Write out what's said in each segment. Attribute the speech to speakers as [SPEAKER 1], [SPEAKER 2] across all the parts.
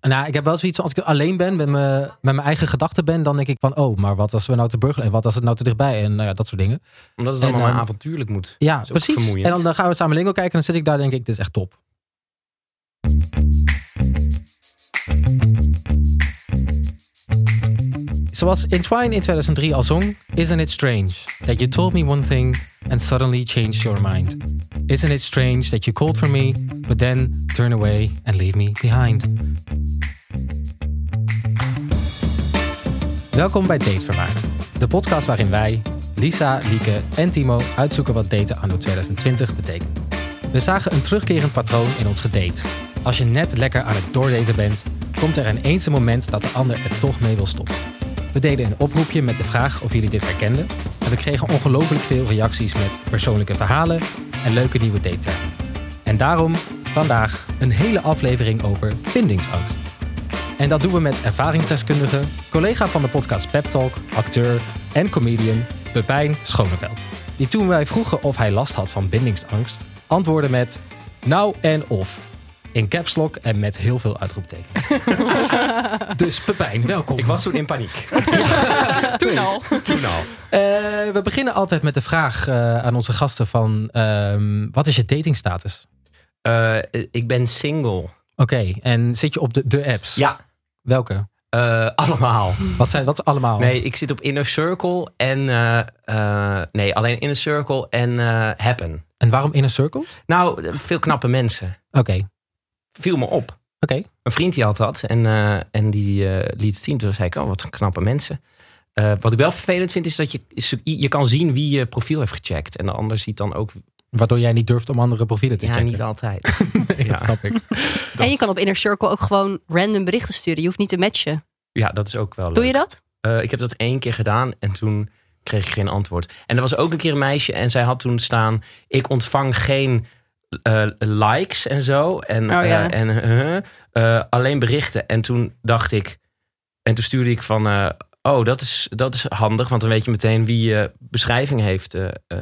[SPEAKER 1] Nou, ik heb wel zoiets van, als ik alleen ben, met, me, met mijn eigen gedachten ben, dan denk ik van, oh, maar wat als we nou te burger en wat als het nou te dichtbij en nou ja, dat soort dingen.
[SPEAKER 2] Omdat het
[SPEAKER 1] En,
[SPEAKER 2] allemaal maar
[SPEAKER 1] ehm,
[SPEAKER 2] avontuurlijk moet.
[SPEAKER 1] Ja,
[SPEAKER 2] is ook
[SPEAKER 1] precies.
[SPEAKER 2] vermoeiend.
[SPEAKER 1] En dan, dan gaan we samen Lingo kijken en dan zit ik daar denk ik, dit is echt top. Zoals In Twine in 2003 al zong, Isn't it strange that you told me one thing and suddenly changed your mind? Isn't it strange that you called for me, but then turn away and leave me behind? Welkom bij Datevermaak, de podcast waarin wij, Lisa, Lieke en Timo uitzoeken wat daten anno 2020 betekent. We zagen een terugkerend patroon in ons gedate. Als je net lekker aan het doordaten bent, komt er ineens een moment dat de ander er toch mee wil stoppen. We deden een oproepje met de vraag of jullie dit herkenden en we kregen ongelooflijk veel reacties met persoonlijke verhalen en leuke nieuwe datetermen. En daarom vandaag een hele aflevering over bindingsangst. En dat doen we met ervaringsdeskundige, collega van de podcast Pep Talk, acteur en comedian Pepijn Schoneveld. Die toen wij vroegen of hij last had van bindingsangst, antwoordde met nou en of. In caps lock en met heel veel uitroeptekens. dus Pepijn, welkom.
[SPEAKER 2] Ik was toen in paniek.
[SPEAKER 3] Toen al.
[SPEAKER 2] toen al.
[SPEAKER 1] Eh, we beginnen altijd met de vraag eh, aan onze gasten van... ehm, wat is je datingstatus?
[SPEAKER 2] Eh, ik ben single.
[SPEAKER 1] Oké, en zit je op de, de apps?
[SPEAKER 2] Ja,
[SPEAKER 1] Welke?
[SPEAKER 2] eh, allemaal.
[SPEAKER 1] Wat zijn dat allemaal?
[SPEAKER 2] Nee, ik zit op Inner Circle en... eh, eh, nee, alleen Inner Circle en eh, Happen.
[SPEAKER 1] En waarom Inner Circle? Oké,
[SPEAKER 2] Nou, veel knappe mensen.
[SPEAKER 1] oké.
[SPEAKER 2] Viel me op. Een vriend die had dat en, eh, en die eh, liet het zien. Toen zei ik, oh, wat knappe mensen. Eh, wat ik wel vervelend vind, is dat je, is- je kan zien wie je profiel heeft gecheckt. En de ander ziet dan ook...
[SPEAKER 1] Waardoor jij niet durft om andere profielen te
[SPEAKER 2] Ja,
[SPEAKER 1] checken.
[SPEAKER 2] niet altijd.
[SPEAKER 1] Nee, dat
[SPEAKER 2] Ja.
[SPEAKER 1] snap ik.
[SPEAKER 3] En je kan op Inner Circle ook gewoon random berichten sturen. Je hoeft niet te matchen.
[SPEAKER 2] Ja, dat is ook wel leuk.
[SPEAKER 3] Doe je dat?
[SPEAKER 2] Eh, ik heb dat één keer gedaan en toen kreeg ik geen antwoord. En er was ook een keer een meisje en zij had toen staan... ik ontvang geen eh, likes en zo. En,
[SPEAKER 3] Oh ja.
[SPEAKER 2] eh, en eh, eh, alleen berichten. En toen dacht ik... En toen stuurde ik van... eh, oh, dat is, dat is handig, want dan weet je meteen wie je beschrijving heeft eh, eh,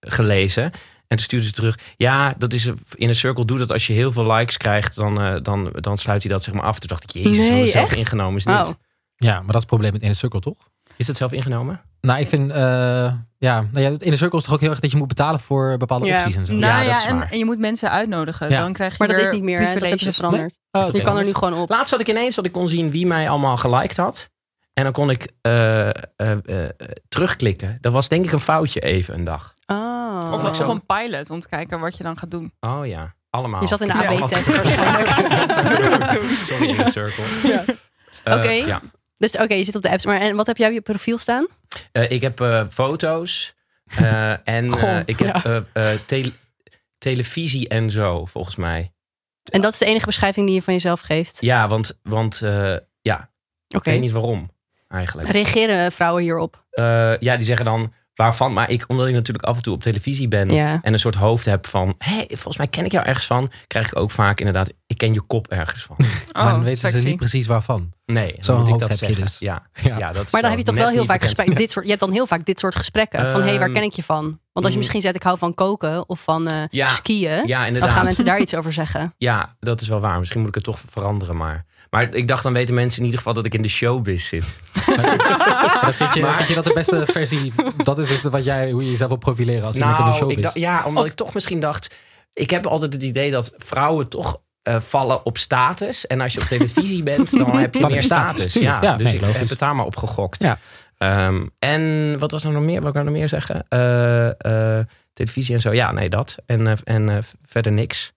[SPEAKER 2] gelezen. En toen stuurde ze terug... ja, dat is, in een cirkel doe dat als je heel veel likes krijgt... dan, eh, dan, dan sluit hij dat zeg maar af. Toen dacht ik, jezus,
[SPEAKER 3] Nee,
[SPEAKER 2] dat is zelf
[SPEAKER 3] echt?
[SPEAKER 2] ingenomen. Is,
[SPEAKER 3] Oh.
[SPEAKER 2] niet.
[SPEAKER 1] Ja, maar dat is het probleem met Inner Circle, toch?
[SPEAKER 2] is dat zelf ingenomen?
[SPEAKER 1] Nou, ik vind... eh, ja, nou ja, Inner Circle is toch ook heel erg dat je moet betalen voor bepaalde
[SPEAKER 4] Ja.
[SPEAKER 1] opties en zo.
[SPEAKER 4] Nou
[SPEAKER 2] Ja,
[SPEAKER 4] ja,
[SPEAKER 2] dat is waar.
[SPEAKER 4] en, en je moet mensen uitnodigen.
[SPEAKER 1] Ja.
[SPEAKER 4] Dan krijg je
[SPEAKER 3] Maar dat
[SPEAKER 4] weer
[SPEAKER 3] is niet meer, hè? dat hebben ze
[SPEAKER 4] privileges.
[SPEAKER 3] veranderd.
[SPEAKER 1] Oh, oké.
[SPEAKER 3] Je kan er nu gewoon op.
[SPEAKER 2] Laatst had ik ineens dat ik kon zien wie mij allemaal geliked had. En dan kon ik eh, eh, eh, eh, terugklikken. Dat was denk ik een foutje even een dag.
[SPEAKER 3] Oh.
[SPEAKER 4] Of, of een pilot om te kijken wat je dan gaat doen.
[SPEAKER 2] Oh ja, allemaal.
[SPEAKER 3] Je zat in de
[SPEAKER 4] Ja.
[SPEAKER 3] AB-test
[SPEAKER 2] Ja.
[SPEAKER 3] waarschijnlijk.
[SPEAKER 2] Sorry, in de cirkel.
[SPEAKER 4] Ja.
[SPEAKER 2] Eh,
[SPEAKER 3] Oké.
[SPEAKER 2] ja.
[SPEAKER 3] Dus oké, je zit op de apps. Maar en wat heb jij op je profiel staan?
[SPEAKER 2] Eh, ik heb eh, foto's. eh, en eh,
[SPEAKER 3] Goh,
[SPEAKER 2] ik heb
[SPEAKER 3] ja.
[SPEAKER 2] eh, eh, tele- televisie en zo, volgens mij.
[SPEAKER 3] En dat is de enige beschrijving die je van jezelf geeft.
[SPEAKER 2] Ja, want, want eh, ja, ik
[SPEAKER 3] Oké.
[SPEAKER 2] weet niet waarom eigenlijk.
[SPEAKER 3] Reageren vrouwen hierop?
[SPEAKER 2] Eh, ja, die zeggen dan waarvan. Maar ik, omdat ik natuurlijk af en toe op televisie ben.
[SPEAKER 3] Ja.
[SPEAKER 2] en een soort hoofd heb van... hé, hey, volgens mij ken ik jou ergens van... krijg ik ook vaak inderdaad... ik ken je kop ergens van.
[SPEAKER 4] Oh,
[SPEAKER 1] maar dan weten ze
[SPEAKER 4] sexy.
[SPEAKER 1] niet precies waarvan.
[SPEAKER 2] Nee,
[SPEAKER 1] Zo'n
[SPEAKER 2] dan moet ik
[SPEAKER 1] hoofd
[SPEAKER 2] dat
[SPEAKER 1] heb je
[SPEAKER 2] zeggen.
[SPEAKER 1] dus.
[SPEAKER 2] Ja,
[SPEAKER 1] Ja.
[SPEAKER 2] ja. dat is
[SPEAKER 3] Maar dan heb je toch wel
[SPEAKER 2] net
[SPEAKER 3] heel
[SPEAKER 2] niet
[SPEAKER 3] vaak
[SPEAKER 2] bekend.
[SPEAKER 3] gesprekken. Dit soort, je hebt dan heel vaak dit soort gesprekken. van hé, hey, waar
[SPEAKER 2] Ehm,
[SPEAKER 3] ken ik je van? Want als je misschien zegt ik hou van koken of van eh,
[SPEAKER 2] Ja.
[SPEAKER 3] skiën.
[SPEAKER 2] Ja,
[SPEAKER 3] Dan gaan
[SPEAKER 2] inderdaad.
[SPEAKER 3] mensen daar iets over zeggen.
[SPEAKER 2] Ja, dat is wel waar. Misschien moet ik het toch veranderen maar. Maar ik dacht, dan weten mensen in ieder geval dat ik in de showbiz zit.
[SPEAKER 1] Dat vind, je, vind je dat de beste versie? Dat is dus wat jij, hoe je jezelf wil profileren als iemand in de show
[SPEAKER 2] Nou, ik
[SPEAKER 1] is.
[SPEAKER 2] dacht- ja, omdat ik toch misschien dacht... Ik heb altijd het idee dat vrouwen toch eh, vallen op status. En als je op televisie bent, dan heb je
[SPEAKER 1] Dan
[SPEAKER 2] meer
[SPEAKER 1] heb je status,
[SPEAKER 2] status.
[SPEAKER 1] tuurlijk.
[SPEAKER 2] Ja,
[SPEAKER 1] Ja,
[SPEAKER 2] dus
[SPEAKER 1] nee,
[SPEAKER 2] ik
[SPEAKER 1] logisch.
[SPEAKER 2] heb het daar maar op gegokt.
[SPEAKER 1] Ja.
[SPEAKER 2] Ehm, en wat was er nog meer? Wat kan ik nou nog meer zeggen? Eh, eh, televisie en zo. Ja, nee, dat. En, eh, en eh, verder niks.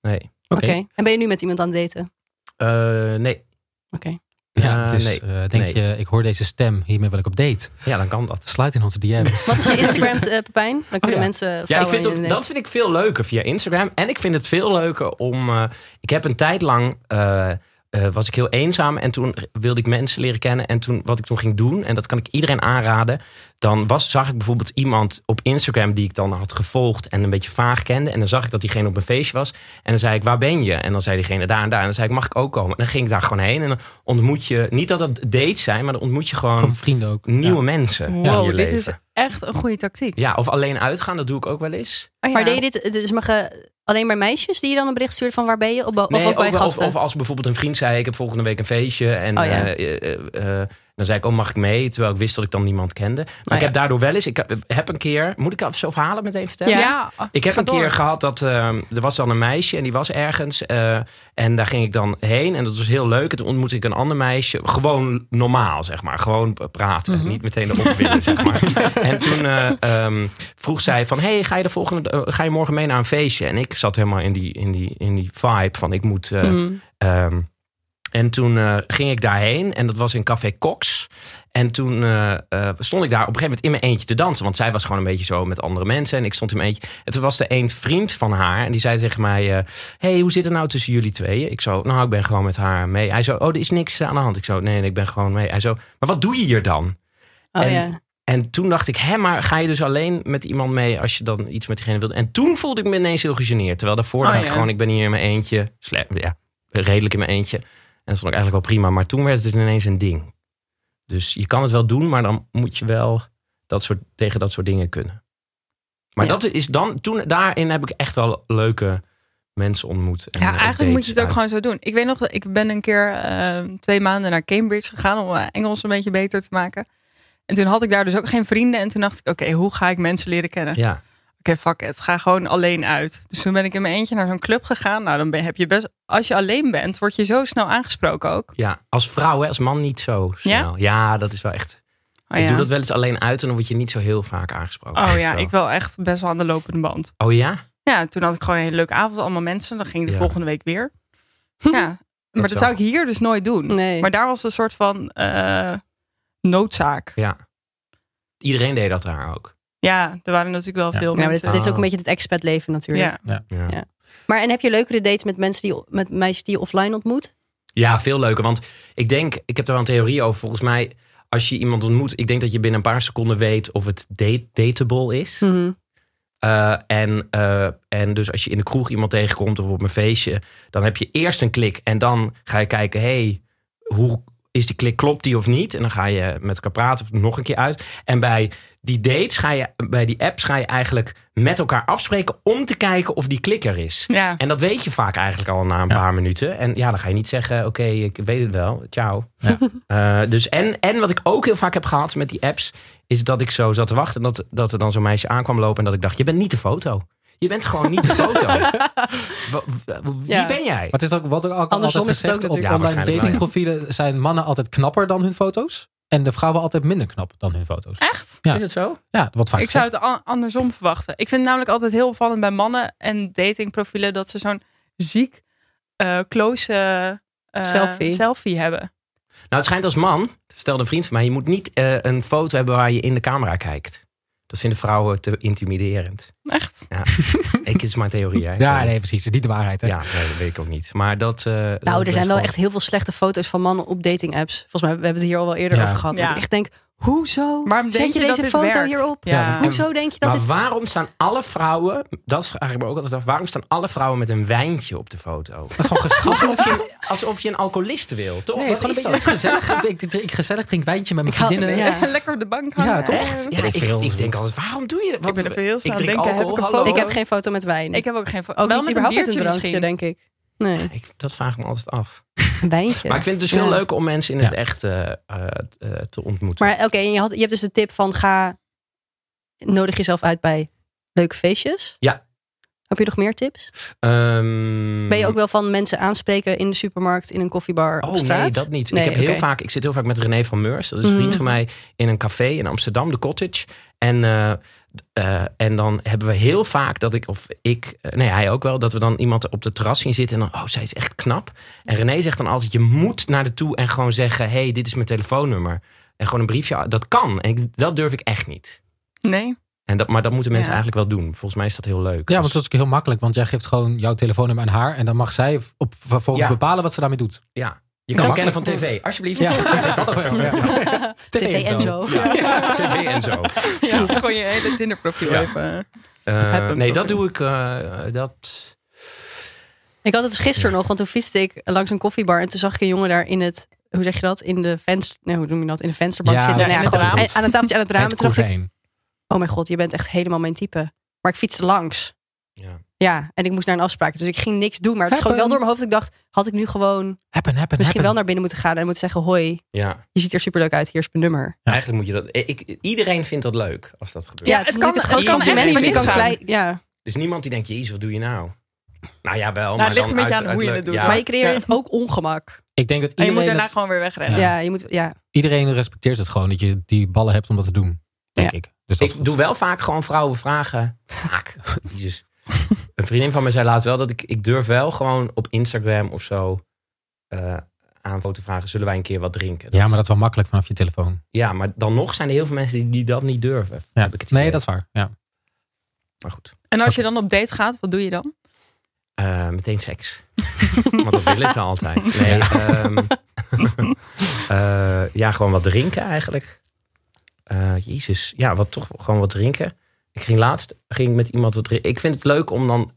[SPEAKER 2] Nee.
[SPEAKER 3] Oké. En ben je nu met iemand aan het daten?
[SPEAKER 2] Eh, nee.
[SPEAKER 3] Oké.
[SPEAKER 1] Ja,
[SPEAKER 2] Eh,
[SPEAKER 1] dus
[SPEAKER 2] nee.
[SPEAKER 1] eh, denk
[SPEAKER 2] Nee.
[SPEAKER 1] je, ik hoor deze stem, hiermee wil ik op date.
[SPEAKER 2] Ja, dan kan dat.
[SPEAKER 1] Sluit in onze DM's.
[SPEAKER 3] Wat is je Instagram, eh, Pepijn? Dan kunnen
[SPEAKER 1] ja.
[SPEAKER 3] mensen
[SPEAKER 2] Oh Ja, ik
[SPEAKER 3] vrouwen
[SPEAKER 2] vind
[SPEAKER 3] in
[SPEAKER 2] dat,
[SPEAKER 3] de-
[SPEAKER 2] dat vind ik veel leuker via Instagram. En ik vind het veel leuker om. eh, ik heb een tijd lang. eh, eh, was ik heel eenzaam en toen wilde ik mensen leren kennen. En toen, wat ik toen ging doen, en dat kan ik iedereen aanraden. Dan was, zag ik bijvoorbeeld iemand op Instagram die ik dan had gevolgd en een beetje vaag kende. En dan zag ik dat diegene op een feestje was. En dan zei ik, waar ben je? En dan zei diegene daar en daar. En dan zei ik, mag ik ook komen? En dan ging ik daar gewoon heen. En dan ontmoet je, niet dat dat dates zijn, maar dan ontmoet je gewoon
[SPEAKER 1] Gewoon vrienden ook.
[SPEAKER 2] nieuwe mensen in
[SPEAKER 4] Wow,
[SPEAKER 2] je
[SPEAKER 4] dit
[SPEAKER 2] leven.
[SPEAKER 4] is echt een goede tactiek.
[SPEAKER 2] Ja, of alleen uitgaan, dat doe ik ook wel eens.
[SPEAKER 4] Oh ja.
[SPEAKER 3] Maar deed je dit, dus mag je alleen maar meisjes die je dan een bericht stuurt van waar ben je? Of, of ook bij
[SPEAKER 2] wel-
[SPEAKER 3] gasten?
[SPEAKER 2] of als bijvoorbeeld een vriend zei: Ik heb volgende week een feestje. En
[SPEAKER 3] Oh ja.
[SPEAKER 2] eh, eh, eh, eh, dan zei ik: Oh, mag ik mee? Terwijl ik wist dat ik dan niemand kende. Maar ik
[SPEAKER 3] Oh, ja.
[SPEAKER 2] heb daardoor wel eens. Ik heb- heb een keer. Moet ik af zo verhalen meteen vertellen?
[SPEAKER 3] Ja.
[SPEAKER 2] Ik heb
[SPEAKER 4] ga
[SPEAKER 2] een keer
[SPEAKER 4] door.
[SPEAKER 2] gehad dat ehm, er was dan een meisje en die was ergens. eh, en daar ging ik dan heen en dat was heel leuk. En toen ontmoette ik een ander meisje. Gewoon normaal, zeg maar. Gewoon p- praten.
[SPEAKER 4] Mhm.
[SPEAKER 2] Niet meteen de opwillen, zeg maar. En toen eh, ehm, vroeg zij van... Hey, ga je, de volgende, eh, ga je morgen mee naar een feestje? En ik zat helemaal in die, in die, in die vibe van ik moet...
[SPEAKER 4] Mhm.
[SPEAKER 3] Mm.
[SPEAKER 2] eh, ehm, en toen eh, ging ik daarheen en dat was in Café Cox. En toen eh, eh, stond ik daar op een gegeven moment in mijn eentje te dansen. Want zij was gewoon een beetje zo met andere mensen. En ik stond in mijn eentje. En toen was er een vriend van haar. En die zei tegen mij: eh, hey, hoe zit het nou tussen jullie tweeën? Ik zo: Nou, ik ben gewoon met haar mee. Hij zo: Oh, er is niks eh, aan de hand. Ik zo: Nee, nee, ik ben gewoon mee. Hij zo: Maar wat doe je hier dan?
[SPEAKER 3] Oh
[SPEAKER 2] en-
[SPEAKER 3] ja.
[SPEAKER 2] En toen dacht ik: Hé, maar ga je dus alleen met iemand mee als je dan iets met diegene wilt? En toen voelde ik me ineens heel gegeneerd. Terwijl daarvoor
[SPEAKER 4] Oh,
[SPEAKER 2] dacht ik
[SPEAKER 4] ja.
[SPEAKER 2] gewoon: Ik ben hier in mijn eentje. Sle- ja, redelijk in mijn eentje. En dat vond ik eigenlijk wel prima. Maar toen werd het ineens een ding. Dus je kan het wel doen, maar dan moet je wel dat soort, tegen dat soort dingen kunnen. Maar
[SPEAKER 3] Ja.
[SPEAKER 2] dat is dan, toen, daarin heb ik echt wel leuke mensen ontmoet. En
[SPEAKER 4] Ja,
[SPEAKER 2] eh,
[SPEAKER 4] eigenlijk moet
[SPEAKER 2] dates
[SPEAKER 4] je het ook
[SPEAKER 2] uit.
[SPEAKER 4] gewoon zo doen. Ik weet nog, dat ik ben een keer ehm, twee maanden naar Cambridge gegaan om mijn Engels een beetje beter te maken. En toen had ik daar dus ook geen vrienden. En toen dacht ik, oké, hoe ga ik mensen leren kennen?
[SPEAKER 2] Ja,
[SPEAKER 4] Oké, fuck it. Ga gewoon alleen uit. Dus toen ben ik in mijn eentje naar zo'n club gegaan. Nou, dan ben, heb je best... Als je alleen bent, word je zo snel aangesproken ook.
[SPEAKER 2] ja, als vrouw, hè, als man niet zo snel. Ja, dat is wel echt.
[SPEAKER 4] Oh
[SPEAKER 2] Ik
[SPEAKER 4] ja,
[SPEAKER 2] doe dat wel eens alleen uit en dan word je niet zo heel vaak aangesproken.
[SPEAKER 4] oh, ja
[SPEAKER 2] Zo.
[SPEAKER 4] ik wel echt best wel aan de lopende band.
[SPEAKER 2] Oh ja?
[SPEAKER 4] Ja, toen had ik gewoon een hele leuke avond. Allemaal mensen. Dan ging ik de
[SPEAKER 2] Ja.
[SPEAKER 4] volgende week weer. Ja, maar dat
[SPEAKER 2] wel-
[SPEAKER 4] zou ik hier dus nooit doen.
[SPEAKER 3] Hm. Nee.
[SPEAKER 4] Maar daar was een soort van eh, noodzaak.
[SPEAKER 2] Ja. Iedereen deed dat daar ook.
[SPEAKER 4] Ja, er waren natuurlijk wel
[SPEAKER 1] Ja.
[SPEAKER 4] veel
[SPEAKER 3] Ja, maar dit,
[SPEAKER 4] mensen. Oh.
[SPEAKER 3] dit is ook
[SPEAKER 2] Ah.
[SPEAKER 3] een beetje het expat leven natuurlijk.
[SPEAKER 4] ja.
[SPEAKER 2] Ja.
[SPEAKER 3] Ja. Maar en heb je leukere dates met mensen die met meisjes die je offline ontmoet?
[SPEAKER 2] Ja, veel leuker. Want ik denk, ik heb daar wel een theorie over. Volgens mij, als je iemand ontmoet, ik denk dat je binnen een paar seconden weet of het date- dateable
[SPEAKER 4] Hm.
[SPEAKER 2] is.
[SPEAKER 3] Mhm.
[SPEAKER 2] Eh, en, eh, en dus als je in de kroeg iemand tegenkomt of op een feestje, dan heb je eerst een klik. En dan ga je kijken, hey, hoe is die klik, klopt die of niet? En dan ga je met elkaar praten of nog een keer uit. En bij die dates ga je, bij die apps ga je eigenlijk met elkaar afspreken om te kijken of die klik er is.
[SPEAKER 4] Ja.
[SPEAKER 2] En dat weet je vaak eigenlijk al na een paar minuten. En ja, dan ga je niet zeggen, oké, ik weet het wel, ciao.
[SPEAKER 1] Ja.
[SPEAKER 2] Eh, dus en, en wat ik ook heel vaak heb gehad met die apps, is dat ik zo zat te wachten en dat, dat er dan zo'n meisje aankwam lopen en dat ik dacht, je bent niet de foto. Je bent gewoon niet de foto. Wa- wa- Wie
[SPEAKER 3] Ja.
[SPEAKER 2] ben jij?
[SPEAKER 1] Maar het is ook wat er ook
[SPEAKER 3] Andersom
[SPEAKER 1] altijd
[SPEAKER 3] is het
[SPEAKER 1] gezegd
[SPEAKER 3] ook
[SPEAKER 1] op
[SPEAKER 2] natuurlijk. Ja,
[SPEAKER 1] online
[SPEAKER 2] waarschijnlijk wel, ja.
[SPEAKER 1] datingprofielen zijn mannen altijd knapper dan hun foto's. En de vrouwen altijd minder knap dan hun foto's.
[SPEAKER 4] Echt?
[SPEAKER 1] Ja.
[SPEAKER 2] Is het zo?
[SPEAKER 1] Ja, wat vaak
[SPEAKER 4] Ik zou
[SPEAKER 1] gezegd.
[SPEAKER 4] het an- andersom verwachten. Ik vind het namelijk altijd heel opvallend bij mannen en datingprofielen dat ze zo'n ziek eh, close eh,
[SPEAKER 3] Selfie.
[SPEAKER 4] selfie hebben.
[SPEAKER 2] Nou, het schijnt als man, vertelde een vriend van mij, je moet niet eh, een foto hebben waar je in de camera kijkt. Dat vinden vrouwen te intimiderend.
[SPEAKER 4] Echt?
[SPEAKER 2] Ik is mijn theorie. Hè?
[SPEAKER 1] Ja, nee, precies. Niet de waarheid. Hè?
[SPEAKER 2] Ja, nee, dat weet ik ook niet. Maar dat. eh, dat
[SPEAKER 3] Nou,
[SPEAKER 2] is
[SPEAKER 3] er zijn wel
[SPEAKER 2] gewoon-
[SPEAKER 3] echt heel veel slechte foto's van mannen op dating apps. Volgens mij we hebben we het hier al wel eerder
[SPEAKER 1] Ja.
[SPEAKER 3] over gehad.
[SPEAKER 4] Ja.
[SPEAKER 3] Dat Ik echt denk, hoezo
[SPEAKER 4] Waarom
[SPEAKER 3] zet
[SPEAKER 4] denk
[SPEAKER 3] je,
[SPEAKER 4] dat
[SPEAKER 3] deze
[SPEAKER 4] dit
[SPEAKER 3] foto
[SPEAKER 4] werkt?
[SPEAKER 3] hierop?
[SPEAKER 4] Ja.
[SPEAKER 1] Ja,
[SPEAKER 3] Hoezo denk je dat
[SPEAKER 2] maar
[SPEAKER 3] dit...
[SPEAKER 2] waarom staan alle vrouwen, dat vraag ik me ook altijd af, waarom staan alle vrouwen met een wijntje op de foto?
[SPEAKER 1] Het is gewoon gezellig.
[SPEAKER 2] Alsof je, alsof je een alcoholist wil, toch?
[SPEAKER 1] Nee, het is gewoon
[SPEAKER 2] Wat
[SPEAKER 1] een beetje gezellig. Ik, ik, ik gezellig drink wijntje met mijn
[SPEAKER 3] Ik had-
[SPEAKER 1] vriendinnen.
[SPEAKER 3] ja.
[SPEAKER 4] Lekker op de bank hangen.
[SPEAKER 1] Ja, toch?
[SPEAKER 2] Echt? Ja,
[SPEAKER 1] Ja,
[SPEAKER 2] ik,
[SPEAKER 1] veel.
[SPEAKER 2] ik denk altijd, waarom doe je dat?
[SPEAKER 4] Ik ben even heel snel
[SPEAKER 2] ik
[SPEAKER 4] aan het
[SPEAKER 2] drink
[SPEAKER 4] denken, heb
[SPEAKER 2] alcohol,
[SPEAKER 4] ik een
[SPEAKER 2] hallo?
[SPEAKER 4] foto?
[SPEAKER 3] Ik heb geen foto met wijn.
[SPEAKER 4] Ik heb ook geen foto.
[SPEAKER 3] ook
[SPEAKER 4] Wel
[SPEAKER 3] niet
[SPEAKER 4] met een
[SPEAKER 3] überhaupt met een
[SPEAKER 4] biertje
[SPEAKER 3] drankje, denk
[SPEAKER 4] misschien.
[SPEAKER 3] ik. Nee,
[SPEAKER 2] Ik- dat vraag ik me altijd af.
[SPEAKER 3] een wijntje.
[SPEAKER 2] Maar ik vind het dus veel
[SPEAKER 3] Ja.
[SPEAKER 2] leuker om mensen in het
[SPEAKER 1] Ja. echt
[SPEAKER 2] echt eh, te ontmoeten.
[SPEAKER 3] Maar oké, en je, had, je hebt dus de tip van ga, nodig jezelf uit bij leuke feestjes.
[SPEAKER 2] Ja.
[SPEAKER 3] Heb je nog meer tips?
[SPEAKER 2] Ehm,
[SPEAKER 3] Ben je ook wel van mensen aanspreken in de supermarkt, in een koffiebar, op
[SPEAKER 2] Mhm. Oh
[SPEAKER 3] straat?
[SPEAKER 2] nee, dat niet.
[SPEAKER 3] Nee,
[SPEAKER 2] ik, heb
[SPEAKER 3] oké.
[SPEAKER 2] heel vaak, ik zit heel vaak met René van Meurs. Dat is een
[SPEAKER 3] Mhm.
[SPEAKER 2] vriend van mij in een café in Amsterdam, de Cottage. En, eh, d- eh, en dan hebben we heel vaak dat ik, of ik, eh, nee hij ook wel, dat we dan iemand op de terras zien zitten. En dan, oh zij is echt knap. En René zegt dan altijd, je moet naar de toe en gewoon zeggen, hey, dit is mijn telefoonnummer. En gewoon een briefje, dat kan. En ik- dat durf ik echt niet.
[SPEAKER 4] Nee.
[SPEAKER 2] En dat, maar dat moeten mensen
[SPEAKER 4] Ja.
[SPEAKER 2] eigenlijk wel doen. Volgens mij is dat heel
[SPEAKER 1] Ja,
[SPEAKER 2] leuk. Dus Als-
[SPEAKER 1] want dat is ook heel makkelijk. Want jij geeft gewoon jouw telefoonnummer aan haar. En dan mag zij op, vervolgens
[SPEAKER 2] Ja.
[SPEAKER 1] bepalen wat ze daarmee doet.
[SPEAKER 2] ja. je kan
[SPEAKER 3] Dat-
[SPEAKER 2] het kennen van tv, alsjeblieft.
[SPEAKER 1] Ja, dat ook wel. Ja.
[SPEAKER 3] TV en zo.
[SPEAKER 2] Ja, tv en zo.
[SPEAKER 4] Ja. Gewoon je hele Tinder profiel
[SPEAKER 2] Ja.
[SPEAKER 4] even.
[SPEAKER 2] Eh,
[SPEAKER 4] Heb hem
[SPEAKER 2] nee, dat
[SPEAKER 4] profiel.
[SPEAKER 2] doe ik. eh, dat.
[SPEAKER 3] Ik had het dus gisteren nog, want toen fietste ik langs een koffiebar en toen zag ik een jongen daar in het, hoe zeg je dat? In de venster, nee, hoe noem je dat? In de vensterbank
[SPEAKER 1] Ja,
[SPEAKER 3] zitten.
[SPEAKER 4] ja,
[SPEAKER 3] Nou
[SPEAKER 4] in het
[SPEAKER 3] gewoon
[SPEAKER 1] raam.
[SPEAKER 3] Aan een tafeltje aan het raam. En
[SPEAKER 1] Het
[SPEAKER 3] toen dacht ik,
[SPEAKER 1] kozijn.
[SPEAKER 3] oh mijn god, je bent echt helemaal mijn type. Maar ik fietste langs.
[SPEAKER 2] Ja.
[SPEAKER 3] Ja, en ik moest naar een afspraak. Dus ik ging niks doen. Maar het is gewoon wel door mijn hoofd. Ik dacht, had ik nu gewoon
[SPEAKER 1] Happen, happen,
[SPEAKER 3] misschien wel
[SPEAKER 1] happen.
[SPEAKER 3] naar binnen moeten gaan en moeten zeggen: Hoi,
[SPEAKER 2] Ja.
[SPEAKER 3] je ziet er superleuk uit. Hier is mijn nummer.
[SPEAKER 1] Ja.
[SPEAKER 2] Eigenlijk moet je dat... Ik, iedereen vindt dat leuk als dat gebeurt.
[SPEAKER 3] Ja,
[SPEAKER 4] het
[SPEAKER 3] het is
[SPEAKER 4] kan-
[SPEAKER 3] natuurlijk het grootste
[SPEAKER 2] het kan
[SPEAKER 3] compliment.
[SPEAKER 2] echt
[SPEAKER 3] Want je kan
[SPEAKER 2] misgaan.
[SPEAKER 3] klein. Ja.
[SPEAKER 2] Dus niemand die denkt, jezus, wat doe je nou? Nou ja, wel,
[SPEAKER 4] het
[SPEAKER 2] maar
[SPEAKER 4] ligt
[SPEAKER 2] dan
[SPEAKER 4] een beetje
[SPEAKER 2] uit-
[SPEAKER 4] aan hoe
[SPEAKER 2] uit
[SPEAKER 4] je
[SPEAKER 2] leuk-
[SPEAKER 4] het doet,
[SPEAKER 2] Ja,
[SPEAKER 4] hoor.
[SPEAKER 3] Maar je creëert
[SPEAKER 4] Ja.
[SPEAKER 3] ook ongemak.
[SPEAKER 1] Ik denk dat
[SPEAKER 4] En Oh, je moet
[SPEAKER 1] iedereen,
[SPEAKER 4] daarna
[SPEAKER 1] dat-
[SPEAKER 4] gewoon weer
[SPEAKER 3] Ja,
[SPEAKER 4] wegrennen.
[SPEAKER 3] je moet. Ja.
[SPEAKER 1] iedereen respecteert het gewoon. Dat je die ballen hebt om dat te doen. Denk ik. Dus dat
[SPEAKER 2] Ik doe wel vaak gewoon vrouwen vragen. Vaak. Jezus. Een vriendin van mij zei laatst wel dat ik, ik durf wel gewoon op Instagram of zo eh aan foto vragen. Zullen wij een keer wat drinken?
[SPEAKER 1] Ja, maar dat is wel makkelijk vanaf je telefoon.
[SPEAKER 2] ja, maar dan nog zijn er heel veel mensen die, die dat niet durven.
[SPEAKER 1] Ja.
[SPEAKER 2] Heb ik het
[SPEAKER 1] Nee,
[SPEAKER 2] idee.
[SPEAKER 1] dat is waar. Ja.
[SPEAKER 2] Maar goed,
[SPEAKER 4] En als je dan op date gaat, wat doe je dan?
[SPEAKER 2] Eh, meteen seks. Want dat willen ze altijd. Nee, ehm, eh, ja, gewoon wat drinken eigenlijk. Eh, Jezus, ja, wat, toch gewoon wat drinken. Ik ging laatst ging met iemand wat drinken. Ik vind het leuk om dan...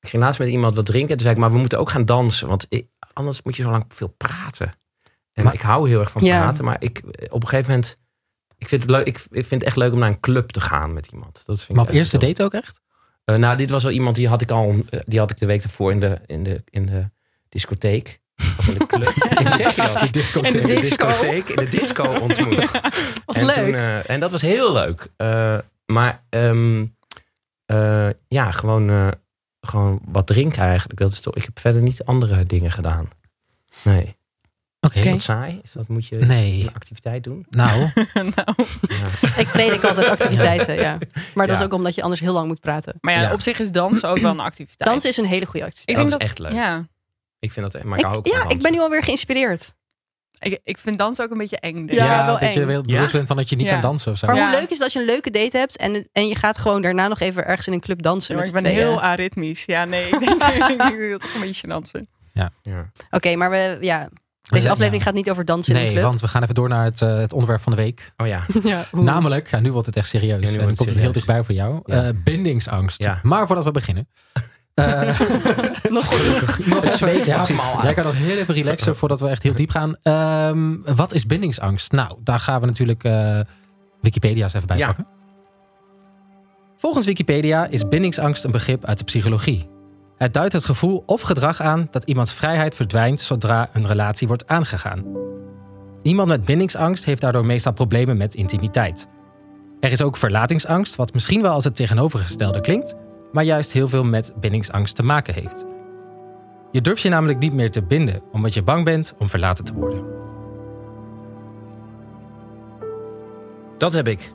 [SPEAKER 2] Ik ging laatst met iemand wat drinken. Toen zei ik, maar we moeten ook gaan dansen. Want i- anders moet je zo lang veel praten. En
[SPEAKER 1] Maar-
[SPEAKER 2] ik hou heel erg van
[SPEAKER 3] Ja.
[SPEAKER 2] praten. Maar ik, op een gegeven moment... Ik vind, het leuk, ik, ik vind het echt leuk om naar een club te gaan met iemand. Dat vind
[SPEAKER 1] Maar
[SPEAKER 2] ik
[SPEAKER 1] op
[SPEAKER 2] echt
[SPEAKER 1] eerste
[SPEAKER 2] heel-
[SPEAKER 1] date ook echt?
[SPEAKER 2] eh, nou, dit was wel iemand die had ik al eh, die had ik de week daarvoor in de, in de, in de discotheek. Of in de club. Hoe zeg je dat?
[SPEAKER 1] discotheek.
[SPEAKER 2] In de
[SPEAKER 4] disco.
[SPEAKER 2] discotheek, in de disco ontmoet.
[SPEAKER 3] Wat
[SPEAKER 2] en,
[SPEAKER 3] leuk.
[SPEAKER 2] Toen, eh, en dat was heel leuk. Eh, maar ehm, eh, ja, gewoon, eh, gewoon wat drinken eigenlijk. Dat is toch, ik heb verder niet andere dingen gedaan. Nee.
[SPEAKER 1] Oké.
[SPEAKER 2] Is dat saai? Is dat, moet je
[SPEAKER 1] Nee.
[SPEAKER 2] een activiteit doen?
[SPEAKER 1] Nou,
[SPEAKER 4] nou,
[SPEAKER 2] Ja.
[SPEAKER 3] Ik predik altijd activiteiten. Ja. Maar dat
[SPEAKER 2] Ja.
[SPEAKER 3] is ook omdat je anders heel lang moet praten.
[SPEAKER 4] maar ja,
[SPEAKER 2] Ja.
[SPEAKER 4] op zich is dansen ook wel een activiteit.
[SPEAKER 3] Dansen is een hele goede activiteit.
[SPEAKER 4] Ik denk
[SPEAKER 2] dat
[SPEAKER 4] dat-
[SPEAKER 2] is echt leuk.
[SPEAKER 4] Ja,
[SPEAKER 2] Ik vind dat echt, maar ik, hou ook
[SPEAKER 3] Ik- ja,
[SPEAKER 2] van
[SPEAKER 3] ik ben nu
[SPEAKER 2] dansen.
[SPEAKER 3] alweer geïnspireerd.
[SPEAKER 4] ik, ik vind dansen ook een beetje eng. denk ik.
[SPEAKER 3] Ja,
[SPEAKER 1] ja,
[SPEAKER 3] wel
[SPEAKER 1] dat je
[SPEAKER 3] eng.
[SPEAKER 1] wel bewust bent van dat je niet
[SPEAKER 4] Ja.
[SPEAKER 1] kan dansen of zo.
[SPEAKER 3] Maar
[SPEAKER 4] Ja.
[SPEAKER 3] hoe leuk is het als je een leuke date hebt en, en je gaat gewoon daarna nog even ergens in een club dansen
[SPEAKER 4] Maar
[SPEAKER 3] met
[SPEAKER 4] ik
[SPEAKER 3] z'n
[SPEAKER 4] ben
[SPEAKER 3] tweeën.
[SPEAKER 4] heel aritmisch. Ja, nee, ik denk, ik denk dat ik dat toch een beetje gênant vind.
[SPEAKER 2] Ja.
[SPEAKER 3] Oké, maar we, ja,
[SPEAKER 1] zijn-
[SPEAKER 3] deze aflevering
[SPEAKER 1] ja.
[SPEAKER 3] gaat niet over dansen in een
[SPEAKER 1] Nee,
[SPEAKER 3] club.
[SPEAKER 1] want we gaan even door naar het, eh, het onderwerp van de week.
[SPEAKER 2] Oh ja.
[SPEAKER 3] Ja, hoe-
[SPEAKER 1] Namelijk, ja, nu wordt het echt serieus.
[SPEAKER 2] Ja,
[SPEAKER 1] en
[SPEAKER 2] nu wordt
[SPEAKER 1] dan
[SPEAKER 2] het
[SPEAKER 1] komt het heel
[SPEAKER 2] serieus.
[SPEAKER 1] dichtbij voor jou.
[SPEAKER 2] Ja.
[SPEAKER 1] Eh, bindingsangst.
[SPEAKER 2] Ja.
[SPEAKER 1] Maar voordat we beginnen. eh,
[SPEAKER 4] Nog
[SPEAKER 1] nog
[SPEAKER 2] Het
[SPEAKER 1] even-
[SPEAKER 2] zweet
[SPEAKER 1] ja,
[SPEAKER 2] komt
[SPEAKER 1] precies.
[SPEAKER 2] allemaal
[SPEAKER 1] Jij
[SPEAKER 2] uit.
[SPEAKER 1] kan nog heel even relaxen voordat we echt heel diep gaan. Ehm, wat is bindingsangst? Nou, daar gaan we natuurlijk eh, Wikipedia eens even bij
[SPEAKER 2] Ja.
[SPEAKER 1] pakken. Volgens Wikipedia is bindingsangst een begrip uit de psychologie. Het duidt het gevoel of gedrag aan dat iemands vrijheid verdwijnt zodra een relatie wordt aangegaan. Iemand met bindingsangst heeft daardoor meestal problemen met intimiteit. Er is ook verlatingsangst, wat misschien wel als het tegenovergestelde klinkt, maar juist heel veel met bindingsangst te maken heeft. Je durft je namelijk niet meer te binden omdat je bang bent om verlaten te worden.
[SPEAKER 2] Dat heb ik.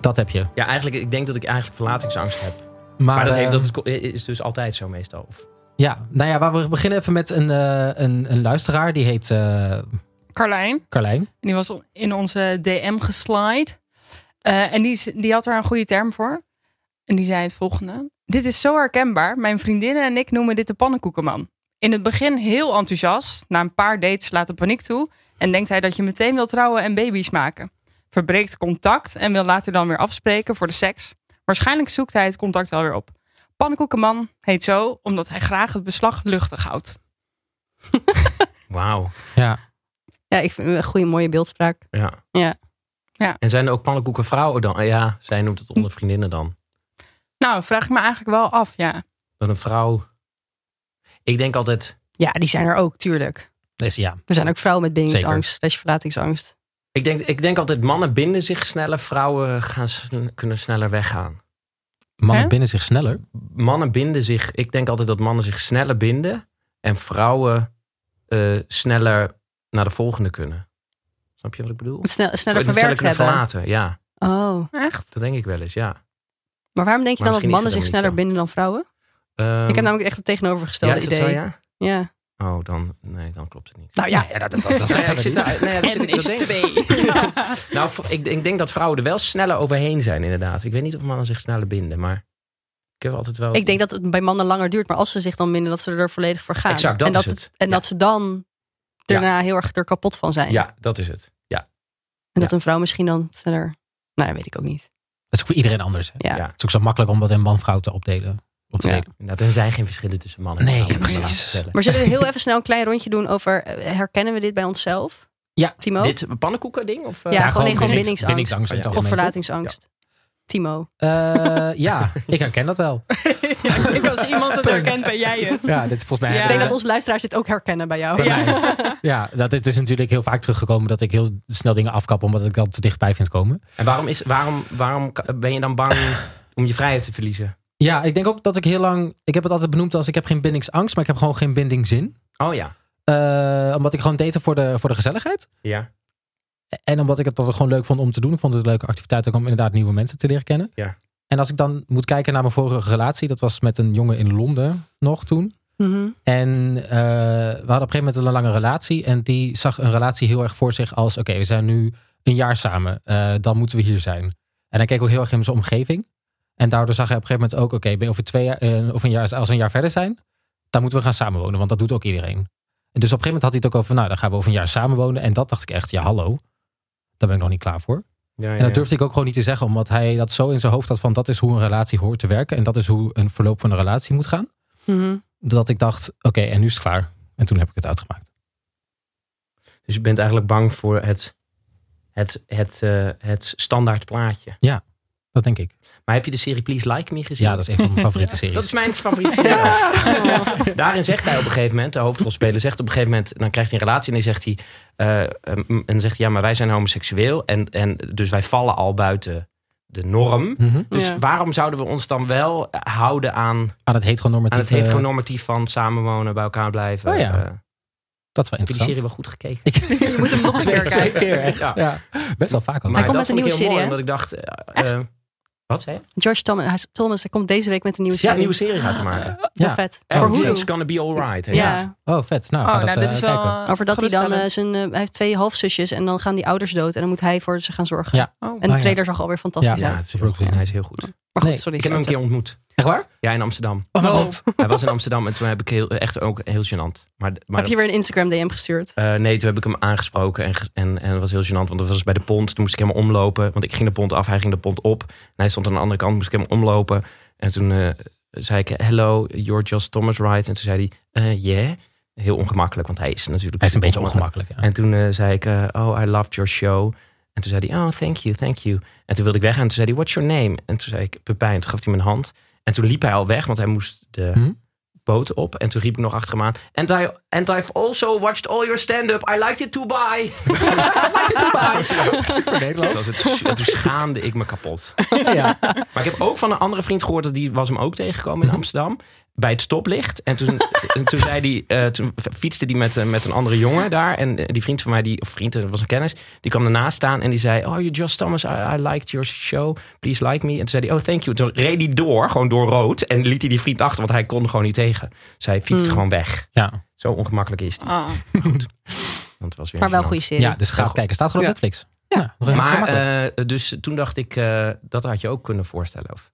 [SPEAKER 1] Dat heb je.
[SPEAKER 2] Ja, eigenlijk, ik denk dat ik eigenlijk verlatingsangst heb. Maar,
[SPEAKER 1] Maar,
[SPEAKER 2] dat, heeft,
[SPEAKER 1] eh,
[SPEAKER 2] dat ko- is dus altijd zo meestal. Of,
[SPEAKER 1] Ja, nou ja, waar we beginnen even met een, eh, een, een luisteraar. Die heet eh,
[SPEAKER 4] Carlijn,
[SPEAKER 1] Carlijn.
[SPEAKER 4] die was in onze DM geslide. Eh, en die, is- die had daar een goede term voor. En die zei het volgende. Dit is zo herkenbaar. Mijn vriendinnen en ik noemen dit de pannenkoekenman. In het begin heel enthousiast. Na een paar dates slaat de paniek toe. En denkt hij dat je meteen wil trouwen en baby's maken. Verbreekt contact en wil later dan weer afspreken voor de seks. Waarschijnlijk zoekt hij het contact wel weer op. Pannenkoekenman heet zo omdat hij graag het beslag luchtig houdt.
[SPEAKER 2] wauw.
[SPEAKER 1] Ja.
[SPEAKER 3] ja, ik vind het een goede mooie beeldspraak.
[SPEAKER 2] Ja.
[SPEAKER 3] Ja.
[SPEAKER 4] Ja.
[SPEAKER 2] En zijn er ook pannenkoekenvrouwen dan? Ja, zij noemt het onder vriendinnen dan.
[SPEAKER 4] Nou, vraag ik me eigenlijk wel af, ja.
[SPEAKER 2] Dat een vrouw... Ik denk altijd...
[SPEAKER 3] Ja, die zijn er ook, tuurlijk.
[SPEAKER 1] Dus ja.
[SPEAKER 3] Er zijn ook vrouwen met bindingsangst, slash verlatingsangst.
[SPEAKER 2] Ik denk, ik denk altijd mannen binden zich sneller, vrouwen gaan, sn- kunnen sneller weggaan.
[SPEAKER 1] Mannen
[SPEAKER 4] Hè?
[SPEAKER 1] binnen zich sneller.
[SPEAKER 2] Mannen binden zich... Ik denk altijd dat mannen zich sneller binden. En vrouwen eh, sneller naar de volgende kunnen. Snap je wat ik bedoel?
[SPEAKER 3] Het snel, sneller
[SPEAKER 2] Sneller
[SPEAKER 3] verwerkt
[SPEAKER 2] kunnen
[SPEAKER 3] hebben.
[SPEAKER 2] Verlaten. Ja,
[SPEAKER 3] Oh,
[SPEAKER 4] Echt?
[SPEAKER 2] dat denk ik wel eens, ja.
[SPEAKER 3] maar waarom denk je
[SPEAKER 2] Maar
[SPEAKER 3] dan
[SPEAKER 2] misschien
[SPEAKER 3] dat
[SPEAKER 2] is het
[SPEAKER 3] mannen zich
[SPEAKER 2] dan
[SPEAKER 3] sneller
[SPEAKER 2] niet
[SPEAKER 3] binden dan vrouwen?
[SPEAKER 2] Ehm,
[SPEAKER 3] ik heb namelijk echt het
[SPEAKER 2] ja,
[SPEAKER 3] tegenovergestelde
[SPEAKER 2] is dat
[SPEAKER 3] idee.
[SPEAKER 2] zo, ja?
[SPEAKER 3] Ja.
[SPEAKER 2] Oh, dan, nee, dan klopt het niet.
[SPEAKER 3] Nou ja,
[SPEAKER 1] Nee, dat, dat, dat, Nou, dat zeggen we niet.
[SPEAKER 3] twee.
[SPEAKER 2] Nou, v- ik, ik denk dat vrouwen er wel sneller overheen zijn, inderdaad. Ik weet niet of mannen zich sneller binden, maar ik heb altijd wel...
[SPEAKER 3] Ik denk dat het bij mannen langer duurt, maar als ze zich dan minder, dat ze er volledig voor gaan.
[SPEAKER 2] Exact, dat
[SPEAKER 3] en dat,
[SPEAKER 2] is het.
[SPEAKER 3] En
[SPEAKER 2] Ja.
[SPEAKER 3] dat ze dan daarna heel erg er kapot van zijn.
[SPEAKER 2] Ja, dat is het. Ja,
[SPEAKER 3] En dat een vrouw misschien dan sneller. Nou, ja, weet ik ook niet.
[SPEAKER 1] Dat is ook voor iedereen anders. Hè?
[SPEAKER 3] Ja.
[SPEAKER 2] Ja.
[SPEAKER 1] Het is ook zo makkelijk om dat in man-vrouw te opdelen. Op te
[SPEAKER 3] Ja.
[SPEAKER 1] delen.
[SPEAKER 2] inderdaad, nou, er zijn geen verschillen tussen mannen en
[SPEAKER 1] Nee,
[SPEAKER 2] vrouwen.
[SPEAKER 1] precies.
[SPEAKER 2] laten we stellen.
[SPEAKER 3] Maar zullen we heel even snel een klein rondje doen over eh, herkennen we dit bij onszelf?
[SPEAKER 1] Ja,
[SPEAKER 3] Timo?
[SPEAKER 2] Dit pannenkoeken ding? Of, eh,
[SPEAKER 3] ja, gewoon, nee, gewoon
[SPEAKER 1] bindings-
[SPEAKER 3] bindingsangst.
[SPEAKER 1] bindingsangst in het
[SPEAKER 2] Of
[SPEAKER 3] of
[SPEAKER 1] algemeen, toch?
[SPEAKER 3] verlatingsangst. Timo.
[SPEAKER 1] Eh, ja, ik herken dat wel.
[SPEAKER 4] Ik als iemand het
[SPEAKER 1] Punt.
[SPEAKER 4] herkent, ben jij het.
[SPEAKER 1] Ja, dit is volgens mij.
[SPEAKER 4] Ja.
[SPEAKER 3] Ik denk dat
[SPEAKER 1] dat
[SPEAKER 3] onze luisteraars dit ook herkennen bij jou.
[SPEAKER 1] bij mij. Ja, dat het is natuurlijk heel vaak teruggekomen dat ik heel snel dingen afkap omdat ik dat te dichtbij vind komen.
[SPEAKER 2] En waarom, is, waarom, waarom ka- ben je dan bang om je vrijheid te verliezen?
[SPEAKER 1] Ja, ik denk ook dat ik heel lang. Ik heb het altijd benoemd als ik heb geen bindingsangst, maar ik heb gewoon geen bindingzin.
[SPEAKER 2] Oh ja.
[SPEAKER 1] Eh, omdat ik gewoon date voor de, voor de gezelligheid.
[SPEAKER 2] Ja.
[SPEAKER 1] En omdat ik het altijd gewoon leuk vond om te doen. Ik vond het een leuke activiteit ook om inderdaad nieuwe mensen te leren kennen.
[SPEAKER 2] Ja.
[SPEAKER 1] En als ik dan moet kijken naar mijn vorige relatie, dat was met een jongen in Londen nog toen.
[SPEAKER 3] Mhm.
[SPEAKER 1] En eh, we hadden op een gegeven moment een lange relatie. En die zag een relatie heel erg voor zich als: oké, we zijn nu een jaar samen. eh, dan moeten we hier zijn. En hij keek ook heel erg in zijn omgeving. En daardoor zag hij op een gegeven moment ook: oké, ben over twee jaar, eh, of een jaar, als we een jaar verder zijn, dan moeten we gaan samenwonen. Want dat doet ook iedereen. En dus op een gegeven moment had hij het ook over: nou, dan gaan we over een jaar samenwonen. En dat dacht ik echt: ja, hallo. Daar ben ik nog niet klaar voor.
[SPEAKER 2] ja,
[SPEAKER 1] En dat durfde ik ook gewoon niet te zeggen, omdat hij dat zo in zijn hoofd had: van dat is hoe een relatie hoort te werken. En dat is hoe een verloop van een relatie moet gaan
[SPEAKER 3] Mhm.
[SPEAKER 1] dat ik dacht, oké, en nu is het klaar. En toen heb ik het uitgemaakt.
[SPEAKER 2] Dus je bent eigenlijk bang voor het, het, het, eh, het standaard plaatje.
[SPEAKER 1] Dat denk ik.
[SPEAKER 2] Maar heb je de serie Please Like Me gezien?
[SPEAKER 1] Ja, dat is een van mijn favoriete series.
[SPEAKER 2] Dat is mijn Oh. favoriete serie. Daarin zegt hij op een gegeven moment, de hoofdrolspeler zegt op een gegeven moment, dan krijgt hij een relatie en dan zegt hij, eh, ehm, en dan zegt hij, ja, maar wij zijn homoseksueel en, en dus wij vallen al buiten de norm.
[SPEAKER 1] Mhm.
[SPEAKER 2] Dus
[SPEAKER 3] Ja.
[SPEAKER 2] waarom zouden we ons dan wel houden aan,
[SPEAKER 1] Aan het
[SPEAKER 2] aan
[SPEAKER 1] heteronormatieve...
[SPEAKER 2] het heteronormatief
[SPEAKER 3] eh,
[SPEAKER 2] van samenwonen, bij elkaar blijven?
[SPEAKER 1] Oh ja,
[SPEAKER 2] Eh, heb
[SPEAKER 1] Dat is wel
[SPEAKER 2] je die serie
[SPEAKER 1] interessant.
[SPEAKER 2] wel goed gekeken?
[SPEAKER 4] Je moet hem nog een
[SPEAKER 1] Twee,
[SPEAKER 4] keer
[SPEAKER 1] twee
[SPEAKER 4] kijken.
[SPEAKER 1] keer, echt. Ja.
[SPEAKER 2] Ja.
[SPEAKER 1] Best wel vaak ook.
[SPEAKER 2] Maar
[SPEAKER 3] Oh. komt
[SPEAKER 2] dat
[SPEAKER 3] met een
[SPEAKER 2] vond ik heel
[SPEAKER 3] nieuwe serie,
[SPEAKER 2] mooi,
[SPEAKER 3] hè?
[SPEAKER 2] omdat ik dacht, eh,
[SPEAKER 3] Echt?
[SPEAKER 2] eh, wat zei je?
[SPEAKER 3] George Thomas, hij- Thomas, hij komt deze week met een nieuwe
[SPEAKER 2] Ja,
[SPEAKER 3] serie.
[SPEAKER 2] een nieuwe serie gaat te maken.
[SPEAKER 3] Heel
[SPEAKER 1] Ja.
[SPEAKER 3] vet.
[SPEAKER 2] Echt,
[SPEAKER 3] Voor Hulu.
[SPEAKER 2] It's gonna be alright. heet
[SPEAKER 3] Ja.
[SPEAKER 2] het.
[SPEAKER 1] Oh, vet. Nou, we
[SPEAKER 4] Oh,
[SPEAKER 1] gaan dat,
[SPEAKER 4] nou, dit
[SPEAKER 1] eh,
[SPEAKER 4] is wel...
[SPEAKER 1] kijken.
[SPEAKER 4] eh,
[SPEAKER 3] Over dat hij dan eh,
[SPEAKER 4] geruststellend.
[SPEAKER 3] zijn, eh, hij heeft twee halfzusjes en dan gaan die ouders dood en dan moet hij voor ze gaan zorgen.
[SPEAKER 1] Ja.
[SPEAKER 4] Oh.
[SPEAKER 3] eh, En de
[SPEAKER 1] Oh, ja.
[SPEAKER 3] trailer zag alweer fantastisch
[SPEAKER 1] Ja.
[SPEAKER 3] uit.
[SPEAKER 2] Ja, het is heel goed. Hij is heel goed.
[SPEAKER 3] Maar goed,
[SPEAKER 1] Nee,
[SPEAKER 3] sorry.
[SPEAKER 2] Ik heb hem een keer ontmoet.
[SPEAKER 1] Echt waar?
[SPEAKER 2] Ja, in Amsterdam.
[SPEAKER 1] Oh mijn
[SPEAKER 3] Oh.
[SPEAKER 1] god.
[SPEAKER 2] Hij was in Amsterdam en toen heb ik heel, echt ook heel gênant. Maar, maar
[SPEAKER 3] Heb je weer een Instagram DM gestuurd?
[SPEAKER 2] eh, nee, toen heb ik hem aangesproken en, ge- en, en dat was heel gênant. Want dat was bij de pont. Toen moest ik helemaal omlopen. Want ik ging de pont af, hij ging de pont op. En hij stond aan de andere kant, moest ik helemaal omlopen. En toen eh, zei ik, hello, you're just Thomas Wright. En toen zei hij, eh yeah. Heel ongemakkelijk, want hij is natuurlijk...
[SPEAKER 1] Hij is een beetje ongemakkelijk, ja.
[SPEAKER 2] En toen eh, zei ik, eh, oh, I loved your show. En toen zei hij, oh, thank you, thank you. En toen wilde ik weg en toen zei hij, what's your name? En toen zei ik, Pepijn. En toen gaf hij mijn hand. En toen liep hij al weg, want hij moest de
[SPEAKER 1] Hm?
[SPEAKER 2] boot op. En toen riep ik nog achter hem aan. And, I, and I've also watched all your stand-up. I liked it too, bye. I liked it too, bye.
[SPEAKER 1] Super Nederlands.
[SPEAKER 2] het, toen schaamde ik me kapot.
[SPEAKER 1] ja.
[SPEAKER 2] Maar ik heb ook van een andere vriend gehoord dat die was hem ook tegengekomen
[SPEAKER 1] Mhm.
[SPEAKER 2] in Amsterdam. Bij het stoplicht. En toen, en toen, zei die, eh, toen fietste die met, eh, met een andere jongen daar. En eh, die vriend van mij, die, of vriend, dat was een kennis, die kwam ernaast staan en die zei: Oh, you just Thomas, I, I liked your show. Please like me. En toen zei hij: Oh, thank you. Toen reed hij door, gewoon door rood. En liet hij die vriend achter, want hij kon er gewoon niet tegen. Zij fietste
[SPEAKER 1] Hmm.
[SPEAKER 2] gewoon weg.
[SPEAKER 1] Ja.
[SPEAKER 2] Zo ongemakkelijk is die.
[SPEAKER 4] Ah.
[SPEAKER 2] Want het was weer
[SPEAKER 3] Maar wel
[SPEAKER 2] gênant.
[SPEAKER 3] een goede serie.
[SPEAKER 1] ja, dus ga
[SPEAKER 2] Ja.
[SPEAKER 1] het kijken. Staat gewoon op Netflix. Ja. nog helemaal
[SPEAKER 2] Maar
[SPEAKER 1] gemakkelijk.
[SPEAKER 2] eh, dus toen dacht ik: eh, Dat had je ook kunnen voorstellen. Of?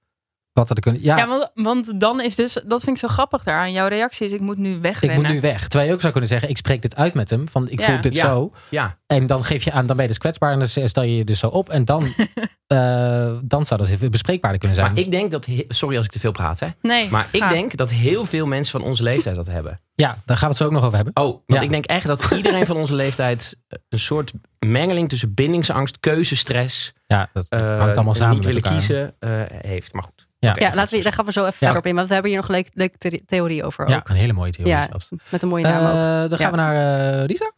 [SPEAKER 1] Wat had ik kunnen... Ja,
[SPEAKER 4] Ja, want, want dan is dus... Dat vind ik zo grappig daaraan. Jouw reactie is, ik moet nu
[SPEAKER 1] ik
[SPEAKER 4] wegrennen.
[SPEAKER 1] moet nu weg. Terwijl je ook zou kunnen zeggen, ik spreek dit uit met hem. Van, ik
[SPEAKER 4] Ja.
[SPEAKER 1] voel dit
[SPEAKER 2] Ja.
[SPEAKER 1] zo.
[SPEAKER 2] Ja.
[SPEAKER 1] En dan geef je aan, dan ben je dus kwetsbaar. En dan stel je je dus zo op. En dan, eh, dan zou dat even bespreekbaarder kunnen zijn.
[SPEAKER 2] Maar ik denk dat, he- sorry als ik te veel praat, hè.
[SPEAKER 4] Nee. Ah.
[SPEAKER 2] Maar ik
[SPEAKER 4] ga.
[SPEAKER 2] denk dat heel veel mensen van onze leeftijd dat hebben.
[SPEAKER 1] Ja, daar gaan we het zo ook nog over hebben.
[SPEAKER 2] Oh, want
[SPEAKER 1] Ja.
[SPEAKER 2] ik denk echt dat iedereen van onze leeftijd eh, een soort mengeling tussen bindingsangst, keuzestress,
[SPEAKER 1] Ja, dat
[SPEAKER 2] eh,
[SPEAKER 1] hangt allemaal samen
[SPEAKER 2] niet
[SPEAKER 1] met
[SPEAKER 2] willen
[SPEAKER 1] elkaar.
[SPEAKER 2] kiezen eh, heeft. Maar goed.
[SPEAKER 1] Ja.
[SPEAKER 2] Oké,
[SPEAKER 3] Ja, laten we, daar gaan we zo even verder op in. Want we hebben hier nog een leuk- leuke the- theorie over.
[SPEAKER 1] Ja,
[SPEAKER 3] Ook.
[SPEAKER 1] een hele mooie theorie
[SPEAKER 3] Ja.
[SPEAKER 1] zelfs.
[SPEAKER 3] Met een mooie naam ook.
[SPEAKER 1] Eh, dan gaan
[SPEAKER 3] Ja.
[SPEAKER 1] we naar eh, Lisa.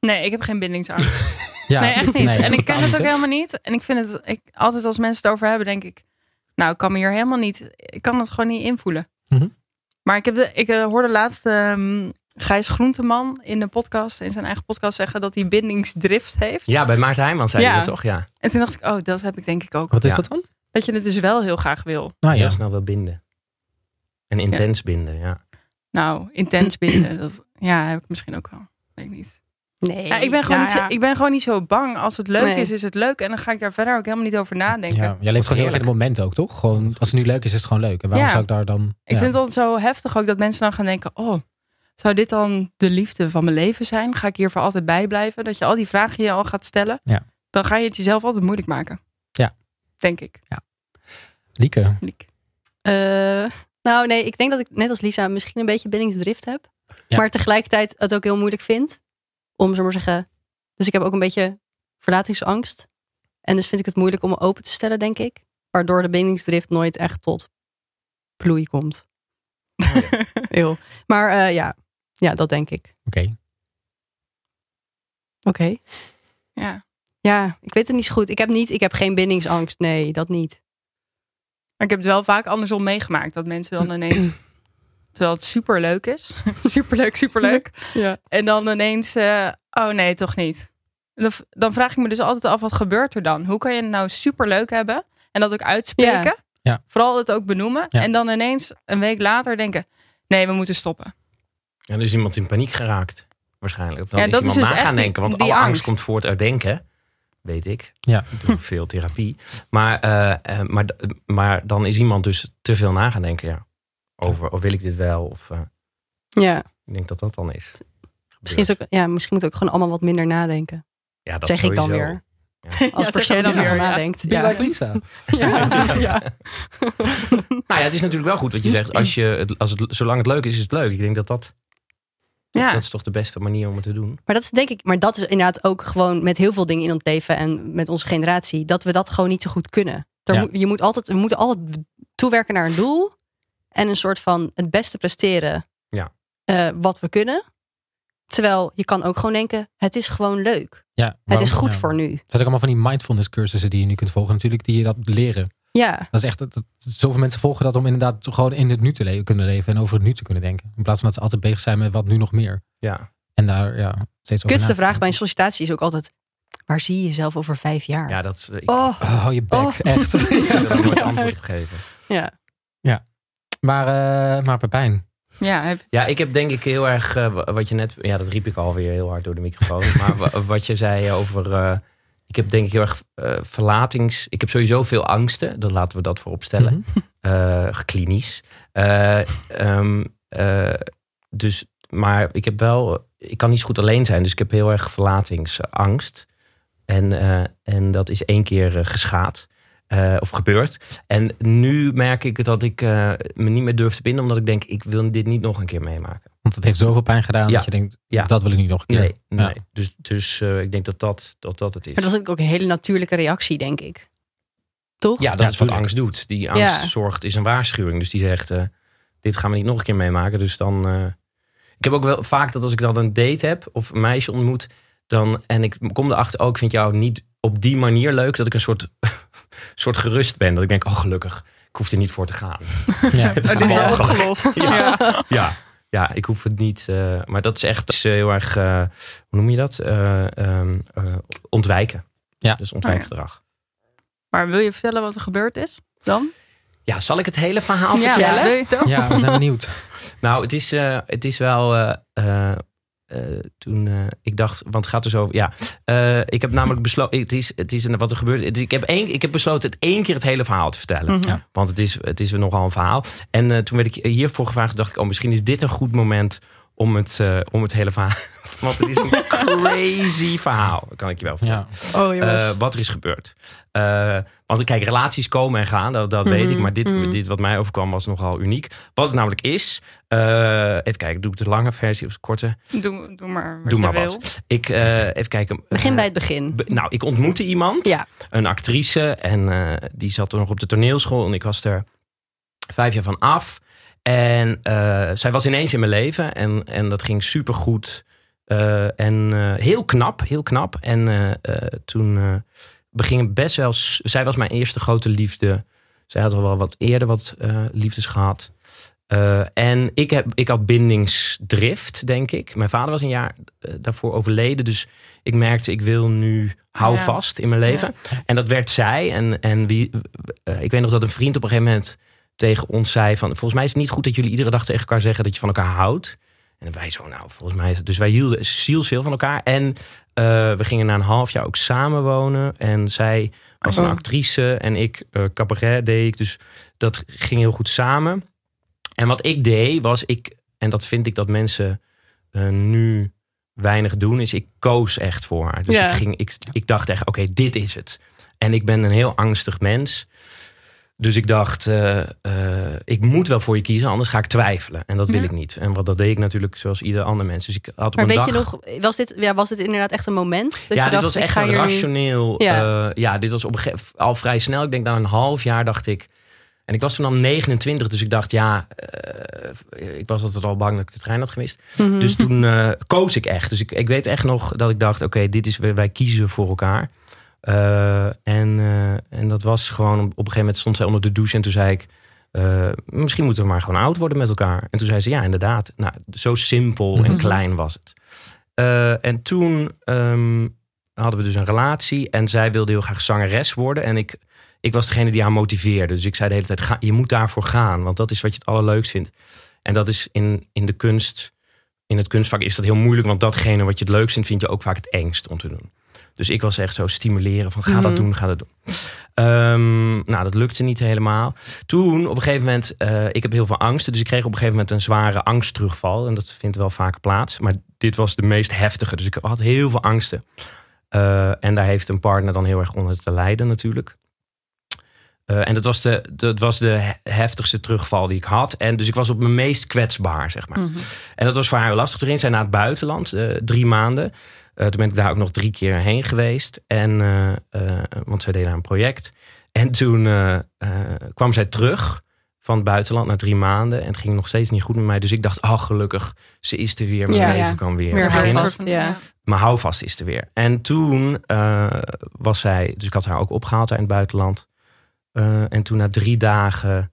[SPEAKER 4] Nee, ik heb geen bindingsangst.
[SPEAKER 1] Ja,
[SPEAKER 4] nee, echt niet. en ik ken
[SPEAKER 1] totaal
[SPEAKER 4] het
[SPEAKER 1] niet,
[SPEAKER 4] ook
[SPEAKER 1] hè?
[SPEAKER 4] helemaal niet. En ik vind het... Ik, altijd als mensen het over hebben, denk ik... Nou, ik kan me hier helemaal niet... Ik kan het gewoon niet invoelen.
[SPEAKER 1] Mhm.
[SPEAKER 4] Maar ik, heb de, ik eh, hoorde laatst ehm Gijs Groenteman in de podcast... in zijn eigen podcast zeggen dat hij bindingsdrift heeft.
[SPEAKER 2] Ja, bij Maarten Heijman zei
[SPEAKER 4] Ja.
[SPEAKER 2] je dat toch? Ja.
[SPEAKER 1] Ah,
[SPEAKER 4] En toen dacht ik, oh, dat heb ik denk ik ook.
[SPEAKER 1] Wat is
[SPEAKER 2] Ja.
[SPEAKER 1] dat dan?
[SPEAKER 4] Dat je het dus wel heel graag wil.
[SPEAKER 1] Nou ja,
[SPEAKER 2] Heel snel wel binden. En intens binden, ja.
[SPEAKER 4] Nou, intens binden. Dat, ja, heb ik misschien ook wel. Weet ik niet.
[SPEAKER 3] Nee.
[SPEAKER 4] Ja, ik, ben gewoon
[SPEAKER 3] Nou
[SPEAKER 4] niet zo,
[SPEAKER 3] ja.
[SPEAKER 4] ik ben gewoon niet zo bang. Als het leuk
[SPEAKER 3] Nee.
[SPEAKER 4] is, is het leuk. En dan ga ik daar verder ook helemaal niet over nadenken.
[SPEAKER 1] ja, jij leeft gewoon heel erg in
[SPEAKER 2] heerlijk.
[SPEAKER 1] het moment ook, toch? Gewoon, als het nu leuk is, is het gewoon leuk. En waarom
[SPEAKER 4] Ja.
[SPEAKER 1] zou ik daar dan...
[SPEAKER 4] Ik
[SPEAKER 1] ja.
[SPEAKER 4] vind het altijd zo heftig ook dat mensen dan gaan denken... Oh, zou dit dan de liefde van mijn leven zijn? Ga ik hier voor altijd bij blijven? Dat je al die vragen je al gaat stellen.
[SPEAKER 1] Ja.
[SPEAKER 4] Dan ga je het jezelf altijd moeilijk maken.
[SPEAKER 1] Ja.
[SPEAKER 4] Denk ik.
[SPEAKER 1] Lieke.
[SPEAKER 4] Liek.
[SPEAKER 3] Eh, nou, nee, ik denk dat ik net als Lisa misschien een beetje bindingsdrift heb.
[SPEAKER 1] Ja.
[SPEAKER 3] Maar tegelijkertijd het ook heel moeilijk vind. Om, zo maar zeggen. Dus ik heb ook een beetje verlatingsangst. En dus vind ik het moeilijk om me open te stellen, denk ik. waardoor de bindingsdrift nooit echt tot bloei komt.
[SPEAKER 1] Oh
[SPEAKER 3] Eeuw. Maar eh, ja. ja, dat denk ik.
[SPEAKER 1] Oké.
[SPEAKER 3] Oké.
[SPEAKER 4] Ja.
[SPEAKER 3] Ja, ik weet het niet zo goed. Ik heb, niet, ik heb geen bindingsangst. Nee, dat niet.
[SPEAKER 4] Maar ik heb het wel vaak andersom meegemaakt. Dat mensen dan ineens... Terwijl het superleuk is. superleuk, superleuk.
[SPEAKER 3] Ja.
[SPEAKER 4] En dan ineens... eh, oh nee, toch niet. Dan v- Dan vraag ik me dus altijd af, wat gebeurt er dan? Hoe kan je het nou superleuk hebben? En dat ook uitspreken.
[SPEAKER 1] Ja.
[SPEAKER 4] Vooral het ook benoemen.
[SPEAKER 1] Ja.
[SPEAKER 4] En dan ineens een week later denken... Nee, we moeten stoppen.
[SPEAKER 2] Ja, er is iemand in paniek geraakt, waarschijnlijk. Of dan
[SPEAKER 4] Ja,
[SPEAKER 2] is
[SPEAKER 4] dat is
[SPEAKER 2] iemand
[SPEAKER 4] dus
[SPEAKER 2] na
[SPEAKER 4] echt
[SPEAKER 2] gaan
[SPEAKER 4] die-
[SPEAKER 2] denken. Want
[SPEAKER 4] die
[SPEAKER 2] alle angst.
[SPEAKER 4] angst.
[SPEAKER 2] komt voort uit denken, weet ik.
[SPEAKER 1] Ja.
[SPEAKER 2] Ik doe ook veel therapie. Maar, eh, eh, maar, d- maar dan is iemand dus te veel na gaan denken. Ja. Over, of wil ik dit wel? Of eh,
[SPEAKER 3] Ja,
[SPEAKER 2] ik denk dat dat dan is.
[SPEAKER 3] misschien, is ook, ja, misschien moet ik ook gewoon allemaal wat minder nadenken.
[SPEAKER 2] ja, dat
[SPEAKER 3] zeg ik dan
[SPEAKER 2] sowieso.
[SPEAKER 3] weer.
[SPEAKER 4] Ja,
[SPEAKER 3] Als
[SPEAKER 4] zeg
[SPEAKER 3] persoon
[SPEAKER 4] jij
[SPEAKER 3] die
[SPEAKER 4] dan
[SPEAKER 3] daarvan
[SPEAKER 4] weer, ja.
[SPEAKER 3] nadenkt.
[SPEAKER 1] Be
[SPEAKER 3] Ja.
[SPEAKER 1] like Lisa.
[SPEAKER 2] Nou ja, het is natuurlijk wel goed wat je zegt. Als je, het- als het, zolang het leuk is, is het leuk. Ik denk dat dat,
[SPEAKER 4] Ja.
[SPEAKER 2] dat is toch de beste manier om het te doen.
[SPEAKER 3] Maar dat is denk ik, maar dat is inderdaad ook gewoon met heel veel dingen in ons leven en met onze generatie, dat we dat gewoon niet zo goed kunnen. Er
[SPEAKER 1] Ja.
[SPEAKER 3] moet- je moet altijd, we moeten altijd toewerken naar een doel en een soort van het beste presteren
[SPEAKER 2] Ja.
[SPEAKER 3] eh, wat we kunnen. Terwijl je kan ook gewoon denken, het is gewoon leuk.
[SPEAKER 1] Ja,
[SPEAKER 3] Het
[SPEAKER 1] waarom-
[SPEAKER 3] is goed
[SPEAKER 2] nou?
[SPEAKER 1] ja.
[SPEAKER 3] voor nu.
[SPEAKER 1] Er zijn ook allemaal van die mindfulness cursussen die je nu kunt volgen. Natuurlijk die je dat leren.
[SPEAKER 3] Ja,
[SPEAKER 1] Dat is echt, dat, dat- zoveel mensen volgen dat om inderdaad gewoon in het nu te le- kunnen leven. En over het nu te kunnen denken. In plaats van dat ze altijd bezig zijn met wat nu nog meer.
[SPEAKER 2] Ja,
[SPEAKER 1] En daar ja, steeds over
[SPEAKER 2] nou?
[SPEAKER 3] kutste
[SPEAKER 1] na te
[SPEAKER 3] vraag bij een
[SPEAKER 1] denken.
[SPEAKER 3] sollicitatie is ook altijd, waar zie je jezelf over vijf jaar?
[SPEAKER 2] ja dat eh, ik
[SPEAKER 3] Oh,
[SPEAKER 1] Oh, hou je bek,
[SPEAKER 3] Oh.
[SPEAKER 1] echt.
[SPEAKER 2] heb er nog nooit
[SPEAKER 1] Ja.
[SPEAKER 2] antwoord op gegeven.
[SPEAKER 3] ja.
[SPEAKER 1] Maar, eh maar Pepijn.
[SPEAKER 4] Ja, heb-
[SPEAKER 2] Ja, ik heb denk ik heel erg, eh, wa- wat je net, ja dat riep ik alweer heel hard door de microfoon. Maar wa- wat je zei over, eh, ik heb denk ik heel erg eh, verlatings, ik heb sowieso veel angsten. Dan laten we dat voorop stellen.
[SPEAKER 1] Mhm.
[SPEAKER 2] eh, klinisch. Eh, ehm, eh, dus, maar ik heb wel, ik kan niet zo goed alleen zijn, dus ik heb heel erg verlatingsangst. En, eh, en dat is één keer eh, geschaad. eh, of gebeurd. En nu merk ik dat ik eh, me niet meer durf te binden, omdat ik denk, ik wil dit niet nog een keer meemaken.
[SPEAKER 1] Want het heeft zoveel pijn gedaan
[SPEAKER 2] Ja.
[SPEAKER 1] dat je denkt,
[SPEAKER 2] Ja.
[SPEAKER 1] dat wil ik niet nog een keer.
[SPEAKER 2] Nee, nee.
[SPEAKER 1] Ja.
[SPEAKER 2] Dus, dus eh, ik denk dat dat, dat dat het is.
[SPEAKER 3] Maar dat is ook een hele natuurlijke reactie, denk ik. Toch?
[SPEAKER 2] Ja, dat
[SPEAKER 1] Ja,
[SPEAKER 2] is wat
[SPEAKER 1] tuurlijk.
[SPEAKER 2] angst doet. Die angst
[SPEAKER 3] Ja.
[SPEAKER 2] zorgt, is een waarschuwing. Dus die zegt, eh, dit gaan we niet nog een keer meemaken. Dus dan... eh, ik heb ook wel vaak dat als ik dan een date heb of een meisje ontmoet... Dan, en ik kom erachter, oh, ik vind jou niet op die manier leuk... dat ik een soort, soort gerust ben. Dat ik denk, oh, gelukkig, ik hoef er niet voor te gaan.
[SPEAKER 1] Ja.
[SPEAKER 4] het oh, is wel
[SPEAKER 2] Mogelijk.
[SPEAKER 4] opgelost.
[SPEAKER 2] Ja.
[SPEAKER 4] Ja.
[SPEAKER 2] Ja, ja ik hoef het niet. eh, maar dat is echt dat is, eh, heel erg, eh, hoe noem je dat? Eh, ehm, eh, ontwijken.
[SPEAKER 1] Ja.
[SPEAKER 2] Dus ontwijkgedrag.
[SPEAKER 4] Maar wil je vertellen wat er gebeurd is dan?
[SPEAKER 2] Ja, zal ik het hele verhaal
[SPEAKER 4] ja,
[SPEAKER 2] vertellen?
[SPEAKER 4] wil je het ook?
[SPEAKER 1] ja, we zijn benieuwd.
[SPEAKER 2] Nou, het is, eh, het is wel. eh, eh, eh, toen eh, ik dacht, want het gaat dus over. Ja, Eh, ik heb namelijk besloten. Het is, het is een- wat er gebeurt. het is- ik, heb één, ik heb besloten het één keer het hele verhaal te vertellen.
[SPEAKER 4] Mhm.
[SPEAKER 1] Ja.
[SPEAKER 2] Want het is, het is nogal een verhaal. En eh, toen werd ik hiervoor gevraagd. dacht ik, oh, misschien is dit een goed moment om het, eh, om het hele verhaal. Want het is een crazy verhaal. Dat kan ik je wel vertellen.
[SPEAKER 1] Ja.
[SPEAKER 3] Oh,
[SPEAKER 2] Eh, wat er is gebeurd. Eh, want kijk, relaties komen en gaan, dat, dat weet ik.
[SPEAKER 3] Mhm,
[SPEAKER 2] Maar dit,
[SPEAKER 3] mhm.
[SPEAKER 2] dit wat mij overkwam was nogal uniek. Wat het namelijk is, eh, even kijken, doe ik de lange versie of de korte?
[SPEAKER 4] Doe, doe maar wat
[SPEAKER 2] Doe maar
[SPEAKER 4] je wil.
[SPEAKER 2] wat. Ik, eh, even kijken.
[SPEAKER 3] Begin bij het begin.
[SPEAKER 2] Be- Nou, ik ontmoette iemand,
[SPEAKER 3] Ja.
[SPEAKER 2] een actrice, en eh, die zat toen nog op de toneelschool. En ik was er vijf jaar van af. En eh, zij was ineens in mijn leven en, en dat ging supergoed. Eh en eh, heel knap, heel knap. En eh, eh, toen eh beging het best wel... s- Zij was mijn eerste grote liefde. Zij had al wel wat eerder wat eh, liefdes gehad. Eh, en ik, heb, ik had bindingsdrift, denk ik. Mijn vader was een jaar eh, daarvoor overleden. Dus ik merkte, ik wil nu hou
[SPEAKER 4] Ja.
[SPEAKER 2] vast in mijn leven. En dat werd zij. En, en wie, eh, ik weet nog dat een vriend op een gegeven moment tegen ons zei van... Volgens mij is het niet goed dat jullie iedere dag tegen elkaar zeggen dat je van elkaar houdt. En wij zo, nou, volgens mij... is het- Dus wij hielden zielsveel van elkaar. En eh, we gingen na een half jaar ook samenwonen. En zij was een
[SPEAKER 3] Oh.
[SPEAKER 2] actrice en ik eh, cabaret deed ik. Dus dat ging heel goed samen. En wat ik deed was ik... En dat vind ik dat mensen eh, nu weinig doen. Is ik koos echt voor haar. Dus
[SPEAKER 3] Ja.
[SPEAKER 2] ik, ging, ik, ik dacht echt, oké, dit is het. En ik ben een heel angstig mens. Dus ik dacht, eh, eh, ik moet wel voor je kiezen, anders ga ik twijfelen. En dat wil
[SPEAKER 4] Ja.
[SPEAKER 2] ik niet. En wat, dat deed ik natuurlijk zoals ieder ander mens. Dus ik had op
[SPEAKER 3] Maar
[SPEAKER 2] een
[SPEAKER 3] weet
[SPEAKER 2] dag...
[SPEAKER 3] je nog, was dit, ja, was dit inderdaad echt een moment? Dat je
[SPEAKER 2] ja, dit
[SPEAKER 3] dacht,
[SPEAKER 2] was
[SPEAKER 3] ik
[SPEAKER 2] echt
[SPEAKER 3] ga
[SPEAKER 2] een
[SPEAKER 3] hier nu-
[SPEAKER 2] rationeel.
[SPEAKER 3] Ja.
[SPEAKER 2] Ja. ja, dit was op een gege- al vrij snel. Ik denk na een half jaar dacht ik. En ik was toen al 29, dus ik dacht, ja, eh, ik was altijd al bang dat ik de trein had gemist.
[SPEAKER 3] Mhm.
[SPEAKER 2] Dus toen eh, koos ik echt. Dus ik, ik weet echt nog dat ik dacht, oké, dit is, wij kiezen voor elkaar. Eh, en, eh, en dat was gewoon, op een gegeven moment stond zij onder de douche en toen zei ik, eh, misschien moeten we maar gewoon oud worden met elkaar. En toen zei ze, ja, inderdaad. Nou, zo simpel en
[SPEAKER 1] Mhm.
[SPEAKER 2] klein was het. Eh, en toen ehm, hadden we dus een relatie en zij wilde heel graag zangeres worden. En ik, ik was degene die haar motiveerde. Dus ik zei de hele tijd, ga, je moet daarvoor gaan, want dat is wat je het allerleukst vindt. En dat is in, in de kunst, in het kunstvak is dat heel moeilijk, want datgene wat je het leukst vindt, vind je ook vaak het engst om te doen. Dus ik was echt zo stimuleren van ga
[SPEAKER 3] Mhm.
[SPEAKER 2] dat doen, ga dat doen. Ehm, nou, dat lukte niet helemaal. Toen op een gegeven moment, eh, ik heb heel veel angsten, dus ik kreeg op een gegeven moment een zware angstterugval. En dat vindt wel vaak plaats, maar dit was de meest heftige. Dus ik had heel veel angsten. Eh, en daar heeft een partner dan heel erg onder te lijden natuurlijk. Eh, en dat was, de, dat was de he- heftigste terugval die ik had. En dus ik was op mijn meest kwetsbaar, zeg maar.
[SPEAKER 4] Mhm.
[SPEAKER 2] En dat was voor haar heel lastig. Toen ging zij naar het buitenland, eh, drie maanden. Eh, toen ben ik daar ook nog drie keer heen geweest. En, eh, eh, want zij deed daar een project. En toen eh, eh, kwam zij terug van het buitenland na drie maanden. En het ging nog steeds niet goed met mij. Dus ik dacht, ach gelukkig, ze is er weer. Mijn
[SPEAKER 3] Ja,
[SPEAKER 2] leven
[SPEAKER 4] ja.
[SPEAKER 2] kan weer,
[SPEAKER 3] Meer
[SPEAKER 4] Ja,
[SPEAKER 2] beginnen.
[SPEAKER 4] een
[SPEAKER 3] houvast,
[SPEAKER 4] soort-
[SPEAKER 3] ja.
[SPEAKER 2] Maar houvast is er weer. En toen eh, was zij, dus ik had haar ook opgehaald daar in het buitenland. Eh, en toen na drie dagen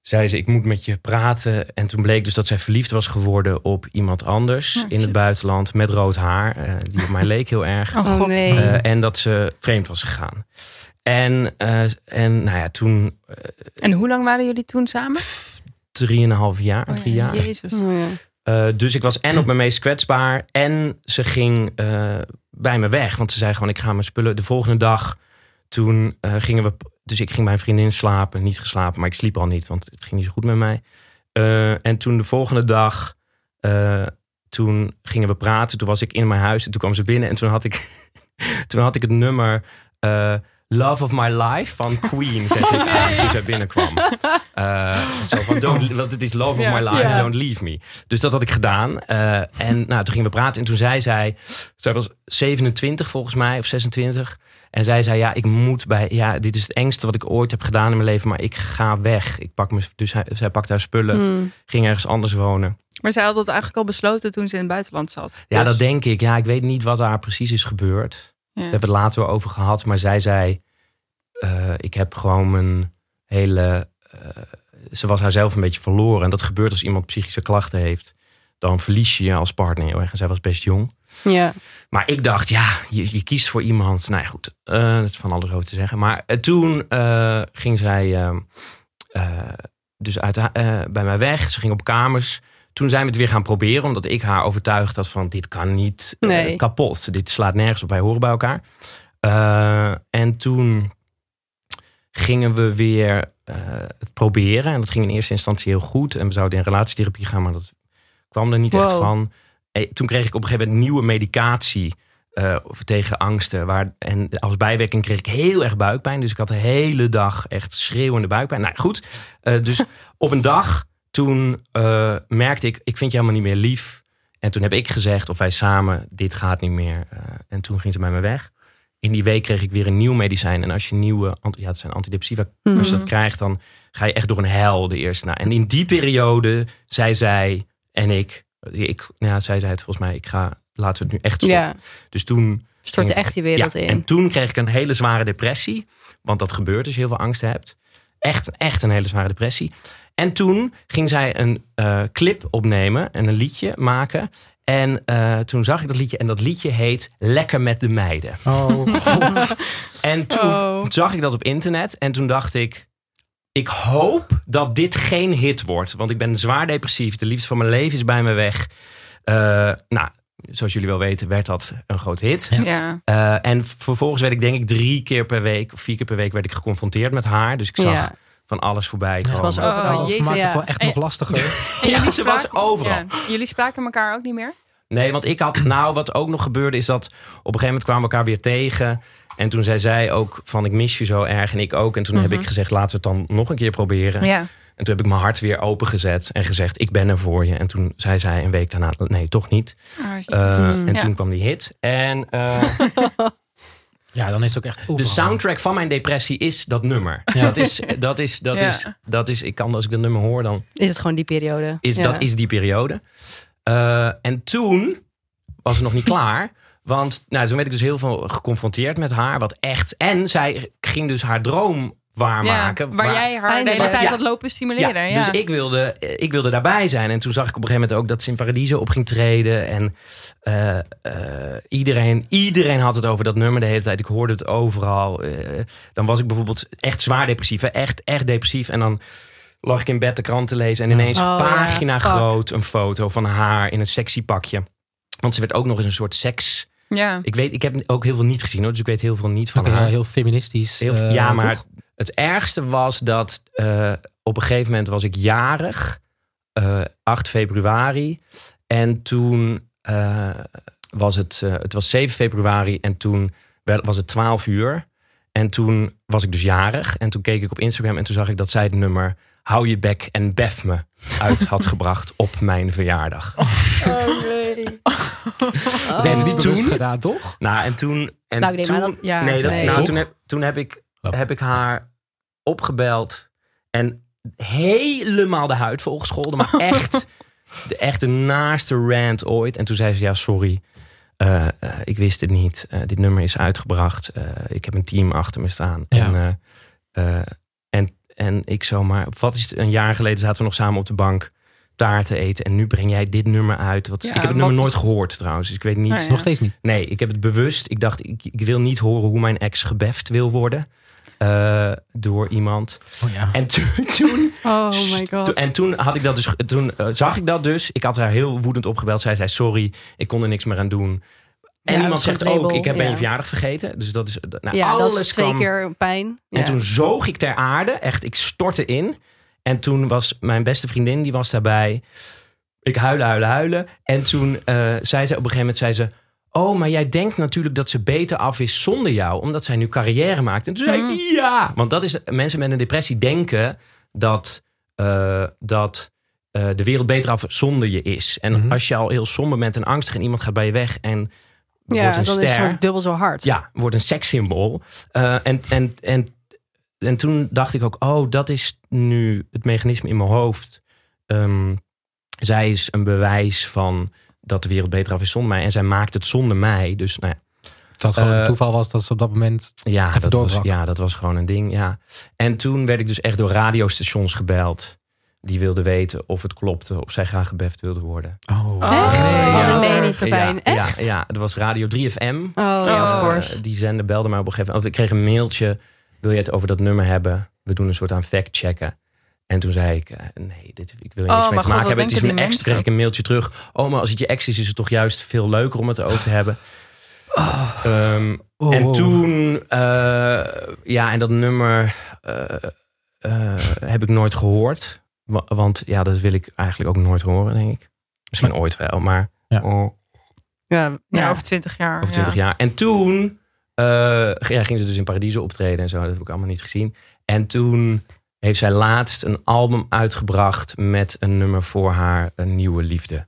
[SPEAKER 2] zei ze, ik moet met je praten. En toen bleek dus dat zij verliefd was geworden op iemand anders
[SPEAKER 4] Oh,
[SPEAKER 2] in het
[SPEAKER 4] shit.
[SPEAKER 2] buitenland met rood haar. eh, die op mij leek heel erg.
[SPEAKER 4] Oh,
[SPEAKER 3] Oh,
[SPEAKER 4] god.
[SPEAKER 3] nee.
[SPEAKER 2] Eh, en dat ze vreemd was gegaan. En, eh en nou ja, toen eh,
[SPEAKER 4] En hoe lang waren jullie toen samen? Mm.
[SPEAKER 2] drieënhalf jaar, drie jaar.
[SPEAKER 4] Jezus.
[SPEAKER 3] Oh, ja.
[SPEAKER 2] Eh, dus ik was en op mijn meest kwetsbaar. En ze ging eh, bij me weg. Want ze zei gewoon, ik ga mijn spullen. De volgende dag, toen eh, gingen we... Dus ik ging bij een vriendin slapen. Niet geslapen, maar ik sliep al niet. Want het ging niet zo goed met mij. Eh, en toen de volgende dag... eh, toen gingen we praten. Toen was ik in mijn huis. En toen kwam ze binnen. En toen had ik, toen had ik het nummer... eh, Love of My Life van Queen zette ik aan toen zij binnenkwam. Eh, zo van, don't, want het is Love
[SPEAKER 4] Ja.
[SPEAKER 2] of My Life,
[SPEAKER 4] Ja.
[SPEAKER 2] Don't Leave Me. Dus dat had ik gedaan. Eh, en nou, toen gingen we praten. En toen zei zij, zij was 27 volgens mij, of 26. En zij zei, ja, ik moet bij, ja, dit is het engste wat ik ooit heb gedaan in mijn leven. Maar ik ga weg. Ik pak me, dus hij- zij pakte haar spullen,
[SPEAKER 3] Mm.
[SPEAKER 2] ging ergens anders wonen.
[SPEAKER 4] Maar zij had dat eigenlijk al besloten toen ze in het buitenland zat.
[SPEAKER 2] Ja,
[SPEAKER 4] Dus-
[SPEAKER 2] dat denk ik. Ja, ik weet niet wat daar precies is gebeurd.
[SPEAKER 4] Ja.
[SPEAKER 2] Daar hebben we het later wel over gehad. Maar zij zei, eh, ik heb gewoon mijn hele... eh, ze was haarzelf een beetje verloren. En dat gebeurt als iemand psychische klachten heeft. Dan verlies je je als partner heel erg. En zij was best jong.
[SPEAKER 3] Ja.
[SPEAKER 2] Maar ik dacht, ja, je, je kiest voor iemand. Nou ja, goed, eh, dat is van alles over te zeggen. Maar eh, toen eh, ging zij eh, eh, dus uit, ha- eh, bij mij weg. Ze ging op kamers. Toen zijn we het weer gaan proberen, omdat ik haar overtuigd had van... dit kan niet eh,
[SPEAKER 3] Nee.
[SPEAKER 2] kapot. Dit slaat nergens op, wij horen bij elkaar. Eh, en toen gingen we weer eh, het proberen. En dat ging in eerste instantie heel goed. En we zouden in relatietherapie gaan, maar dat kwam er niet echt
[SPEAKER 3] Wow.
[SPEAKER 2] van. Eh, toen kreeg ik op een gegeven moment nieuwe medicatie eh, voor- tegen angsten. Waar, en als bijwerking kreeg ik heel erg buikpijn. Dus ik had de hele dag echt schreeuwende buikpijn. Nou goed, eh, dus op een dag toen eh, merkte ik, ik vind je helemaal niet meer lief. En toen heb ik gezegd, of wij samen, dit gaat niet meer. Eh, en toen ging ze bij me weg. In die week kreeg ik weer een nieuw medicijn. En als je nieuwe, ant- ja het zijn antidepressiva,
[SPEAKER 3] Mm.
[SPEAKER 2] als je Dus dat krijgt, dan ga je echt door een hel de eerste na. En in die periode zei zij en ik, ik nou ja, zij zei het volgens mij, ik ga, laten we het nu echt stoppen.
[SPEAKER 3] Ja,
[SPEAKER 2] Dus toen,
[SPEAKER 3] stortte
[SPEAKER 2] En-
[SPEAKER 3] echt die wereld
[SPEAKER 2] ja,
[SPEAKER 3] in.
[SPEAKER 2] en toen kreeg ik een hele zware depressie. Want dat gebeurt als je heel veel angst hebt. Echt, echt een hele zware depressie. En toen ging zij een eh, clip opnemen en een liedje maken. En eh, toen zag ik dat liedje. En dat liedje heet Lekker met de meiden.
[SPEAKER 1] Oh god.
[SPEAKER 2] En toen
[SPEAKER 4] Oh.
[SPEAKER 2] zag ik dat op internet. En toen dacht ik. Ik hoop dat dit geen hit wordt. Want ik ben zwaar depressief. De liefde van mijn leven is bij me weg. Eh, nou, zoals jullie wel weten, werd dat een groot hit.
[SPEAKER 4] Ja.
[SPEAKER 2] Eh, en vervolgens werd ik, denk ik, drie keer per week of vier keer per week werd ik geconfronteerd met haar. Dus ik zag
[SPEAKER 3] Ja. Dus
[SPEAKER 2] van alles voorbij.
[SPEAKER 1] Ze
[SPEAKER 2] komen.
[SPEAKER 3] was overal.
[SPEAKER 1] Oh, Dat
[SPEAKER 4] Jezus,
[SPEAKER 1] maakt het
[SPEAKER 3] ja.
[SPEAKER 1] wel echt nog lastiger.
[SPEAKER 2] Ja, ze was overal.
[SPEAKER 4] Ja. Jullie spraken elkaar ook niet meer?
[SPEAKER 2] Nee, want ik had, nou, wat ook nog gebeurde is dat op een gegeven moment kwamen we elkaar weer tegen. En toen zei zij ook van ik mis je zo erg en ik ook. En toen
[SPEAKER 3] Mhm.
[SPEAKER 2] heb ik gezegd laten we het dan nog een keer proberen.
[SPEAKER 4] Ja.
[SPEAKER 2] En toen heb ik mijn hart weer opengezet en gezegd ik ben er voor je. En toen zei zij een week daarna nee toch niet.
[SPEAKER 4] Oh,
[SPEAKER 2] Eh, en
[SPEAKER 4] Ja.
[SPEAKER 2] toen kwam die hit. En eh,
[SPEAKER 1] Ja, dan is het ook echt...
[SPEAKER 2] de
[SPEAKER 1] oeh,
[SPEAKER 2] soundtrack van mijn depressie is dat nummer.
[SPEAKER 1] Ja.
[SPEAKER 2] Dat is, dat is, dat
[SPEAKER 4] Ja.
[SPEAKER 2] is, dat is, ik kan als ik dat nummer hoor dan
[SPEAKER 3] Is het gewoon die periode?
[SPEAKER 2] is,
[SPEAKER 3] Ja.
[SPEAKER 2] Dat is die periode. Eh, en toen was het nog niet klaar. Want nou, toen werd ik dus heel veel geconfronteerd met haar. Wat echt. En zij ging dus haar droom waarmaken.
[SPEAKER 4] waar, jij haar de hele
[SPEAKER 3] Eindelijk.
[SPEAKER 4] tijd
[SPEAKER 2] Ja.
[SPEAKER 4] dat lopen
[SPEAKER 2] ja,
[SPEAKER 4] stimuleren. Ja,
[SPEAKER 2] Dus ik wilde, ik wilde daarbij zijn. En toen zag ik op een gegeven moment ook dat ze in Paradiso op ging treden. En eh, eh, iedereen, iedereen had het over dat nummer de hele tijd. Ik hoorde het overal. Eh, dan was ik bijvoorbeeld echt zwaar depressief. hè. Echt, echt depressief. En dan lag ik in bed de krant te lezen. En ineens
[SPEAKER 3] Oh, ja.
[SPEAKER 2] pagina
[SPEAKER 3] Fuck.
[SPEAKER 2] groot een foto van haar in een sexy pakje. Want ze werd ook nog eens een soort seks.
[SPEAKER 4] ja.
[SPEAKER 2] Ik, weet, ik heb ook heel veel niet gezien hoor. Dus ik weet heel veel niet van
[SPEAKER 1] Oké,
[SPEAKER 2] haar.
[SPEAKER 1] ja, heel feministisch.
[SPEAKER 2] Heel-
[SPEAKER 1] eh,
[SPEAKER 2] ja, maar
[SPEAKER 1] toch?
[SPEAKER 2] het ergste was dat eh, op een gegeven moment was ik jarig, eh 8 februari. En toen eh, was het, eh, het was 7 februari en toen werd, was het 12 uur. En toen was ik dus jarig. En toen keek ik op Instagram en toen zag ik dat zij het nummer Hou je bek en bef me uit had gebracht op mijn verjaardag.
[SPEAKER 3] Oh.
[SPEAKER 1] Dat is niet
[SPEAKER 2] Toen-
[SPEAKER 1] bewust gedaan, toch?
[SPEAKER 2] Nou, en toen. En
[SPEAKER 3] Nou, ik denk
[SPEAKER 2] toen,
[SPEAKER 3] maar dat- ja,
[SPEAKER 2] nee, dat,
[SPEAKER 3] nee.
[SPEAKER 2] Nou,
[SPEAKER 1] Toch?
[SPEAKER 2] toen, heb, toen heb, ik,
[SPEAKER 1] Oh.
[SPEAKER 2] heb ik haar opgebeld en helemaal de huid volgescholden. Maar echt de, echt de naaste rant ooit. En toen zei ze: Ja, sorry. eh, eh, ik wist het niet. Eh, dit nummer is uitgebracht. Eh, ik heb een team achter me staan.
[SPEAKER 1] Ja.
[SPEAKER 2] En, eh, eh, en, en ik zo, maar wat is het? Een jaar geleden zaten we nog samen op de bank taart te eten. En nu breng jij dit nummer uit. Wat,
[SPEAKER 4] Ja,
[SPEAKER 2] ik heb het
[SPEAKER 4] wat-
[SPEAKER 2] nummer nooit gehoord trouwens. Dus ik weet niet.
[SPEAKER 4] Nee. Ja.
[SPEAKER 1] Nog steeds niet.
[SPEAKER 2] Nee, ik heb het bewust. Ik dacht, ik, ik wil niet horen hoe mijn ex gebeft wil worden. eh, door iemand.
[SPEAKER 1] Oh ja.
[SPEAKER 2] En toen, toen,
[SPEAKER 3] Oh my god.
[SPEAKER 2] to- en toen had ik dat dus. Toen eh, zag ik dat dus. Ik had haar heel woedend opgebeld. Zij zei sorry, ik kon er niks meer aan doen. En
[SPEAKER 3] Ja,
[SPEAKER 2] iemand
[SPEAKER 3] een soort
[SPEAKER 2] zegt ook,
[SPEAKER 3] label,
[SPEAKER 2] ik heb
[SPEAKER 3] ja.
[SPEAKER 2] een verjaardag vergeten. Dus dat is. dat- Nou,
[SPEAKER 3] ja,
[SPEAKER 2] alles
[SPEAKER 3] dat is twee
[SPEAKER 2] kwam.
[SPEAKER 3] keer pijn. Ja.
[SPEAKER 2] En toen zoog ik ter aarde. Echt, ik stortte in. En toen was mijn beste vriendin, die was daarbij. Ik huilen, huilen, huilen. En toen eh, zei ze op een gegeven moment, zei ze... Oh, maar jij denkt natuurlijk dat ze beter af is zonder jou. Omdat zij nu carrière maakt. En toen zei ik,
[SPEAKER 3] Mhm.
[SPEAKER 2] ja. Want dat is, mensen met een depressie denken dat, eh, dat eh, de wereld beter af zonder je is. En
[SPEAKER 1] Mhm.
[SPEAKER 2] als je al heel somber bent en angstig en iemand gaat bij je weg en
[SPEAKER 3] ja,
[SPEAKER 2] wordt een
[SPEAKER 3] dan
[SPEAKER 2] ster.
[SPEAKER 3] is het gewoon dubbel zo hard.
[SPEAKER 2] Ja, wordt een sekssymbool. Eh, en, en, en, en toen dacht ik ook, oh, dat is nu het mechanisme in mijn hoofd. Ehm, zij is een bewijs van dat de wereld beter af is zonder mij. En zij maakt het zonder mij. Dus nou
[SPEAKER 1] Dat gewoon
[SPEAKER 2] Eh,
[SPEAKER 1] toeval was dat ze op dat moment...
[SPEAKER 2] ja, ja,
[SPEAKER 1] Even
[SPEAKER 2] dat was,
[SPEAKER 1] doorzakken.
[SPEAKER 2] ja, dat was gewoon een ding. Ja. En toen werd ik dus echt door radiostations gebeld. Die wilden weten of het klopte, of zij graag gebeft wilde worden.
[SPEAKER 1] Oh,
[SPEAKER 3] Echt?
[SPEAKER 1] nee.
[SPEAKER 4] Oh,
[SPEAKER 3] Oh,
[SPEAKER 2] ja.
[SPEAKER 3] dat meen je niet, Pepijn.
[SPEAKER 2] ja,
[SPEAKER 3] Echt?
[SPEAKER 2] Ja, ja, het was Radio 3FM.
[SPEAKER 3] Oh, ja,
[SPEAKER 4] Oh.
[SPEAKER 3] of course.
[SPEAKER 2] Eh, die zender belde mij op een gegeven moment. Of ik kreeg een mailtje. Wil je het over dat nummer hebben? We doen een soort aan fact-checken. En toen zei ik, eh, nee, dit, ik wil hier
[SPEAKER 4] Oh,
[SPEAKER 2] niks mee
[SPEAKER 4] maar
[SPEAKER 2] te
[SPEAKER 4] God,
[SPEAKER 2] maken
[SPEAKER 4] wat
[SPEAKER 2] hebben. Het is
[SPEAKER 4] denken
[SPEAKER 2] mijn
[SPEAKER 4] die
[SPEAKER 2] ex. Toen kreeg ik een mailtje terug. Oh, maar als het je ex is, is het toch juist veel leuker om het over te hebben. Ehm,
[SPEAKER 1] Oh,
[SPEAKER 2] en
[SPEAKER 1] oh.
[SPEAKER 2] toen, eh, ja, en dat nummer eh, eh, heb ik nooit gehoord. Wa- Want ja, dat wil ik eigenlijk ook nooit horen, denk ik. Misschien ooit wel, maar...
[SPEAKER 1] Ja.
[SPEAKER 2] oh.
[SPEAKER 3] Ja,
[SPEAKER 4] Ja,
[SPEAKER 3] ja.
[SPEAKER 4] over twintig jaar.
[SPEAKER 2] Over 20 jaar. En toen eh, ja, ging ze dus in Paradiso optreden en zo. Dat heb ik allemaal niet gezien. En toen heeft zij laatst een album uitgebracht met een nummer voor haar een nieuwe liefde.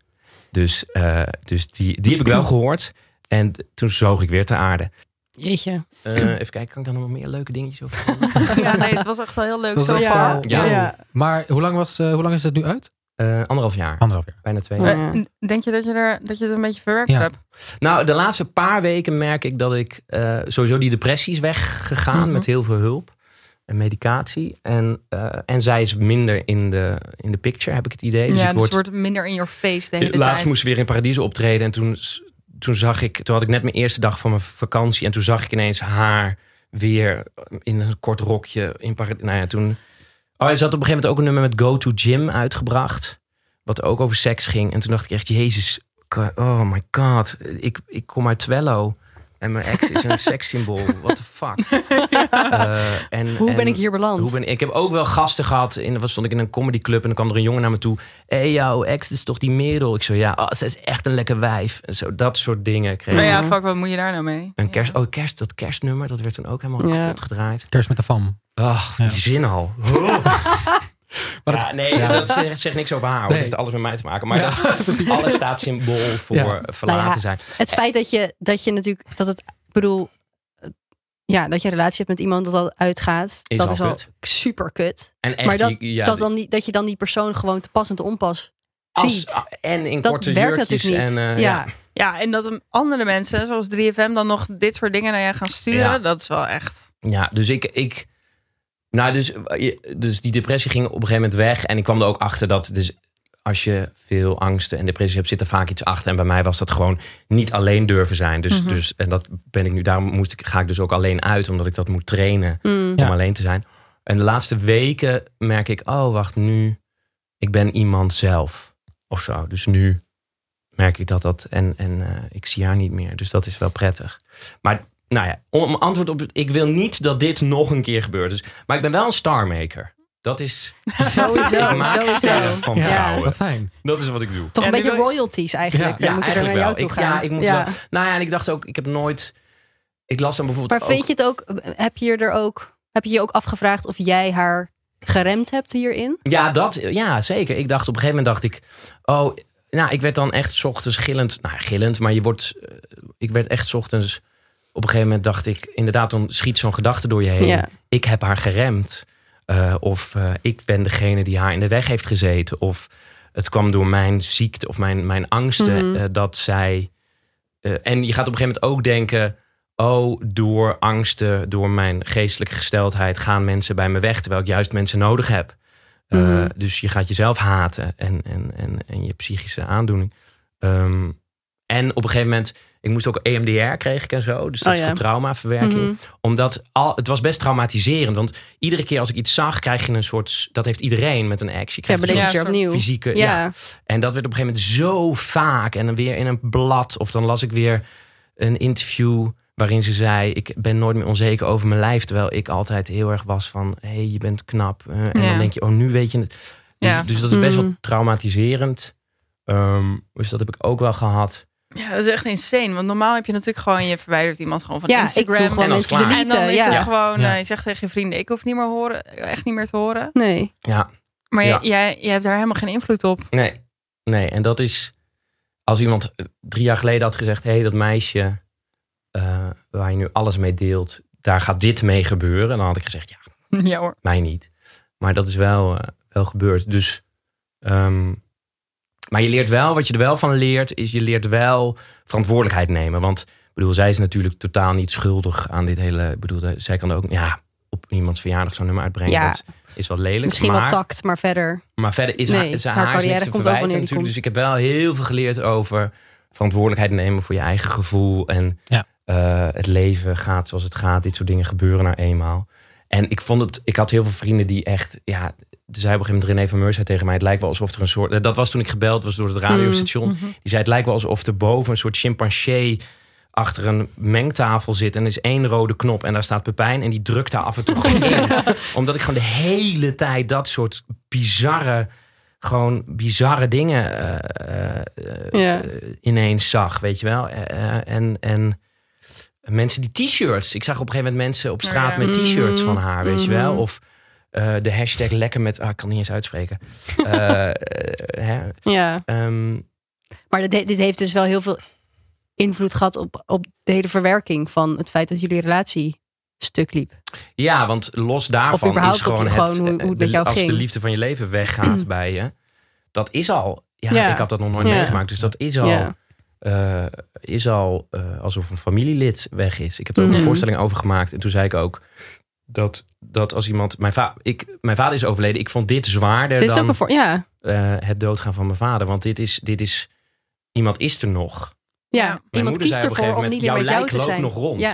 [SPEAKER 2] Dus, eh, dus die, die heb ik wel gehoord. En toen zoog ik weer ter aarde.
[SPEAKER 3] Jeetje.
[SPEAKER 2] Eh, even kijken, kan ik dan nog wel meer leuke dingetjes over?
[SPEAKER 4] jaar. Ja, nee, het was echt wel heel leuk.
[SPEAKER 1] Dat
[SPEAKER 4] zo
[SPEAKER 1] was echt
[SPEAKER 4] far.
[SPEAKER 1] wel...
[SPEAKER 2] Ja.
[SPEAKER 1] Ja. Maar hoe lang, was, eh, hoe lang is dat nu uit?
[SPEAKER 2] Eh, anderhalf jaar,
[SPEAKER 1] Anderhalf jaar.
[SPEAKER 2] bijna twee.
[SPEAKER 3] Ja.
[SPEAKER 4] Maar Eh, Denk je dat je, er, dat je het een beetje verwerkt
[SPEAKER 1] Ja.
[SPEAKER 4] hebt?
[SPEAKER 2] Nou, de laatste paar weken merk ik dat ik eh, sowieso die depressie is weggegaan
[SPEAKER 4] Mhm.
[SPEAKER 2] met heel veel hulp en medicatie. En, eh, en zij is minder in de, in de picture, heb ik het idee. Dus
[SPEAKER 4] ja,
[SPEAKER 2] ik
[SPEAKER 4] dus
[SPEAKER 2] word,
[SPEAKER 4] het wordt minder in your face de hele tijd.
[SPEAKER 2] laatst moest ze weer in Paradiso optreden en toen, s- toen zag ik, toen had ik net mijn eerste dag van mijn vakantie en toen zag ik ineens haar weer in een kort rokje in Paradiso. Nou ja, toen. Oh, ze had op een gegeven moment ook een nummer met Go to Gym uitgebracht, wat ook over seks ging. En toen dacht ik echt, jezus, Ka- Oh my god, ik, ik kom uit Twello. En mijn ex is een sekssymbool. What the fuck? Eh, en,
[SPEAKER 3] Hoe ben
[SPEAKER 2] en-
[SPEAKER 3] ik hier beland?
[SPEAKER 2] Hoe ben, ik heb ook wel gasten gehad. In, wat stond ik in een comedyclub en dan kwam er een jongen naar me toe. Hé, hey, jouw ex is toch die Merel? Ik zo, ja, ah, ze is echt een lekker wijf. En zo, dat soort dingen kreeg
[SPEAKER 4] Nou
[SPEAKER 2] ik.
[SPEAKER 4] ja, fuck, wat moet je daar nou mee?
[SPEAKER 2] Een kerst, oh, kerst, dat kerstnummer, dat werd toen ook helemaal
[SPEAKER 3] Ja.
[SPEAKER 2] kapot gedraaid.
[SPEAKER 1] Kerst met de fam.
[SPEAKER 2] Ach,
[SPEAKER 1] Ja.
[SPEAKER 2] die zin al. Oh.
[SPEAKER 1] Maar
[SPEAKER 2] ja,
[SPEAKER 1] het-
[SPEAKER 2] nee,
[SPEAKER 1] ja.
[SPEAKER 2] dat zegt, zegt niks over haar. hoor.
[SPEAKER 1] Nee.
[SPEAKER 2] Het heeft alles met mij te maken. Maar
[SPEAKER 1] Ja,
[SPEAKER 2] dat-
[SPEAKER 1] precies.
[SPEAKER 2] alles staat symbool voor
[SPEAKER 1] Ja.
[SPEAKER 2] verlaten
[SPEAKER 3] Nou ja.
[SPEAKER 2] zijn.
[SPEAKER 3] Het feit dat je, dat je natuurlijk, dat het, ik bedoel, eh, ja, dat je een relatie hebt met iemand dat dat uitgaat,
[SPEAKER 2] Is
[SPEAKER 3] dat
[SPEAKER 2] al
[SPEAKER 3] is al
[SPEAKER 2] kut.
[SPEAKER 3] super kut.
[SPEAKER 2] En echt,
[SPEAKER 3] Maar dat,
[SPEAKER 2] je- ja,
[SPEAKER 3] dat, dan die, dat je dan die persoon gewoon te pas en te onpas
[SPEAKER 2] als-
[SPEAKER 3] ziet.
[SPEAKER 2] en in
[SPEAKER 3] Dat
[SPEAKER 2] korte
[SPEAKER 3] werkt
[SPEAKER 2] jurkjes.
[SPEAKER 3] natuurlijk niet.
[SPEAKER 2] En, eh, ja.
[SPEAKER 3] ja.
[SPEAKER 4] Ja, en dat hem andere mensen, zoals 3FM, dan nog dit soort dingen naar je gaan sturen,
[SPEAKER 2] Ja.
[SPEAKER 4] dat is wel echt...
[SPEAKER 2] Ja, dus ik. ik nou, dus, eh, je- dus die depressie ging op een gegeven moment weg. En ik kwam er ook achter dat. Dus als je veel angsten en depressies hebt, zit er vaak iets achter. En bij mij was dat gewoon niet alleen durven zijn. Dus,
[SPEAKER 4] Mhm.
[SPEAKER 2] dus en dat ben ik nu. Daarom moest ik, ga ik dus ook alleen uit, omdat ik dat moet trainen
[SPEAKER 3] Mm.
[SPEAKER 1] Ja.
[SPEAKER 2] om alleen te zijn. En de laatste weken merk ik, oh wacht, nu, ik ben iemand zelf of zo. Dus nu merk ik dat dat, en, en eh, ik zie haar niet meer. Dus dat is wel prettig. Maar nou ja, om antwoord op, het- ik wil niet dat dit nog een keer gebeurt. Dus, maar ik ben wel een starmaker. Dat is,
[SPEAKER 3] Sowieso,
[SPEAKER 2] ik maak sterren
[SPEAKER 3] sowieso.
[SPEAKER 2] van
[SPEAKER 1] Ja.
[SPEAKER 2] vrouwen.
[SPEAKER 1] Wat fijn.
[SPEAKER 2] Dat is wat ik doe.
[SPEAKER 3] Toch
[SPEAKER 4] Ja,
[SPEAKER 3] een
[SPEAKER 4] nu
[SPEAKER 3] beetje
[SPEAKER 4] wil-
[SPEAKER 3] royalties eigenlijk.
[SPEAKER 1] Ja,
[SPEAKER 3] dan moet je er naar
[SPEAKER 2] eigenlijk
[SPEAKER 3] jou
[SPEAKER 2] wel.
[SPEAKER 3] toe
[SPEAKER 2] Ik-
[SPEAKER 3] gaan.
[SPEAKER 2] Ja, ik moet wel. Nou ja, en ik dacht ook, ik heb nooit, ik las dan bijvoorbeeld
[SPEAKER 3] Maar vind
[SPEAKER 2] ook,
[SPEAKER 3] je het ook, heb je er ook, heb je je ook afgevraagd of jij haar geremd hebt hierin?
[SPEAKER 2] Ja, dat, ja, zeker. Ik dacht op een gegeven moment dacht ik, oh, nou, ik werd dan echt 's ochtends gillend, nou, gillend, maar je wordt, eh, ik werd echt 's ochtends. Op een gegeven moment dacht ik, inderdaad, dan schiet zo'n gedachte door je heen.
[SPEAKER 3] Ja.
[SPEAKER 2] Ik heb haar geremd, Eh, of eh, ik ben degene die haar in de weg heeft gezeten, of het kwam door mijn ziekte of mijn, mijn angsten
[SPEAKER 3] Mhm.
[SPEAKER 2] eh, dat zij. eh, en je gaat op een gegeven moment ook denken. Oh, door angsten, door mijn geestelijke gesteldheid gaan mensen bij me weg, terwijl ik juist mensen nodig heb. Eh,
[SPEAKER 3] Mhm.
[SPEAKER 2] Dus je gaat jezelf haten en, en, en, en je psychische aandoening. Ehm, en op een gegeven moment, ik moest ook E EMDR kreeg ik en zo. Dus dat
[SPEAKER 3] Oh
[SPEAKER 2] is
[SPEAKER 3] ja.
[SPEAKER 2] voor traumaverwerking.
[SPEAKER 3] Mhm.
[SPEAKER 2] Omdat al, het was best traumatiserend. Want iedere keer als ik iets zag, krijg je een soort. s- Dat heeft iedereen met een ex. Je
[SPEAKER 3] Ja,
[SPEAKER 2] krijgt
[SPEAKER 3] maar
[SPEAKER 2] een
[SPEAKER 3] dit
[SPEAKER 4] Ja,
[SPEAKER 2] soort
[SPEAKER 3] is er
[SPEAKER 4] soort
[SPEAKER 3] opnieuw.
[SPEAKER 2] fysieke. Ja.
[SPEAKER 3] Ja,
[SPEAKER 2] En dat werd op een gegeven moment zo vaak. En dan weer in een blad. Of dan las ik weer een interview waarin ze zei: Ik ben nooit meer onzeker over mijn lijf. Terwijl ik altijd heel erg was van: Hé, hey, je bent knap. Eh, en
[SPEAKER 4] Ja.
[SPEAKER 2] dan denk je: Oh, nu weet je het. Dus,
[SPEAKER 4] Ja. Hmm.
[SPEAKER 2] dus dat is best wel
[SPEAKER 3] Mm.
[SPEAKER 2] traumatiserend. Ehm, dus dat heb ik ook wel gehad.
[SPEAKER 4] Ja, dat is echt insane. Want normaal heb je natuurlijk gewoon, je verwijdert iemand gewoon van
[SPEAKER 3] ja ik
[SPEAKER 4] Instagram.
[SPEAKER 3] doe gewoon
[SPEAKER 2] En dan is
[SPEAKER 3] mensen
[SPEAKER 2] het klaar.
[SPEAKER 4] en dan
[SPEAKER 3] deleten.
[SPEAKER 4] is het
[SPEAKER 3] Ja.
[SPEAKER 4] gewoon,
[SPEAKER 1] Ja.
[SPEAKER 4] eh, je zegt tegen je vrienden, ik hoef niet meer horen, echt niet meer te horen.
[SPEAKER 3] Nee.
[SPEAKER 2] Ja,
[SPEAKER 4] Maar
[SPEAKER 2] Ja.
[SPEAKER 4] jij- jij, jij hebt daar helemaal geen invloed op.
[SPEAKER 2] nee. Nee, en dat is. Als iemand eh, drie jaar geleden had gezegd: Hé, hey, dat meisje eh, waar je nu alles mee deelt, daar gaat dit mee gebeuren. Dan had ik gezegd: Ja,
[SPEAKER 4] Ja hoor.
[SPEAKER 2] mij niet. Maar dat is wel, eh, wel gebeurd. Dus, ehm, maar je leert wel, wat je er wel van leert, is je leert wel verantwoordelijkheid nemen. Want ik bedoel, zij is natuurlijk totaal niet schuldig aan dit hele. Ik bedoel, zij kan ook ja, op iemands verjaardag zo'n nummer uitbrengen.
[SPEAKER 3] Ja.
[SPEAKER 2] Dat is wel lelijk.
[SPEAKER 3] Misschien
[SPEAKER 2] maar,
[SPEAKER 3] wel tact, maar verder.
[SPEAKER 2] maar verder is
[SPEAKER 3] Nee,
[SPEAKER 2] haar, is haar,
[SPEAKER 3] haar
[SPEAKER 2] haar is niks
[SPEAKER 3] carrière
[SPEAKER 2] te
[SPEAKER 3] komt ook
[SPEAKER 2] verwijten
[SPEAKER 3] wanneer die
[SPEAKER 2] natuurlijk.
[SPEAKER 3] komt.
[SPEAKER 2] Dus ik heb wel heel veel geleerd over verantwoordelijkheid nemen voor je eigen gevoel. En
[SPEAKER 1] Ja.
[SPEAKER 2] eh, het leven gaat zoals het gaat. Dit soort dingen gebeuren nou eenmaal. En ik vond het, ik had heel veel vrienden die echt, ja, dus hij op een gegeven moment René van Meurs zei tegen mij, het lijkt wel alsof er een soort, dat was toen ik gebeld was door het radiostation. Die zei, het lijkt wel alsof er boven een soort chimpansee achter een mengtafel zit en er is één rode knop en daar staat Pepijn en die drukt daar af en toe gewoon in. Omdat ik gewoon de hele tijd dat soort bizarre, gewoon bizarre dingen eh, eh,
[SPEAKER 3] Ja.
[SPEAKER 2] eh, ineens zag, weet je wel. Eh, eh, en, en mensen die t-shirts. Ik zag op een gegeven moment mensen op straat
[SPEAKER 4] Ja.
[SPEAKER 2] met t-shirts
[SPEAKER 3] Mhm.
[SPEAKER 2] van haar, weet je wel.
[SPEAKER 3] Mhm.
[SPEAKER 2] Of eh, de hashtag lekker met... Ah, ik kan het niet eens uitspreken. Eh, eh, hè,
[SPEAKER 3] Ja.
[SPEAKER 2] ehm,
[SPEAKER 3] Maar dit, he- dit heeft dus wel heel veel invloed gehad op, op de hele verwerking van het feit dat jullie relatie stuk liep.
[SPEAKER 2] ja, want los daarvan
[SPEAKER 3] überhaupt
[SPEAKER 2] is gewoon,
[SPEAKER 3] op-
[SPEAKER 2] het,
[SPEAKER 3] gewoon hoe-
[SPEAKER 2] eh,
[SPEAKER 3] hoe het
[SPEAKER 2] de-
[SPEAKER 3] met jou
[SPEAKER 2] als de
[SPEAKER 3] ging.
[SPEAKER 2] liefde van je leven weggaat bij je. Dat is al... Ja,
[SPEAKER 3] Ja.
[SPEAKER 2] ik had dat nog nooit
[SPEAKER 3] Ja.
[SPEAKER 2] meegemaakt. Dus dat is al...
[SPEAKER 3] Ja.
[SPEAKER 2] eh, is al eh, alsof een familielid weg is. Ik heb er ook een
[SPEAKER 3] Mhm.
[SPEAKER 2] voorstelling over gemaakt. En toen zei ik ook dat, dat als iemand... Mijn, va ik, mijn vader is overleden. Ik vond dit zwaarder
[SPEAKER 3] Dit is ook
[SPEAKER 2] dan
[SPEAKER 3] een voor. Ja.
[SPEAKER 2] eh, het doodgaan van mijn vader. Want dit is, dit is... Iemand is er nog.
[SPEAKER 3] Ja,
[SPEAKER 4] Mijn
[SPEAKER 3] iemand
[SPEAKER 2] moeder
[SPEAKER 3] kiest
[SPEAKER 2] zei op een
[SPEAKER 3] ervoor
[SPEAKER 2] gegeven
[SPEAKER 3] om
[SPEAKER 2] moment,
[SPEAKER 3] niet meer met
[SPEAKER 2] "Jouw
[SPEAKER 3] jou
[SPEAKER 2] lijk
[SPEAKER 3] te
[SPEAKER 2] loopt
[SPEAKER 3] zijn.
[SPEAKER 2] nog rond.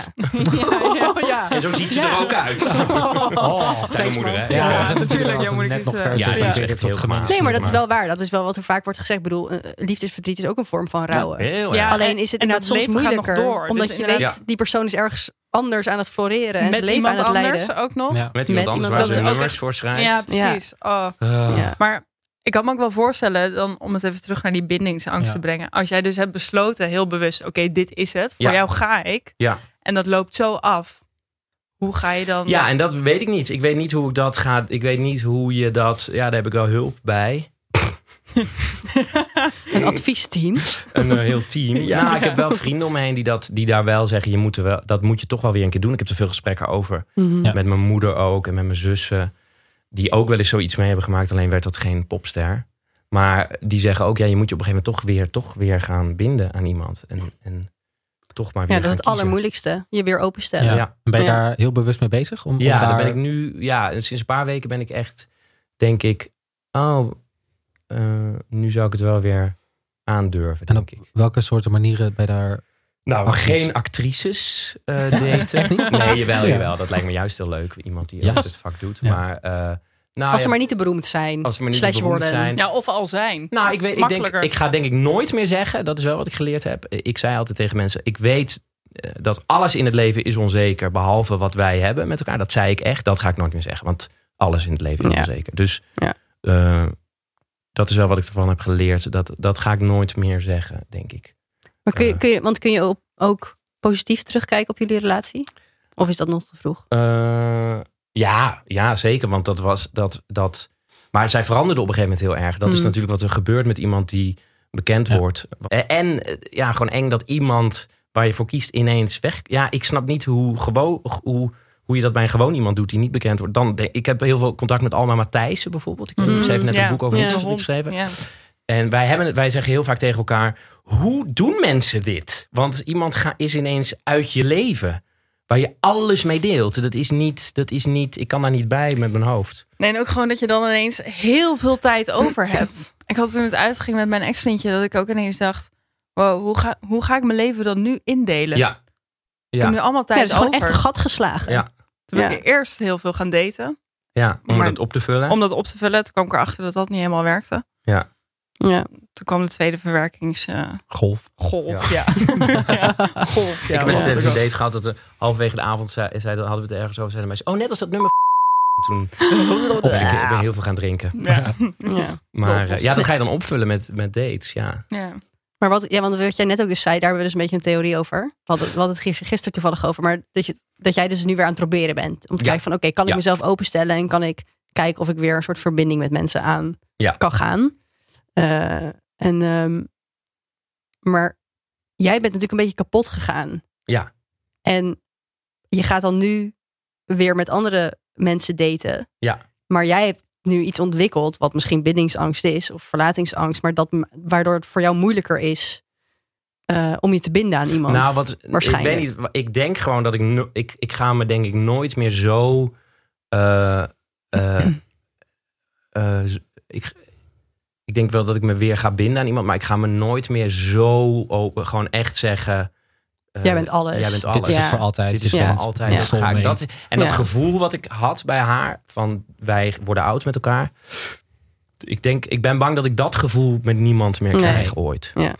[SPEAKER 3] Ja.
[SPEAKER 4] Oh,
[SPEAKER 3] ja, ja, ja.
[SPEAKER 2] En zo ziet ze
[SPEAKER 3] Ja.
[SPEAKER 2] er ook uit.
[SPEAKER 1] Oh.
[SPEAKER 2] Zijn
[SPEAKER 3] Thanks,
[SPEAKER 2] moeder, hè?
[SPEAKER 3] man.
[SPEAKER 1] Ja,
[SPEAKER 4] Ja,
[SPEAKER 1] dat is
[SPEAKER 4] natuurlijk,
[SPEAKER 1] Als
[SPEAKER 4] ja,
[SPEAKER 1] het
[SPEAKER 4] moet ik
[SPEAKER 1] net
[SPEAKER 4] eens,
[SPEAKER 1] nog
[SPEAKER 4] eh,
[SPEAKER 1] vers
[SPEAKER 2] ja,
[SPEAKER 1] is,
[SPEAKER 2] ja,
[SPEAKER 1] dan
[SPEAKER 2] dat
[SPEAKER 1] vind ik het
[SPEAKER 2] is
[SPEAKER 1] soort
[SPEAKER 2] heel
[SPEAKER 1] gemaakt.
[SPEAKER 2] gemanipuleerd.
[SPEAKER 3] Nee, maar dat is
[SPEAKER 2] maar-
[SPEAKER 3] wel waar. Dat is wel wat er vaak wordt gezegd. Ik bedoel, eh, liefdesverdriet is ook een vorm van rouwen.
[SPEAKER 2] Heel
[SPEAKER 4] Ja,
[SPEAKER 2] erg.
[SPEAKER 3] Alleen
[SPEAKER 4] en-
[SPEAKER 3] is het
[SPEAKER 4] en
[SPEAKER 3] inderdaad
[SPEAKER 4] dat
[SPEAKER 3] soms
[SPEAKER 4] leven gaat nog
[SPEAKER 3] moeilijker.
[SPEAKER 4] door,
[SPEAKER 3] omdat
[SPEAKER 4] dus
[SPEAKER 3] je
[SPEAKER 4] inderdaad-
[SPEAKER 3] weet, die persoon is ergens anders aan het floreren. En
[SPEAKER 4] Met
[SPEAKER 3] zijn leven aan
[SPEAKER 4] iemand
[SPEAKER 3] het
[SPEAKER 4] anders
[SPEAKER 3] leiden.
[SPEAKER 4] ook nog.
[SPEAKER 1] Ja.
[SPEAKER 4] Ja,
[SPEAKER 2] Met
[SPEAKER 3] Met
[SPEAKER 2] iemand anders
[SPEAKER 3] iemand
[SPEAKER 2] waar ze
[SPEAKER 4] anders.
[SPEAKER 2] nummers voor schrijft.
[SPEAKER 4] precies. Oh.
[SPEAKER 1] Eh,
[SPEAKER 2] Ah.
[SPEAKER 3] Ja.
[SPEAKER 4] Maar ik kan me ook wel voorstellen, dan, om het even terug naar die bindingsangst
[SPEAKER 1] Ja.
[SPEAKER 4] te brengen. Als jij dus hebt besloten, heel bewust, oké, dit is het. Voor
[SPEAKER 2] Ja.
[SPEAKER 4] jou ga ik.
[SPEAKER 2] Ja.
[SPEAKER 4] En dat loopt zo af. Hoe ga je dan?
[SPEAKER 2] Ja, en dat weet ik niet. Ik weet niet hoe ik dat ga. Ik weet niet hoe je dat. Ja, daar heb ik wel hulp bij.
[SPEAKER 3] Een adviesteam.
[SPEAKER 2] Een eh, heel team. Ja, ik heb wel vrienden om me heen die, dat, die daar wel zeggen: je moet er wel, dat moet je toch wel weer een keer doen. Ik heb er veel gesprekken over.
[SPEAKER 3] Mhm.
[SPEAKER 1] Ja.
[SPEAKER 2] Met mijn moeder ook en met mijn zussen. Die ook wel eens zoiets mee hebben gemaakt. Alleen werd dat geen popster. Maar die zeggen ook: ja, je moet je op een gegeven moment toch weer, toch weer gaan binden aan iemand. En, en toch maar weer.
[SPEAKER 3] Ja, dat
[SPEAKER 2] gaan
[SPEAKER 3] is het
[SPEAKER 2] kiezen.
[SPEAKER 3] allermoeilijkste. Je weer openstellen.
[SPEAKER 1] Ja.
[SPEAKER 2] Ja.
[SPEAKER 1] En Ben je
[SPEAKER 3] Ja.
[SPEAKER 1] daar heel bewust mee bezig? Om, om
[SPEAKER 2] Ja, daar
[SPEAKER 1] daar
[SPEAKER 2] ben ik nu. Ja, en sinds een paar weken ben ik echt, denk ik, oh, eh, nu zou ik het wel weer aandurven,
[SPEAKER 1] En
[SPEAKER 2] denk
[SPEAKER 1] op
[SPEAKER 2] ik.
[SPEAKER 1] welke soorten manieren ben je daar...
[SPEAKER 2] Nou,
[SPEAKER 1] actrice.
[SPEAKER 2] geen actrices eh daten.
[SPEAKER 1] niet?
[SPEAKER 2] nee, jawel,
[SPEAKER 1] Ja.
[SPEAKER 2] jawel. Dat lijkt me juist heel leuk. Iemand die ook
[SPEAKER 1] Juist.
[SPEAKER 2] het vak doet.
[SPEAKER 1] Ja.
[SPEAKER 2] Maar, eh, nou,
[SPEAKER 3] Als
[SPEAKER 2] ja,
[SPEAKER 3] ze maar niet te beroemd zijn.
[SPEAKER 2] als ze maar niet
[SPEAKER 3] slash
[SPEAKER 2] beroemd
[SPEAKER 3] worden.
[SPEAKER 2] zijn.
[SPEAKER 4] Ja, of al zijn.
[SPEAKER 2] Nou, ik, weet, ik, denk,
[SPEAKER 4] Makkelijker.
[SPEAKER 2] ik ga denk ik nooit meer zeggen. Dat is wel wat ik geleerd heb. Eh, Ik zei altijd tegen mensen, ik weet eh, dat alles in het leven is onzeker. Behalve wat wij hebben met elkaar. Dat zei ik echt. Dat ga ik nooit meer zeggen. Want alles in het leven is
[SPEAKER 3] Ja.
[SPEAKER 2] onzeker. Dus
[SPEAKER 3] Ja.
[SPEAKER 2] eh, dat is wel wat ik ervan heb geleerd. Dat, dat ga ik nooit meer zeggen, denk ik.
[SPEAKER 3] Maar kun je,
[SPEAKER 2] Eh.
[SPEAKER 3] kun je, want kun je ook, ook positief terugkijken op jullie relatie? Of is dat nog te vroeg?
[SPEAKER 2] Eh, ja, ja, zeker. Want dat was dat. dat maar zij veranderde op een gegeven moment heel erg. Dat is
[SPEAKER 3] Mm.
[SPEAKER 2] natuurlijk wat er gebeurt met iemand die bekend
[SPEAKER 1] Ja.
[SPEAKER 2] wordt. En, en, eh, ja, gewoon eng dat iemand waar je voor kiest ineens weg. Ja, ik snap niet hoe, gewoon, hoe, hoe je dat bij een gewoon iemand doet die niet bekend wordt. Dan, de- ik heb heel veel contact met Alma Matthijssen bijvoorbeeld. Ik,
[SPEAKER 4] Mm.
[SPEAKER 2] ik schreef net
[SPEAKER 4] Ja.
[SPEAKER 2] een boek over
[SPEAKER 3] Ja.
[SPEAKER 2] ja.
[SPEAKER 4] Een hond.
[SPEAKER 2] geschreven.
[SPEAKER 4] Ja.
[SPEAKER 2] En wij, hebben, wij zeggen heel vaak tegen elkaar: hoe doen mensen dit? Want iemand ga, is ineens uit je leven. Waar je alles mee deelt. Dat is, niet, dat is niet. Ik kan daar niet bij met mijn hoofd.
[SPEAKER 4] Nee, en ook gewoon dat je dan ineens heel veel tijd over hebt. Ik had toen het uitging met mijn ex-vriendje dat ik ook ineens dacht: wow, hoe ga, hoe ga ik mijn leven dan nu indelen?
[SPEAKER 2] Ja.
[SPEAKER 4] Ik heb nu
[SPEAKER 2] Ja.
[SPEAKER 4] allemaal
[SPEAKER 3] Ja,
[SPEAKER 4] tijd
[SPEAKER 3] dat is gewoon
[SPEAKER 4] over.
[SPEAKER 3] echt een gat geslagen.
[SPEAKER 2] Ja.
[SPEAKER 4] Toen ben
[SPEAKER 3] Ja.
[SPEAKER 4] ik eerst heel veel gaan daten
[SPEAKER 2] ja om
[SPEAKER 4] Maar-
[SPEAKER 2] dat op te vullen.
[SPEAKER 4] om dat op te vullen. Toen kwam ik erachter dat dat niet helemaal werkte.
[SPEAKER 3] Ja.
[SPEAKER 4] Toen kwam de tweede verwerkingsgolf.
[SPEAKER 1] Golf.
[SPEAKER 4] ja. ja. Golf. Ja.
[SPEAKER 2] ik heb net
[SPEAKER 4] Ja.
[SPEAKER 2] eens een date gehad dat we halverwege de avond zei, zei, hadden we het ergens over. Zeiden mensen: Oh, net als dat nummer. Toen ik ben heel veel gaan drinken.
[SPEAKER 4] Oh, Ja.
[SPEAKER 3] Ja.
[SPEAKER 2] Maar eh, ja, dat ga je dan opvullen met, met dates. Ja.
[SPEAKER 4] Ja.
[SPEAKER 3] Maar wat, ja, want wat jij net ook dus zei, daar hebben we dus een beetje een theorie over. We hadden, we hadden het gister- gisteren toevallig over. Maar dat, je, dat jij dus nu weer aan het proberen bent. Om te
[SPEAKER 2] Ja.
[SPEAKER 3] kijken van, oké, kan ik
[SPEAKER 2] Ja.
[SPEAKER 3] mezelf openstellen? En kan ik kijken of ik weer een soort verbinding met mensen aan
[SPEAKER 2] Ja.
[SPEAKER 3] kan gaan? Eh, en, ehm, maar jij bent natuurlijk een beetje kapot gegaan.
[SPEAKER 2] Ja.
[SPEAKER 3] En je gaat dan nu weer met andere mensen daten.
[SPEAKER 2] Ja.
[SPEAKER 3] Maar jij hebt nu iets ontwikkeld wat misschien bindingsangst is of verlatingsangst, maar dat ma- waardoor het voor jou moeilijker is eh, om je te binden aan iemand.
[SPEAKER 2] Nou, wat,
[SPEAKER 3] Waarschijnlijk.
[SPEAKER 2] Ik, weet niet, ik denk gewoon dat ik, no- ik... Ik ga me denk ik nooit meer zo... eh, eh, eh, z- ik, ik denk wel dat ik me weer ga binden aan iemand. Maar ik ga me nooit meer zo open... Gewoon echt zeggen... eh,
[SPEAKER 3] Jij bent alles.
[SPEAKER 2] Jij bent alles.
[SPEAKER 1] Dit is het
[SPEAKER 3] Ja.
[SPEAKER 1] voor altijd. Dus
[SPEAKER 2] Dit is
[SPEAKER 3] Ja.
[SPEAKER 2] gewoon altijd.
[SPEAKER 3] Ja.
[SPEAKER 2] dat ga ik- dat, en dat
[SPEAKER 3] Ja.
[SPEAKER 2] gevoel wat ik had bij haar, van wij worden oud met elkaar. Ik, denk, ik ben bang dat ik dat gevoel met niemand meer
[SPEAKER 3] Nee.
[SPEAKER 2] krijg ooit.
[SPEAKER 3] Ja.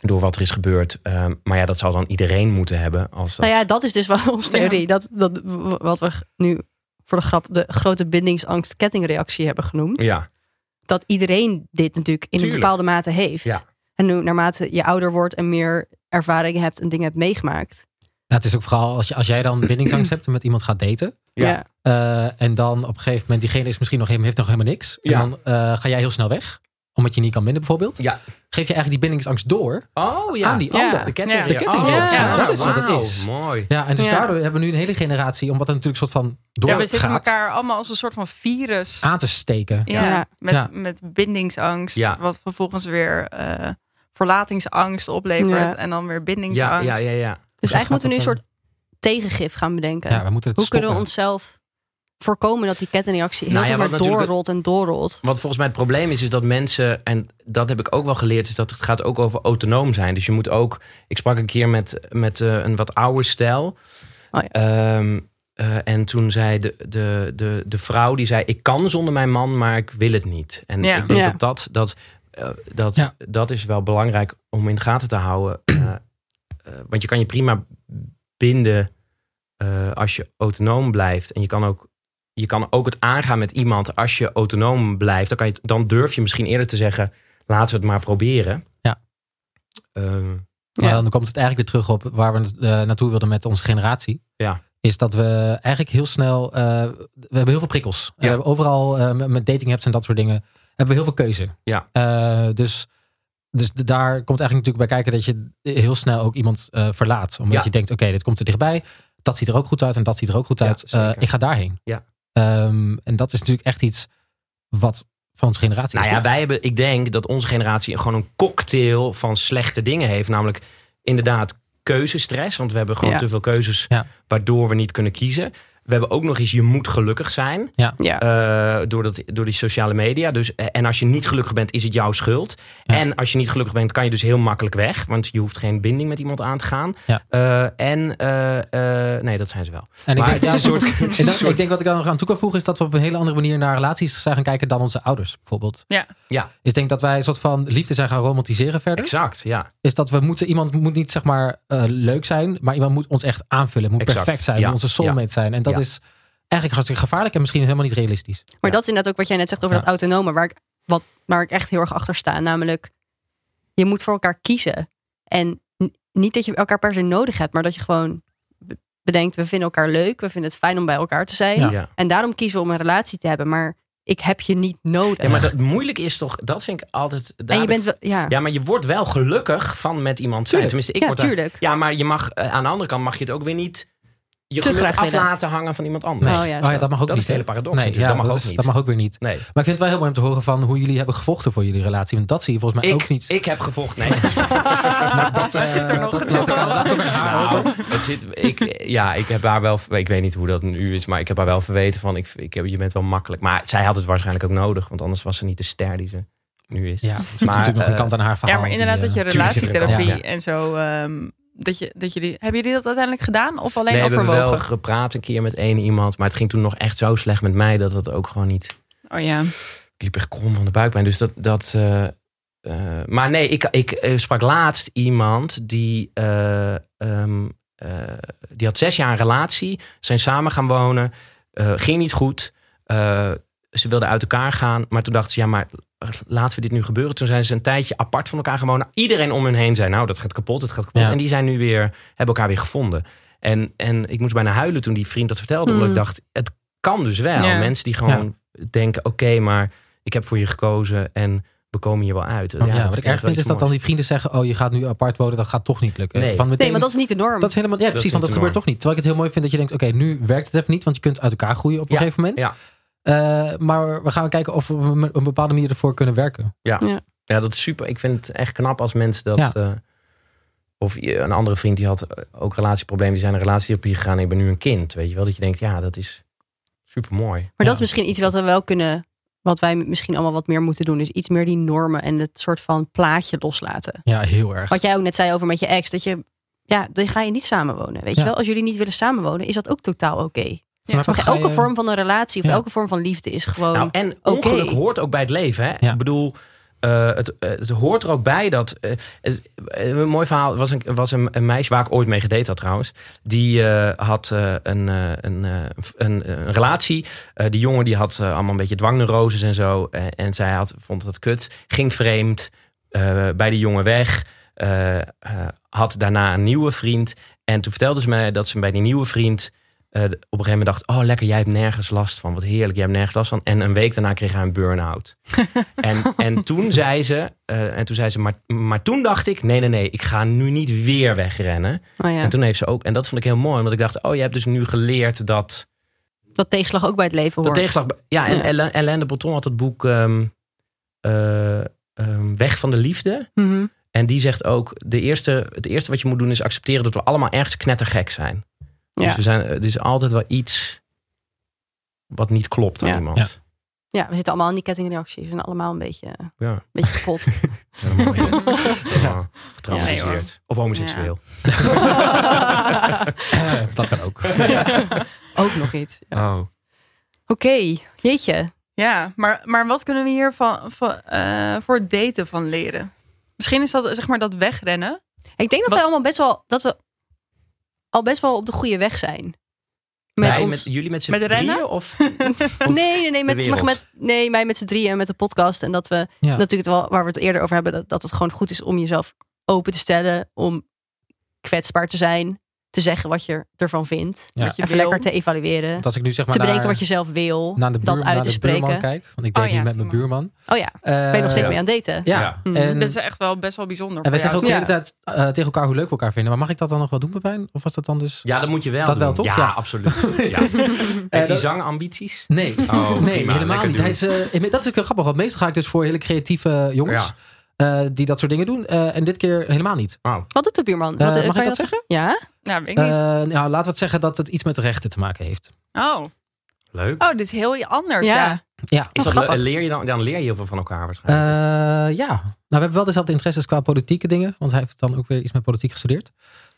[SPEAKER 2] Door wat er is gebeurd. Ehm, maar ja, dat zal dan iedereen moeten hebben. Als dat...
[SPEAKER 3] Nou ja, dat is dus wel onze theorie. Dat, dat, w- wat we g- nu voor de grap de grote bindingsangst kettingreactie hebben genoemd.
[SPEAKER 2] Ja,
[SPEAKER 3] Dat iedereen dit natuurlijk in
[SPEAKER 2] Tuurlijk.
[SPEAKER 3] een bepaalde mate heeft.
[SPEAKER 2] Ja.
[SPEAKER 3] En nu naarmate je ouder wordt en meer ervaring hebt en dingen hebt
[SPEAKER 1] Ja,
[SPEAKER 3] meegemaakt.
[SPEAKER 1] Nou, het is ook vooral als, je, als jij dan bindingsangst hebt en met iemand gaat daten.
[SPEAKER 2] Ja.
[SPEAKER 1] eh, en dan op een gegeven moment, diegene is misschien nog, helemaal- heeft nog helemaal niks. En
[SPEAKER 2] Ja.
[SPEAKER 1] dan eh, ga jij heel snel weg. Omdat je niet kan binden bijvoorbeeld.
[SPEAKER 2] Ja.
[SPEAKER 1] Geef je eigenlijk die bindingsangst door
[SPEAKER 2] Oh ja.
[SPEAKER 1] aan die
[SPEAKER 3] Ja.
[SPEAKER 1] ander.
[SPEAKER 2] De ketting. Oh, nou,
[SPEAKER 4] Ja.
[SPEAKER 1] De kettingreactie, dat is wat het
[SPEAKER 2] wauw,
[SPEAKER 1] is.
[SPEAKER 2] Mooi.
[SPEAKER 1] Ja, en dus
[SPEAKER 3] Ja.
[SPEAKER 1] daardoor hebben we nu een hele generatie, omdat het natuurlijk een soort van
[SPEAKER 4] Ja, we
[SPEAKER 1] doorgaat,
[SPEAKER 4] zitten elkaar allemaal als een soort van virus.
[SPEAKER 2] Ah,
[SPEAKER 1] aan te steken.
[SPEAKER 4] Ja,
[SPEAKER 3] Ja.
[SPEAKER 4] Met,
[SPEAKER 1] Ja.
[SPEAKER 4] met bindingsangst.
[SPEAKER 2] Ja.
[SPEAKER 4] Wat vervolgens weer eh, verlatingsangst oplevert.
[SPEAKER 3] Ja.
[SPEAKER 4] En dan weer
[SPEAKER 2] Ja,
[SPEAKER 4] bindingsangst.
[SPEAKER 2] ja, ja, ja.
[SPEAKER 3] Dus
[SPEAKER 1] Ja,
[SPEAKER 3] eigenlijk moeten we nu een
[SPEAKER 1] gaat
[SPEAKER 3] soort tegengif gaan bedenken.
[SPEAKER 1] Ja, we moeten het
[SPEAKER 3] Hoe
[SPEAKER 1] stoppen.
[SPEAKER 3] kunnen we onszelf voorkomen dat die kettingreactie heel
[SPEAKER 2] Nou
[SPEAKER 3] veel
[SPEAKER 2] ja,
[SPEAKER 3] maar
[SPEAKER 2] wat natuurlijk-
[SPEAKER 3] doorrolt en doorrolt.
[SPEAKER 2] Wat volgens mij het probleem is, is dat mensen, en dat heb ik ook wel geleerd, is dat het gaat ook over autonoom zijn. Dus je moet ook, ik sprak een keer met, met eh, een wat ouder stijl.
[SPEAKER 3] Oh
[SPEAKER 2] Ehm, eh, en toen zei de, de, de, de vrouw, die zei, ik kan zonder mijn man, maar ik wil het niet. En
[SPEAKER 4] Ja.
[SPEAKER 2] ik denk
[SPEAKER 3] Ja.
[SPEAKER 2] dat dat, dat, eh, dat,
[SPEAKER 1] Ja.
[SPEAKER 2] dat is wel belangrijk om in de gaten te houden. Eh, eh, want je kan je prima binden eh, als je autonoom blijft. En je kan ook je kan ook het aangaan met iemand als je autonoom blijft. Dan, kan je, het- dan durf je misschien eerder te zeggen, laten we het maar proberen.
[SPEAKER 1] Ja.
[SPEAKER 2] Eh,
[SPEAKER 1] Maar
[SPEAKER 3] Ja.
[SPEAKER 1] dan komt het eigenlijk weer terug op waar we eh, naartoe wilden met onze generatie.
[SPEAKER 2] Ja.
[SPEAKER 1] Is dat we eigenlijk heel snel. eh, we hebben heel veel prikkels. En we hebben overal eh, met met dating apps en dat soort dingen. Hebben we heel veel keuze.
[SPEAKER 2] Ja.
[SPEAKER 1] Eh, dus dus de- daar komt eigenlijk natuurlijk bij kijken dat je heel snel ook iemand eh, verlaat. Omdat
[SPEAKER 2] Ja.
[SPEAKER 1] je denkt: oké, dit komt er dichtbij. Dat ziet er ook goed uit en dat ziet er ook goed
[SPEAKER 2] Ja,
[SPEAKER 1] uit. Eh,
[SPEAKER 2] zeker.
[SPEAKER 1] ik ga daarheen.
[SPEAKER 2] Ja.
[SPEAKER 1] Ehm, en dat is natuurlijk echt iets wat van onze generatie
[SPEAKER 2] nou
[SPEAKER 1] is.
[SPEAKER 2] ja, wij hebben, ik denk dat onze generatie gewoon een cocktail van slechte dingen heeft. Namelijk inderdaad keuzestress. Want we hebben gewoon
[SPEAKER 3] Ja.
[SPEAKER 2] te veel keuzes
[SPEAKER 1] Ja.
[SPEAKER 2] waardoor we niet kunnen kiezen. We hebben ook nog eens, je moet gelukkig zijn.
[SPEAKER 3] Ja.
[SPEAKER 2] Eh, door, dat, door die sociale media. Dus, eh, en als je niet gelukkig bent, is het jouw schuld.
[SPEAKER 1] Ja.
[SPEAKER 2] En als je niet gelukkig bent, kan je dus heel makkelijk weg. Want je hoeft geen binding met iemand aan te gaan.
[SPEAKER 1] Ja.
[SPEAKER 2] Eh, en eh, eh, nee, dat zijn ze wel.
[SPEAKER 1] en
[SPEAKER 2] maar
[SPEAKER 1] denk
[SPEAKER 2] het is een
[SPEAKER 1] daar-
[SPEAKER 2] soort. het is
[SPEAKER 1] En
[SPEAKER 2] een
[SPEAKER 1] dan-
[SPEAKER 2] soort-
[SPEAKER 1] Ik denk wat ik daar nog aan toe kan voegen is dat we op een hele andere manier naar relaties zijn gaan kijken dan onze ouders bijvoorbeeld.
[SPEAKER 4] Ja.
[SPEAKER 2] Ja.
[SPEAKER 1] Is ik denk dat wij een soort van liefde zijn gaan romantiseren verder.
[SPEAKER 2] Exact, ja.
[SPEAKER 1] Is dat we moeten, iemand moet niet zeg maar eh, leuk zijn, maar iemand moet ons echt aanvullen. Moet
[SPEAKER 2] Exact,
[SPEAKER 1] perfect zijn,
[SPEAKER 2] ja,
[SPEAKER 1] moet onze soulmate zijn. En dat
[SPEAKER 2] ja.
[SPEAKER 1] is eigenlijk hartstikke gevaarlijk en misschien helemaal niet realistisch.
[SPEAKER 4] Oh
[SPEAKER 3] Maar
[SPEAKER 2] Ja.
[SPEAKER 3] dat is inderdaad ook wat jij net zegt over
[SPEAKER 1] Ja.
[SPEAKER 3] dat autonome, waar ik, wat, waar ik echt heel erg achter sta. Namelijk, je moet voor elkaar kiezen. En n- niet dat je elkaar per se nodig hebt, maar dat je gewoon be- bedenkt, we vinden elkaar leuk, we vinden het fijn om bij elkaar te zijn.
[SPEAKER 2] ja.
[SPEAKER 1] Ja.
[SPEAKER 2] ja.
[SPEAKER 3] En daarom kiezen we om een relatie te hebben, maar ik heb je niet nodig.
[SPEAKER 2] maar dat moeilijk is toch, dat vind ik altijd. daar
[SPEAKER 3] en
[SPEAKER 2] heb
[SPEAKER 3] je bent
[SPEAKER 2] ik-
[SPEAKER 3] wel, ja,
[SPEAKER 2] Ja, maar je wordt wel gelukkig van met iemand zijn.
[SPEAKER 1] Tuurlijk.
[SPEAKER 2] Tenminste, ik
[SPEAKER 3] ja,
[SPEAKER 2] word daar-
[SPEAKER 3] tuurlijk.
[SPEAKER 2] Ja, maar je mag, eh, aan de andere kant mag je het ook weer niet. Je
[SPEAKER 3] Te
[SPEAKER 2] geluk
[SPEAKER 3] graag
[SPEAKER 2] af
[SPEAKER 3] willen.
[SPEAKER 2] laten hangen van iemand anders.
[SPEAKER 3] Oh ja,
[SPEAKER 1] Oh ja,
[SPEAKER 3] zo.
[SPEAKER 1] dat mag ook
[SPEAKER 2] Dat
[SPEAKER 1] niet.
[SPEAKER 2] is de hele
[SPEAKER 1] hè?
[SPEAKER 2] paradox
[SPEAKER 1] Nee,
[SPEAKER 2] natuurlijk.
[SPEAKER 1] ja,
[SPEAKER 2] Dat mag ook
[SPEAKER 1] is-
[SPEAKER 2] niet.
[SPEAKER 1] dat mag ook weer niet.
[SPEAKER 2] Nee.
[SPEAKER 1] Maar ik vind het wel heel mooi om te horen van hoe jullie hebben gevochten voor jullie relatie. Want dat zie je volgens mij
[SPEAKER 2] Ik,
[SPEAKER 1] ook niet.
[SPEAKER 2] ik heb gevochten. Nee.
[SPEAKER 1] dat,
[SPEAKER 4] Wat zit er
[SPEAKER 1] eh,
[SPEAKER 4] nog
[SPEAKER 1] dat-
[SPEAKER 4] in?
[SPEAKER 1] dat kan- dat kan ik herhalen.
[SPEAKER 2] Nou, het zit, ik, ja, ik heb haar wel. Ik weet niet hoe dat nu is, maar ik heb haar wel verweten van. Ik, ik heb, je bent wel makkelijk. Maar zij had het waarschijnlijk ook nodig, want anders was ze niet de ster die ze nu is.
[SPEAKER 1] Ja, er zit
[SPEAKER 2] Maar,
[SPEAKER 1] natuurlijk nog een
[SPEAKER 2] eh,
[SPEAKER 1] kant aan haar verhaal.
[SPEAKER 4] ja, maar
[SPEAKER 1] die,
[SPEAKER 4] inderdaad
[SPEAKER 1] eh,
[SPEAKER 4] dat je
[SPEAKER 2] tuurlijk zit er een
[SPEAKER 4] relatietherapie
[SPEAKER 2] kans,
[SPEAKER 4] en zo... ehm, dat je, dat jullie, hebben jullie dat uiteindelijk gedaan of alleen
[SPEAKER 2] nee, we hebben wel
[SPEAKER 4] overwogen?
[SPEAKER 2] gepraat een keer met één iemand, maar het ging toen nog echt zo slecht met mij dat dat ook gewoon niet.
[SPEAKER 4] Oh ja.
[SPEAKER 2] Ik liep echt krom van de buikpijn. Dus dat. dat eh, eh, maar nee, ik, ik eh, sprak laatst iemand die. eh, ehm, eh, die had zes jaar een relatie. Zijn samen gaan wonen. eh, ging niet goed. eh, ze wilden uit elkaar gaan. Maar toen dachten ze, ja, maar laten we dit nu gebeuren. Toen zijn ze een tijdje apart van elkaar gaan wonen. Iedereen om hen heen zei, nou, dat gaat kapot, dat gaat kapot.
[SPEAKER 1] Ja.
[SPEAKER 2] En die zijn nu weer, hebben elkaar weer gevonden. En, en ik moest bijna huilen toen die vriend dat vertelde. Omdat
[SPEAKER 3] Hmm.
[SPEAKER 2] ik dacht, het kan dus wel.
[SPEAKER 4] Mm. Ja.
[SPEAKER 2] Mensen die gewoon denken, oké, maar ik heb voor je gekozen en we komen hier wel uit.
[SPEAKER 1] Oh, Ja, wat ik erg
[SPEAKER 2] echt wel
[SPEAKER 1] vind
[SPEAKER 2] iets
[SPEAKER 1] is dat dan die vrienden zeggen: Oh, je gaat nu apart wonen, dat gaat toch niet lukken.
[SPEAKER 2] Nee.
[SPEAKER 1] Van meteen,
[SPEAKER 3] Nee, maar dat is niet de norm.
[SPEAKER 1] dat is helemaal. Ja,
[SPEAKER 2] Dat
[SPEAKER 1] precies,
[SPEAKER 2] is
[SPEAKER 1] want dat
[SPEAKER 2] niet
[SPEAKER 1] gebeurt
[SPEAKER 2] de
[SPEAKER 1] toch niet. Terwijl ik het heel mooi vind dat je denkt: Oké, nu werkt het even niet, want je kunt uit elkaar groeien op een
[SPEAKER 2] Ja,
[SPEAKER 1] gegeven moment.
[SPEAKER 2] ja.
[SPEAKER 1] Eh, maar we gaan kijken of we op een bepaalde manier ervoor kunnen werken.
[SPEAKER 2] Ja, dat is super. Ik vind het echt knap als mensen dat...
[SPEAKER 1] Ja.
[SPEAKER 2] eh, of je- een andere vriend die had eh, ook relatieproblemen, die zijn naar relatietherapie gegaan. en Ik ben nu een kind, weet je wel. Dat je denkt, ja, dat is super mooi.
[SPEAKER 3] Maar
[SPEAKER 1] Ja.
[SPEAKER 3] dat is misschien iets wat we wel kunnen, wat wij misschien allemaal wat meer moeten doen. Is iets meer die normen en het soort van plaatje loslaten.
[SPEAKER 1] Ja, heel erg.
[SPEAKER 3] Wat jij ook net zei over met je ex, dat je, ja, dan ga je niet samenwonen. Weet
[SPEAKER 1] Ja.
[SPEAKER 3] je wel, als jullie niet willen samenwonen, is dat ook totaal oké.
[SPEAKER 1] Van mij
[SPEAKER 4] Ja,
[SPEAKER 1] mag
[SPEAKER 3] Elke
[SPEAKER 1] zij,
[SPEAKER 3] vorm van een relatie of
[SPEAKER 1] ja.
[SPEAKER 3] elke vorm van liefde is gewoon.
[SPEAKER 2] Nou, en
[SPEAKER 3] oké.
[SPEAKER 2] ongeluk hoort ook bij het leven. Hè?
[SPEAKER 1] Ja.
[SPEAKER 2] Ik bedoel, eh, het, eh, het hoort er ook bij dat. eh, het- eh, een mooi verhaal. Er was, een, was een, een meisje waar ik ooit mee gedate had trouwens. Die eh, had eh, een, eh, een, eh, een, een relatie. Eh, die jongen die had eh, allemaal een beetje dwangneuroses en zo. Eh, en zij had, vond dat kut. Ging vreemd. eh, bij die jongen weg. Eh, eh, had daarna een nieuwe vriend. En toen vertelde ze mij dat ze bij die nieuwe vriend eh, op een gegeven moment dacht: Oh, lekker, jij hebt nergens last van. Wat heerlijk, jij hebt nergens last van. En een week daarna kreeg hij een burn-out. en, en toen zei ze: eh, En toen zei ze, maar, maar toen dacht ik: Nee, nee, nee, ik ga nu niet weer wegrennen.
[SPEAKER 3] Oh ja.
[SPEAKER 2] En toen heeft ze ook, en dat vond ik heel mooi, omdat ik dacht: Oh, je hebt dus nu geleerd dat.
[SPEAKER 3] Dat tegenslag ook bij het leven hoort.
[SPEAKER 2] Dat tegenslag. Ja, en
[SPEAKER 3] Ja.
[SPEAKER 2] Hélène- Hélène de Breton had het boek ehm, eh, ehm, Weg van de Liefde.
[SPEAKER 3] Mhm.
[SPEAKER 2] En die zegt ook, de eerste, het eerste wat je moet doen is accepteren dat we allemaal ergens knettergek zijn.
[SPEAKER 3] Ja.
[SPEAKER 2] Dus we zijn, het is altijd wel iets wat niet klopt aan
[SPEAKER 3] Ja.
[SPEAKER 2] iemand.
[SPEAKER 3] Ja, we zitten allemaal in die kettingreacties. We zijn allemaal een beetje, eh, een
[SPEAKER 2] Ja.
[SPEAKER 3] beetje kapot.
[SPEAKER 2] helemaal ja.
[SPEAKER 4] Nee, hoor.
[SPEAKER 2] Of homoseksueel.
[SPEAKER 1] dat kan ook.
[SPEAKER 3] Ook nog iets. Ja.
[SPEAKER 2] Oh.
[SPEAKER 3] Oké, jeetje.
[SPEAKER 4] Ja, maar, maar wat kunnen we hier van, van, eh, voor het daten van leren? Misschien is dat zeg maar dat wegrennen.
[SPEAKER 3] Ik denk dat
[SPEAKER 4] Wat-
[SPEAKER 3] wij allemaal best wel, dat we al best wel op de goede weg zijn. Met
[SPEAKER 2] Wij
[SPEAKER 3] ons...
[SPEAKER 2] met, jullie met z'n
[SPEAKER 4] Met rennen?
[SPEAKER 2] drieën? Of?
[SPEAKER 3] Nee, nee, nee. Met,
[SPEAKER 2] wereld.
[SPEAKER 3] met, nee, mij met z'n drieën en met de podcast. En dat we
[SPEAKER 1] Ja.
[SPEAKER 3] natuurlijk het wel, waar we het eerder over hebben, dat, dat het gewoon goed is om jezelf open te stellen, om kwetsbaar te zijn, te zeggen wat je ervan vindt.
[SPEAKER 1] Ja.
[SPEAKER 4] Wat je
[SPEAKER 3] Even
[SPEAKER 4] wil.
[SPEAKER 3] lekker te evalueren.
[SPEAKER 1] Want als ik nu zeg maar
[SPEAKER 3] te bedenken
[SPEAKER 1] naar,
[SPEAKER 3] wat je zelf wil.
[SPEAKER 1] naar de, buur,
[SPEAKER 3] dat uit
[SPEAKER 1] naar
[SPEAKER 3] te
[SPEAKER 1] de buurman
[SPEAKER 3] spreken.
[SPEAKER 1] kijk. Want ik deed
[SPEAKER 4] Oh ja,
[SPEAKER 1] niet met mijn
[SPEAKER 4] doe
[SPEAKER 1] buurman. Eh,
[SPEAKER 3] Oh ja, ben je nog steeds
[SPEAKER 2] ja.
[SPEAKER 3] mee aan het daten?
[SPEAKER 1] Ja.
[SPEAKER 2] Ja.
[SPEAKER 3] Mm.
[SPEAKER 1] En,
[SPEAKER 4] Dat is echt wel best wel bijzonder.
[SPEAKER 1] en wij
[SPEAKER 4] voor
[SPEAKER 1] zeggen
[SPEAKER 4] jou.
[SPEAKER 1] ook de hele
[SPEAKER 3] Ja.
[SPEAKER 1] tijd eh, tegen elkaar hoe leuk we elkaar vinden. Maar mag ik dat dan nog wel doen, Pepijn? Of was dat dan dus...
[SPEAKER 2] Ja, dat moet je wel
[SPEAKER 1] Dat
[SPEAKER 2] doen.
[SPEAKER 1] wel, toch?
[SPEAKER 2] Ja,
[SPEAKER 1] Ja.
[SPEAKER 2] absoluut. Ja.
[SPEAKER 1] Eh,
[SPEAKER 2] Heeft hij
[SPEAKER 1] dat-
[SPEAKER 2] zangambities?
[SPEAKER 1] Nee,
[SPEAKER 2] Oh,
[SPEAKER 1] nee
[SPEAKER 2] prima,
[SPEAKER 1] helemaal
[SPEAKER 2] lekker
[SPEAKER 1] niet.
[SPEAKER 2] doen.
[SPEAKER 1] Hij is, eh, dat is ook heel grappig. Want meestal ga ik dus voor hele creatieve jongens
[SPEAKER 2] Ja.
[SPEAKER 1] eh, die dat soort dingen doen. Eh, en dit keer helemaal niet.
[SPEAKER 2] Oh.
[SPEAKER 3] Wat doet de buurman?
[SPEAKER 1] Eh,
[SPEAKER 3] Wat, eh,
[SPEAKER 1] mag
[SPEAKER 3] kan
[SPEAKER 1] ik
[SPEAKER 3] je
[SPEAKER 1] dat zeggen?
[SPEAKER 3] Ja?
[SPEAKER 4] Nou, weet ik niet.
[SPEAKER 1] Eh, nou, laten we het zeggen dat het iets met rechten te maken heeft.
[SPEAKER 4] oh.
[SPEAKER 2] Leuk.
[SPEAKER 4] oh, dit is heel anders. Ja.
[SPEAKER 3] Ja.
[SPEAKER 1] Ja.
[SPEAKER 2] Is dat,
[SPEAKER 3] grappig.
[SPEAKER 2] le- leer je dan, dan leer je heel veel van elkaar
[SPEAKER 1] Eh,
[SPEAKER 2] waarschijnlijk.
[SPEAKER 1] ja, nou, we hebben wel dezelfde interesses qua politieke dingen. Want hij heeft dan ook weer iets met politiek gestudeerd.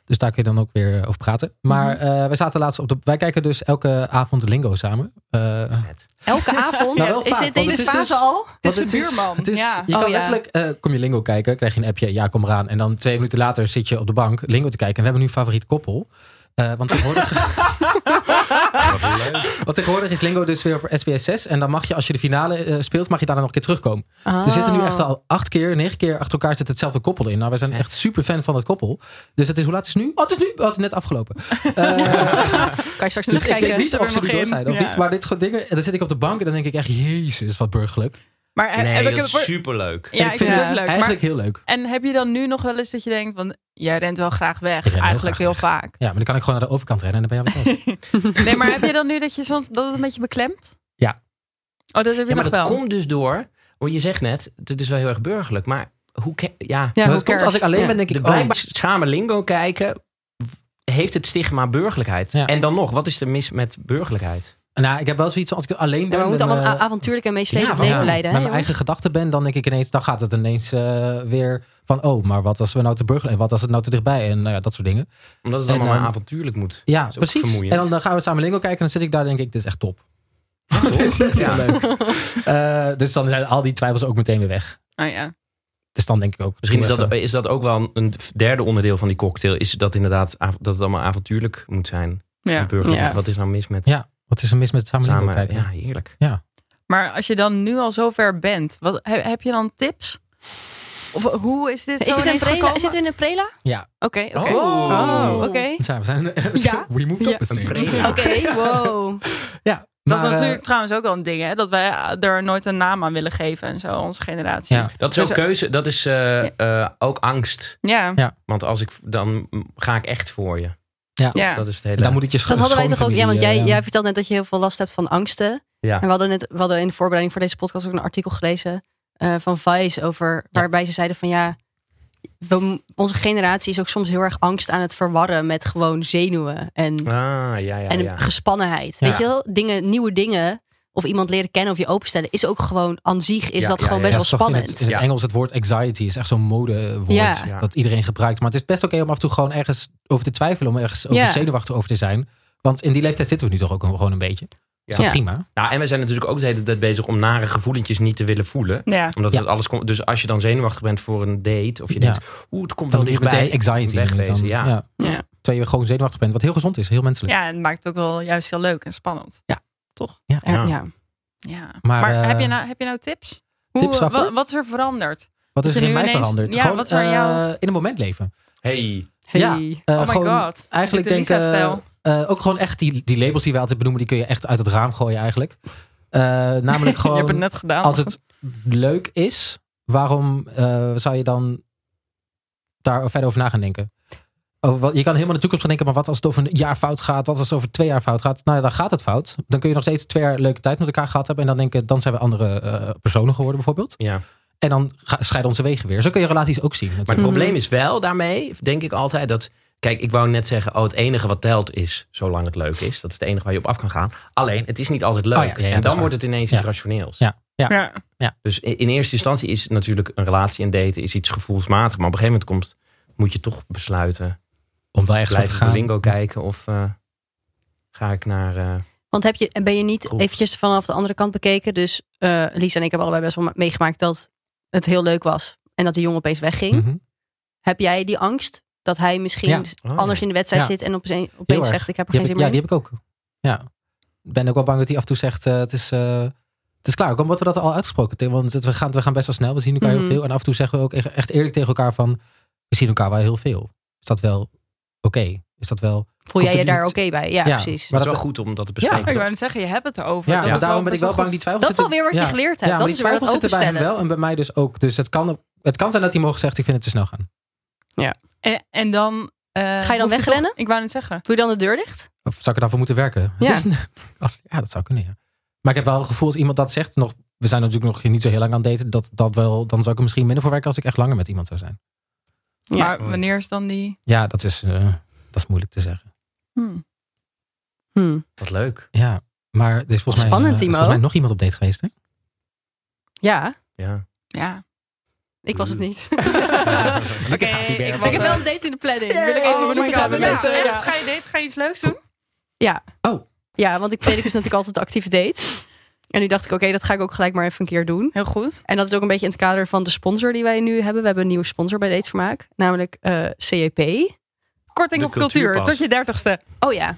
[SPEAKER 1] Dus daar kun je dan ook weer eh, over praten. Maar eh, wij zaten laatst op de. Wij kijken dus elke avond Lingo samen. Eh,
[SPEAKER 2] Vet.
[SPEAKER 3] Elke avond
[SPEAKER 1] Nou, wel
[SPEAKER 3] is
[SPEAKER 1] vaak,
[SPEAKER 3] dit
[SPEAKER 1] want
[SPEAKER 3] deze
[SPEAKER 1] het is
[SPEAKER 3] fase
[SPEAKER 1] dus-
[SPEAKER 3] al.
[SPEAKER 1] want
[SPEAKER 4] een
[SPEAKER 1] het
[SPEAKER 4] buurman,
[SPEAKER 1] het is-
[SPEAKER 4] ja.
[SPEAKER 1] Je
[SPEAKER 3] Oh,
[SPEAKER 1] kan
[SPEAKER 3] ja.
[SPEAKER 1] letterlijk. eh, kom je Lingo kijken, krijg je een appje. Ja, kom eraan. En dan twee minuten later zit je op de bank Lingo te kijken. En we hebben nu een favoriet koppel. Eh, want tegenwoordig
[SPEAKER 2] Wat leuk.
[SPEAKER 1] Want tegenwoordig is Lingo dus weer op SBS 6. En dan mag je, als je de finale eh, speelt, mag je daarna nog een keer terugkomen. Er zitten nu
[SPEAKER 3] Ah.
[SPEAKER 4] Oh.
[SPEAKER 1] echt al acht keer, negen keer achter elkaar zit hetzelfde koppel in. Nou, wij zijn echt super fan van dat koppel. Dus het is, hoe laat is het nu? Oh, het is nu. Oh, het is net afgelopen. Eh
[SPEAKER 3] Kan je straks
[SPEAKER 1] dus ik weet
[SPEAKER 3] terugkijken?
[SPEAKER 1] niet
[SPEAKER 4] Zit er
[SPEAKER 1] of ze
[SPEAKER 4] nog
[SPEAKER 1] nu door
[SPEAKER 4] in?
[SPEAKER 1] zijn of
[SPEAKER 4] Ja.
[SPEAKER 1] niet. Maar dit soort dingen, en dan zit ik op de bank en dan denk ik echt, jezus, wat burgerlijk.
[SPEAKER 4] Maar heb-
[SPEAKER 2] Nee,
[SPEAKER 4] heb ik
[SPEAKER 2] dat
[SPEAKER 4] het
[SPEAKER 2] is
[SPEAKER 4] voor...
[SPEAKER 2] superleuk.
[SPEAKER 4] Ja,
[SPEAKER 1] En
[SPEAKER 4] ik
[SPEAKER 3] vind
[SPEAKER 4] vind het
[SPEAKER 3] het
[SPEAKER 4] leuk. Maar,
[SPEAKER 1] Eigenlijk heel leuk.
[SPEAKER 4] en heb je dan nu nog wel eens dat je denkt, want jij rent wel graag weg.
[SPEAKER 1] Ik ren heel
[SPEAKER 4] Eigenlijk
[SPEAKER 1] graag
[SPEAKER 4] heel
[SPEAKER 1] weg.
[SPEAKER 4] vaak.
[SPEAKER 1] Ja, maar dan kan ik gewoon naar de overkant rennen en dan ben je weer thuis.
[SPEAKER 4] Nee, maar heb je dan nu dat je soms dat het een beetje beklemt?
[SPEAKER 1] Ja.
[SPEAKER 4] Oh, dat heb je
[SPEAKER 2] Ja, maar
[SPEAKER 4] nog
[SPEAKER 2] dat
[SPEAKER 4] wel.
[SPEAKER 2] komt dus door... Want je zegt net, het is wel heel erg burgerlijk. Maar hoe... ke- Ja,
[SPEAKER 3] Ja,
[SPEAKER 1] Maar
[SPEAKER 3] hoe
[SPEAKER 1] dat komt als ik alleen ben, denk ik,
[SPEAKER 2] de
[SPEAKER 1] oh,
[SPEAKER 2] wij samen lingo kijken... heeft het stigma burgerlijkheid.
[SPEAKER 1] Ja.
[SPEAKER 2] En dan nog, wat is er mis met burgerlijkheid?
[SPEAKER 1] nou, ik heb wel zoiets als ik alleen ben.
[SPEAKER 3] we moeten
[SPEAKER 1] dan,
[SPEAKER 3] allemaal
[SPEAKER 1] eh,
[SPEAKER 3] een avontuurlijk en meeslepend
[SPEAKER 2] ja,
[SPEAKER 3] leven
[SPEAKER 2] ja.
[SPEAKER 3] leiden.
[SPEAKER 1] met
[SPEAKER 3] Hè,
[SPEAKER 1] mijn
[SPEAKER 3] jongens?
[SPEAKER 1] eigen gedachten ben, dan denk ik ineens, dan gaat het ineens eh, weer van, oh, maar wat als we nou te burger en wat als het nou te dichtbij en nou ja, dat soort dingen.
[SPEAKER 2] Omdat het
[SPEAKER 1] En ehm,
[SPEAKER 2] allemaal
[SPEAKER 1] dan-
[SPEAKER 2] maar avontuurlijk moet.
[SPEAKER 1] Ja,
[SPEAKER 2] ook
[SPEAKER 1] precies.
[SPEAKER 2] vermoeiend.
[SPEAKER 1] En dan, dan gaan we samen Lingo kijken en dan zit ik daar, denk ik, dit is echt top. dit is echt heel leuk. Eh, dus dan zijn al die twijfels ook meteen weer weg.
[SPEAKER 4] Oh ja.
[SPEAKER 1] Dus dan denk ik ook.
[SPEAKER 2] Misschien is
[SPEAKER 1] doe
[SPEAKER 2] dat,
[SPEAKER 1] even-
[SPEAKER 2] is dat ook wel een derde onderdeel van die cocktail. Is dat inderdaad av- dat het allemaal avontuurlijk moet zijn.
[SPEAKER 4] ja.
[SPEAKER 2] En burgerlijk.
[SPEAKER 3] Ja.
[SPEAKER 2] Wat is nou mis met
[SPEAKER 1] Wat is er mis met samen, Lingo
[SPEAKER 2] samen?
[SPEAKER 1] kijken?
[SPEAKER 2] Ja, heerlijk.
[SPEAKER 4] Maar als je dan nu al zover bent, wat, he- heb je dan tips? Of hoe is dit
[SPEAKER 3] Is
[SPEAKER 4] zo
[SPEAKER 3] dit een
[SPEAKER 4] ineens
[SPEAKER 3] prela?
[SPEAKER 4] gekomen?
[SPEAKER 3] Zitten we in een prela?
[SPEAKER 1] Ja.
[SPEAKER 3] Oké, oké.
[SPEAKER 2] Oh.
[SPEAKER 3] Oké.
[SPEAKER 1] Zijn we zijn,
[SPEAKER 3] Ja.
[SPEAKER 1] We moved
[SPEAKER 3] Ja.
[SPEAKER 1] up a
[SPEAKER 2] Een
[SPEAKER 1] stage.
[SPEAKER 2] prela.
[SPEAKER 3] Oké, wow.
[SPEAKER 1] Ja,
[SPEAKER 4] Dat
[SPEAKER 1] maar,
[SPEAKER 4] is
[SPEAKER 1] eh,
[SPEAKER 4] natuurlijk trouwens ook wel een ding, hè? Dat wij eh, er nooit een naam aan willen geven en zo, onze generatie.
[SPEAKER 1] Ja.
[SPEAKER 2] Dat is ook
[SPEAKER 4] Dus-
[SPEAKER 2] keuze. Dat is eh, eh, ook angst.
[SPEAKER 4] Ja.
[SPEAKER 2] Want als ik, dan ga ik echt voor je.
[SPEAKER 4] ja.
[SPEAKER 2] Dat is het hele.
[SPEAKER 1] dan moet ik je scho-
[SPEAKER 3] Dat hadden wij toch ook. Ja, want
[SPEAKER 1] schoonfamilie,
[SPEAKER 3] jij,
[SPEAKER 1] eh,
[SPEAKER 3] jij vertelt net dat je heel veel last hebt van angsten.
[SPEAKER 2] ja.
[SPEAKER 3] En we hadden, net, we hadden in de voorbereiding voor deze podcast ook een artikel gelezen eh, van Vice over waarbij ze zeiden van ja, we- onze generatie is ook soms heel erg angst aan het verwarren met gewoon zenuwen en,
[SPEAKER 2] Ah, ja, ja,
[SPEAKER 3] en
[SPEAKER 2] ja.
[SPEAKER 3] gespannenheid.
[SPEAKER 1] Ja.
[SPEAKER 3] Weet je wel? Dingen, nieuwe dingen of iemand leren kennen of je openstellen is ook gewoon aan zich is
[SPEAKER 2] Ja,
[SPEAKER 3] dat
[SPEAKER 2] ja,
[SPEAKER 3] gewoon
[SPEAKER 2] ja,
[SPEAKER 1] Ja,
[SPEAKER 3] best
[SPEAKER 1] dat is toch
[SPEAKER 3] wel
[SPEAKER 1] in het-
[SPEAKER 3] spannend.
[SPEAKER 1] In het,
[SPEAKER 2] Ja.
[SPEAKER 1] Engels het woord anxiety is echt zo'n modewoord
[SPEAKER 3] Ja.
[SPEAKER 2] Ja.
[SPEAKER 1] dat iedereen gebruikt. Maar het is best oké om af en toe gewoon ergens over te twijfelen, om ergens over
[SPEAKER 3] Ja.
[SPEAKER 1] zenuwachtig over te zijn. Want in die leeftijd zitten we nu toch ook gewoon een beetje. Is dat
[SPEAKER 3] Ja.
[SPEAKER 1] prima?
[SPEAKER 2] Nou, en we zijn natuurlijk ook de hele tijd bezig om nare gevoelentjes niet te willen voelen.
[SPEAKER 4] Ja.
[SPEAKER 2] Omdat
[SPEAKER 1] Ja.
[SPEAKER 2] het alles komt. Dus als je dan zenuwachtig bent voor een date. Of je
[SPEAKER 1] Ja.
[SPEAKER 2] denkt, oeh, het
[SPEAKER 1] Dan
[SPEAKER 2] komt wel
[SPEAKER 1] doe je
[SPEAKER 2] dichtbij.
[SPEAKER 1] meteen anxiety. noem je het
[SPEAKER 2] Wegwezen,
[SPEAKER 1] Dan.
[SPEAKER 2] ja.
[SPEAKER 3] Ja.
[SPEAKER 1] Terwijl je gewoon zenuwachtig bent, wat heel gezond is, heel menselijk.
[SPEAKER 4] ja, en het maakt het ook wel juist heel leuk en spannend.
[SPEAKER 3] Er-
[SPEAKER 2] Ja.
[SPEAKER 3] ja.
[SPEAKER 4] Ja.
[SPEAKER 1] Maar,
[SPEAKER 4] Maar,
[SPEAKER 1] eh,
[SPEAKER 4] heb, je nou, heb je nou tips? Hoe,
[SPEAKER 1] tips waarvoor?
[SPEAKER 4] wa- wat is er veranderd?
[SPEAKER 1] Wat is
[SPEAKER 3] Dus
[SPEAKER 4] Dat
[SPEAKER 1] er in
[SPEAKER 4] je nu
[SPEAKER 1] mij
[SPEAKER 4] ineens-
[SPEAKER 1] veranderd?
[SPEAKER 4] ja,
[SPEAKER 1] gewoon
[SPEAKER 4] wat is er in
[SPEAKER 1] eh,
[SPEAKER 4] jou?
[SPEAKER 1] in een moment leven.
[SPEAKER 2] Hey.
[SPEAKER 1] Ja.
[SPEAKER 3] Hey.
[SPEAKER 1] Eh,
[SPEAKER 4] oh my
[SPEAKER 1] gewoon-
[SPEAKER 4] god.
[SPEAKER 1] Eigenlijk
[SPEAKER 4] Dit
[SPEAKER 1] denk
[SPEAKER 4] is
[SPEAKER 1] ik eh,
[SPEAKER 4] Lisa-stijl.
[SPEAKER 1] eh, ook gewoon echt die, die labels die wij altijd benoemen, die kun je echt uit het raam gooien eigenlijk. Eh, namelijk
[SPEAKER 4] je hebt het
[SPEAKER 1] gewoon
[SPEAKER 4] net gedaan.
[SPEAKER 1] als het leuk is, waarom eh, zou je dan daar verder over na gaan denken? Over wat- je kan helemaal in de toekomst gaan denken, maar wat als het over een jaar fout gaat? Wat als het over twee jaar fout gaat? Nou ja, dan gaat het fout. Dan kun je nog steeds twee jaar leuke tijd met elkaar gehad hebben. En dan denken, dan zijn we andere eh, personen geworden bijvoorbeeld.
[SPEAKER 2] Ja.
[SPEAKER 1] En dan ga- scheiden onze wegen weer. Zo kun je relaties ook zien.
[SPEAKER 2] Maar het
[SPEAKER 1] natuurlijk.
[SPEAKER 2] probleem is wel daarmee, denk ik altijd, dat Kijk, ik wou net zeggen, oh, het enige wat telt is zolang het leuk is. Dat is het enige waar je op af kan gaan. Alleen, het is niet altijd leuk.
[SPEAKER 1] Oh ja, ja, ja, dat
[SPEAKER 2] en
[SPEAKER 1] is
[SPEAKER 2] dan
[SPEAKER 1] waar.
[SPEAKER 2] wordt het ineens iets
[SPEAKER 1] Ja.
[SPEAKER 2] rationeels.
[SPEAKER 1] Ja.
[SPEAKER 4] Ja.
[SPEAKER 2] Dus in, in eerste instantie is natuurlijk een relatie en daten is iets gevoelsmatig. Maar op een gegeven moment komt, moet je toch besluiten.
[SPEAKER 1] Om wel echt wat
[SPEAKER 2] Blijf
[SPEAKER 1] te
[SPEAKER 2] ik de
[SPEAKER 1] gaan.
[SPEAKER 2] lingo kijken of eh, ga ik naar... eh,
[SPEAKER 3] Want heb je, ben je niet
[SPEAKER 2] Oeh.
[SPEAKER 3] eventjes vanaf de andere kant bekeken? Dus eh Lisa en ik hebben allebei best wel meegemaakt dat het heel leuk was. En dat die jongen opeens wegging.
[SPEAKER 1] Mhm.
[SPEAKER 3] Heb jij die angst dat hij misschien
[SPEAKER 1] Ja.
[SPEAKER 3] dus
[SPEAKER 2] Oh,
[SPEAKER 3] anders
[SPEAKER 2] ja.
[SPEAKER 3] in de wedstrijd
[SPEAKER 1] Ja.
[SPEAKER 3] zit en opeens,
[SPEAKER 1] Heel
[SPEAKER 3] opeens
[SPEAKER 1] erg.
[SPEAKER 3] zegt ik heb er
[SPEAKER 1] Die
[SPEAKER 3] geen
[SPEAKER 1] heb
[SPEAKER 3] zin
[SPEAKER 1] ik-
[SPEAKER 3] meer
[SPEAKER 1] ja,
[SPEAKER 3] in?
[SPEAKER 1] die heb ik ook. Ja. Ik ben ook wel bang dat hij af en toe zegt, eh, het, is, eh, het is klaar. Ook omdat we dat al uitgesproken hebben. Want het- we gaan, we gaan best wel snel, we zien elkaar
[SPEAKER 3] Mhm.
[SPEAKER 1] heel veel. En af en toe zeggen we ook echt echt eerlijk tegen elkaar van, we zien elkaar wel heel veel. Is dat wel oké? Is dat wel...
[SPEAKER 3] Voel jij
[SPEAKER 1] Komt
[SPEAKER 3] je
[SPEAKER 1] het
[SPEAKER 3] daar oké
[SPEAKER 1] niet-
[SPEAKER 3] bij? Ja,
[SPEAKER 1] Ja.
[SPEAKER 2] maar
[SPEAKER 3] precies.
[SPEAKER 1] Maar
[SPEAKER 2] het is
[SPEAKER 1] dat-
[SPEAKER 2] wel goed om dat te
[SPEAKER 1] Ja.
[SPEAKER 2] bespreken.
[SPEAKER 4] Ik
[SPEAKER 2] toch?
[SPEAKER 4] wou net zeggen, je hebt het erover.
[SPEAKER 1] Ja,
[SPEAKER 4] Dat
[SPEAKER 1] maar
[SPEAKER 4] is
[SPEAKER 1] daarom ben ik
[SPEAKER 4] best
[SPEAKER 1] wel bang. Die twijfel
[SPEAKER 3] Dat is
[SPEAKER 1] zitten-
[SPEAKER 3] alweer wat je
[SPEAKER 1] ja.
[SPEAKER 3] geleerd hebt.
[SPEAKER 1] Ja,
[SPEAKER 3] dat
[SPEAKER 1] die
[SPEAKER 3] is waar
[SPEAKER 1] twijfel
[SPEAKER 3] het
[SPEAKER 1] zitten bij hem
[SPEAKER 3] openstellen.
[SPEAKER 1] wel en bij mij dus ook. Dus het kan, het kan zijn dat hij morgen zegt, ik vind het te snel gaan.
[SPEAKER 4] En, en dan... eh,
[SPEAKER 3] Ga je dan
[SPEAKER 4] hoef
[SPEAKER 3] wegrennen?
[SPEAKER 4] toch- ik wou net zeggen.
[SPEAKER 3] Doe je dan de deur dicht?
[SPEAKER 1] Of zou ik er dan voor moeten werken?
[SPEAKER 3] Ja.
[SPEAKER 1] Het is een- als, ja, dat zou kunnen, ja. Maar ik heb wel het gevoel als iemand dat zegt, nog, we zijn natuurlijk nog niet zo heel lang aan het daten, dat, dat wel, dan zou ik er misschien minder voor werken als ik echt langer met iemand zou zijn.
[SPEAKER 3] Ja.
[SPEAKER 4] Maar wanneer is dan die...
[SPEAKER 1] Ja, dat is, eh, dat is moeilijk te zeggen.
[SPEAKER 4] Hmm.
[SPEAKER 3] Hmm.
[SPEAKER 2] Wat leuk.
[SPEAKER 1] Ja, maar er is volgens, mij, eh, er
[SPEAKER 3] Spannend,
[SPEAKER 1] is
[SPEAKER 3] Timo.
[SPEAKER 1] volgens mij nog iemand op date geweest, hè?
[SPEAKER 3] Ja,
[SPEAKER 2] Ja.
[SPEAKER 4] Ja.
[SPEAKER 3] ik was het
[SPEAKER 1] Hmm.
[SPEAKER 3] niet.
[SPEAKER 2] Gelukkig gaat die
[SPEAKER 4] ik
[SPEAKER 2] berg
[SPEAKER 4] was
[SPEAKER 3] ik heb
[SPEAKER 2] op.
[SPEAKER 3] wel een date in de planning.
[SPEAKER 1] Yay.
[SPEAKER 3] Wil ik even
[SPEAKER 1] Oh
[SPEAKER 3] benoemen
[SPEAKER 1] my
[SPEAKER 3] aan
[SPEAKER 1] God,
[SPEAKER 3] de
[SPEAKER 1] ja.
[SPEAKER 3] mensen?
[SPEAKER 4] Ja.
[SPEAKER 3] Ja.
[SPEAKER 4] Ga je dit? Ga je iets leuks doen?
[SPEAKER 3] Ja, want ik weet ik is natuurlijk altijd actieve dates. En nu dacht ik, oké, dat ga ik ook gelijk maar even een keer doen.
[SPEAKER 4] Heel goed.
[SPEAKER 3] En dat is ook een beetje in het kader van de sponsor die wij nu hebben. We hebben een nieuwe sponsor bij Datevermaak, namelijk eh CEP.
[SPEAKER 4] Korting
[SPEAKER 2] De
[SPEAKER 4] op cultuur.
[SPEAKER 2] cultuurpas.
[SPEAKER 4] Tot je dertigste.
[SPEAKER 3] Oh ja,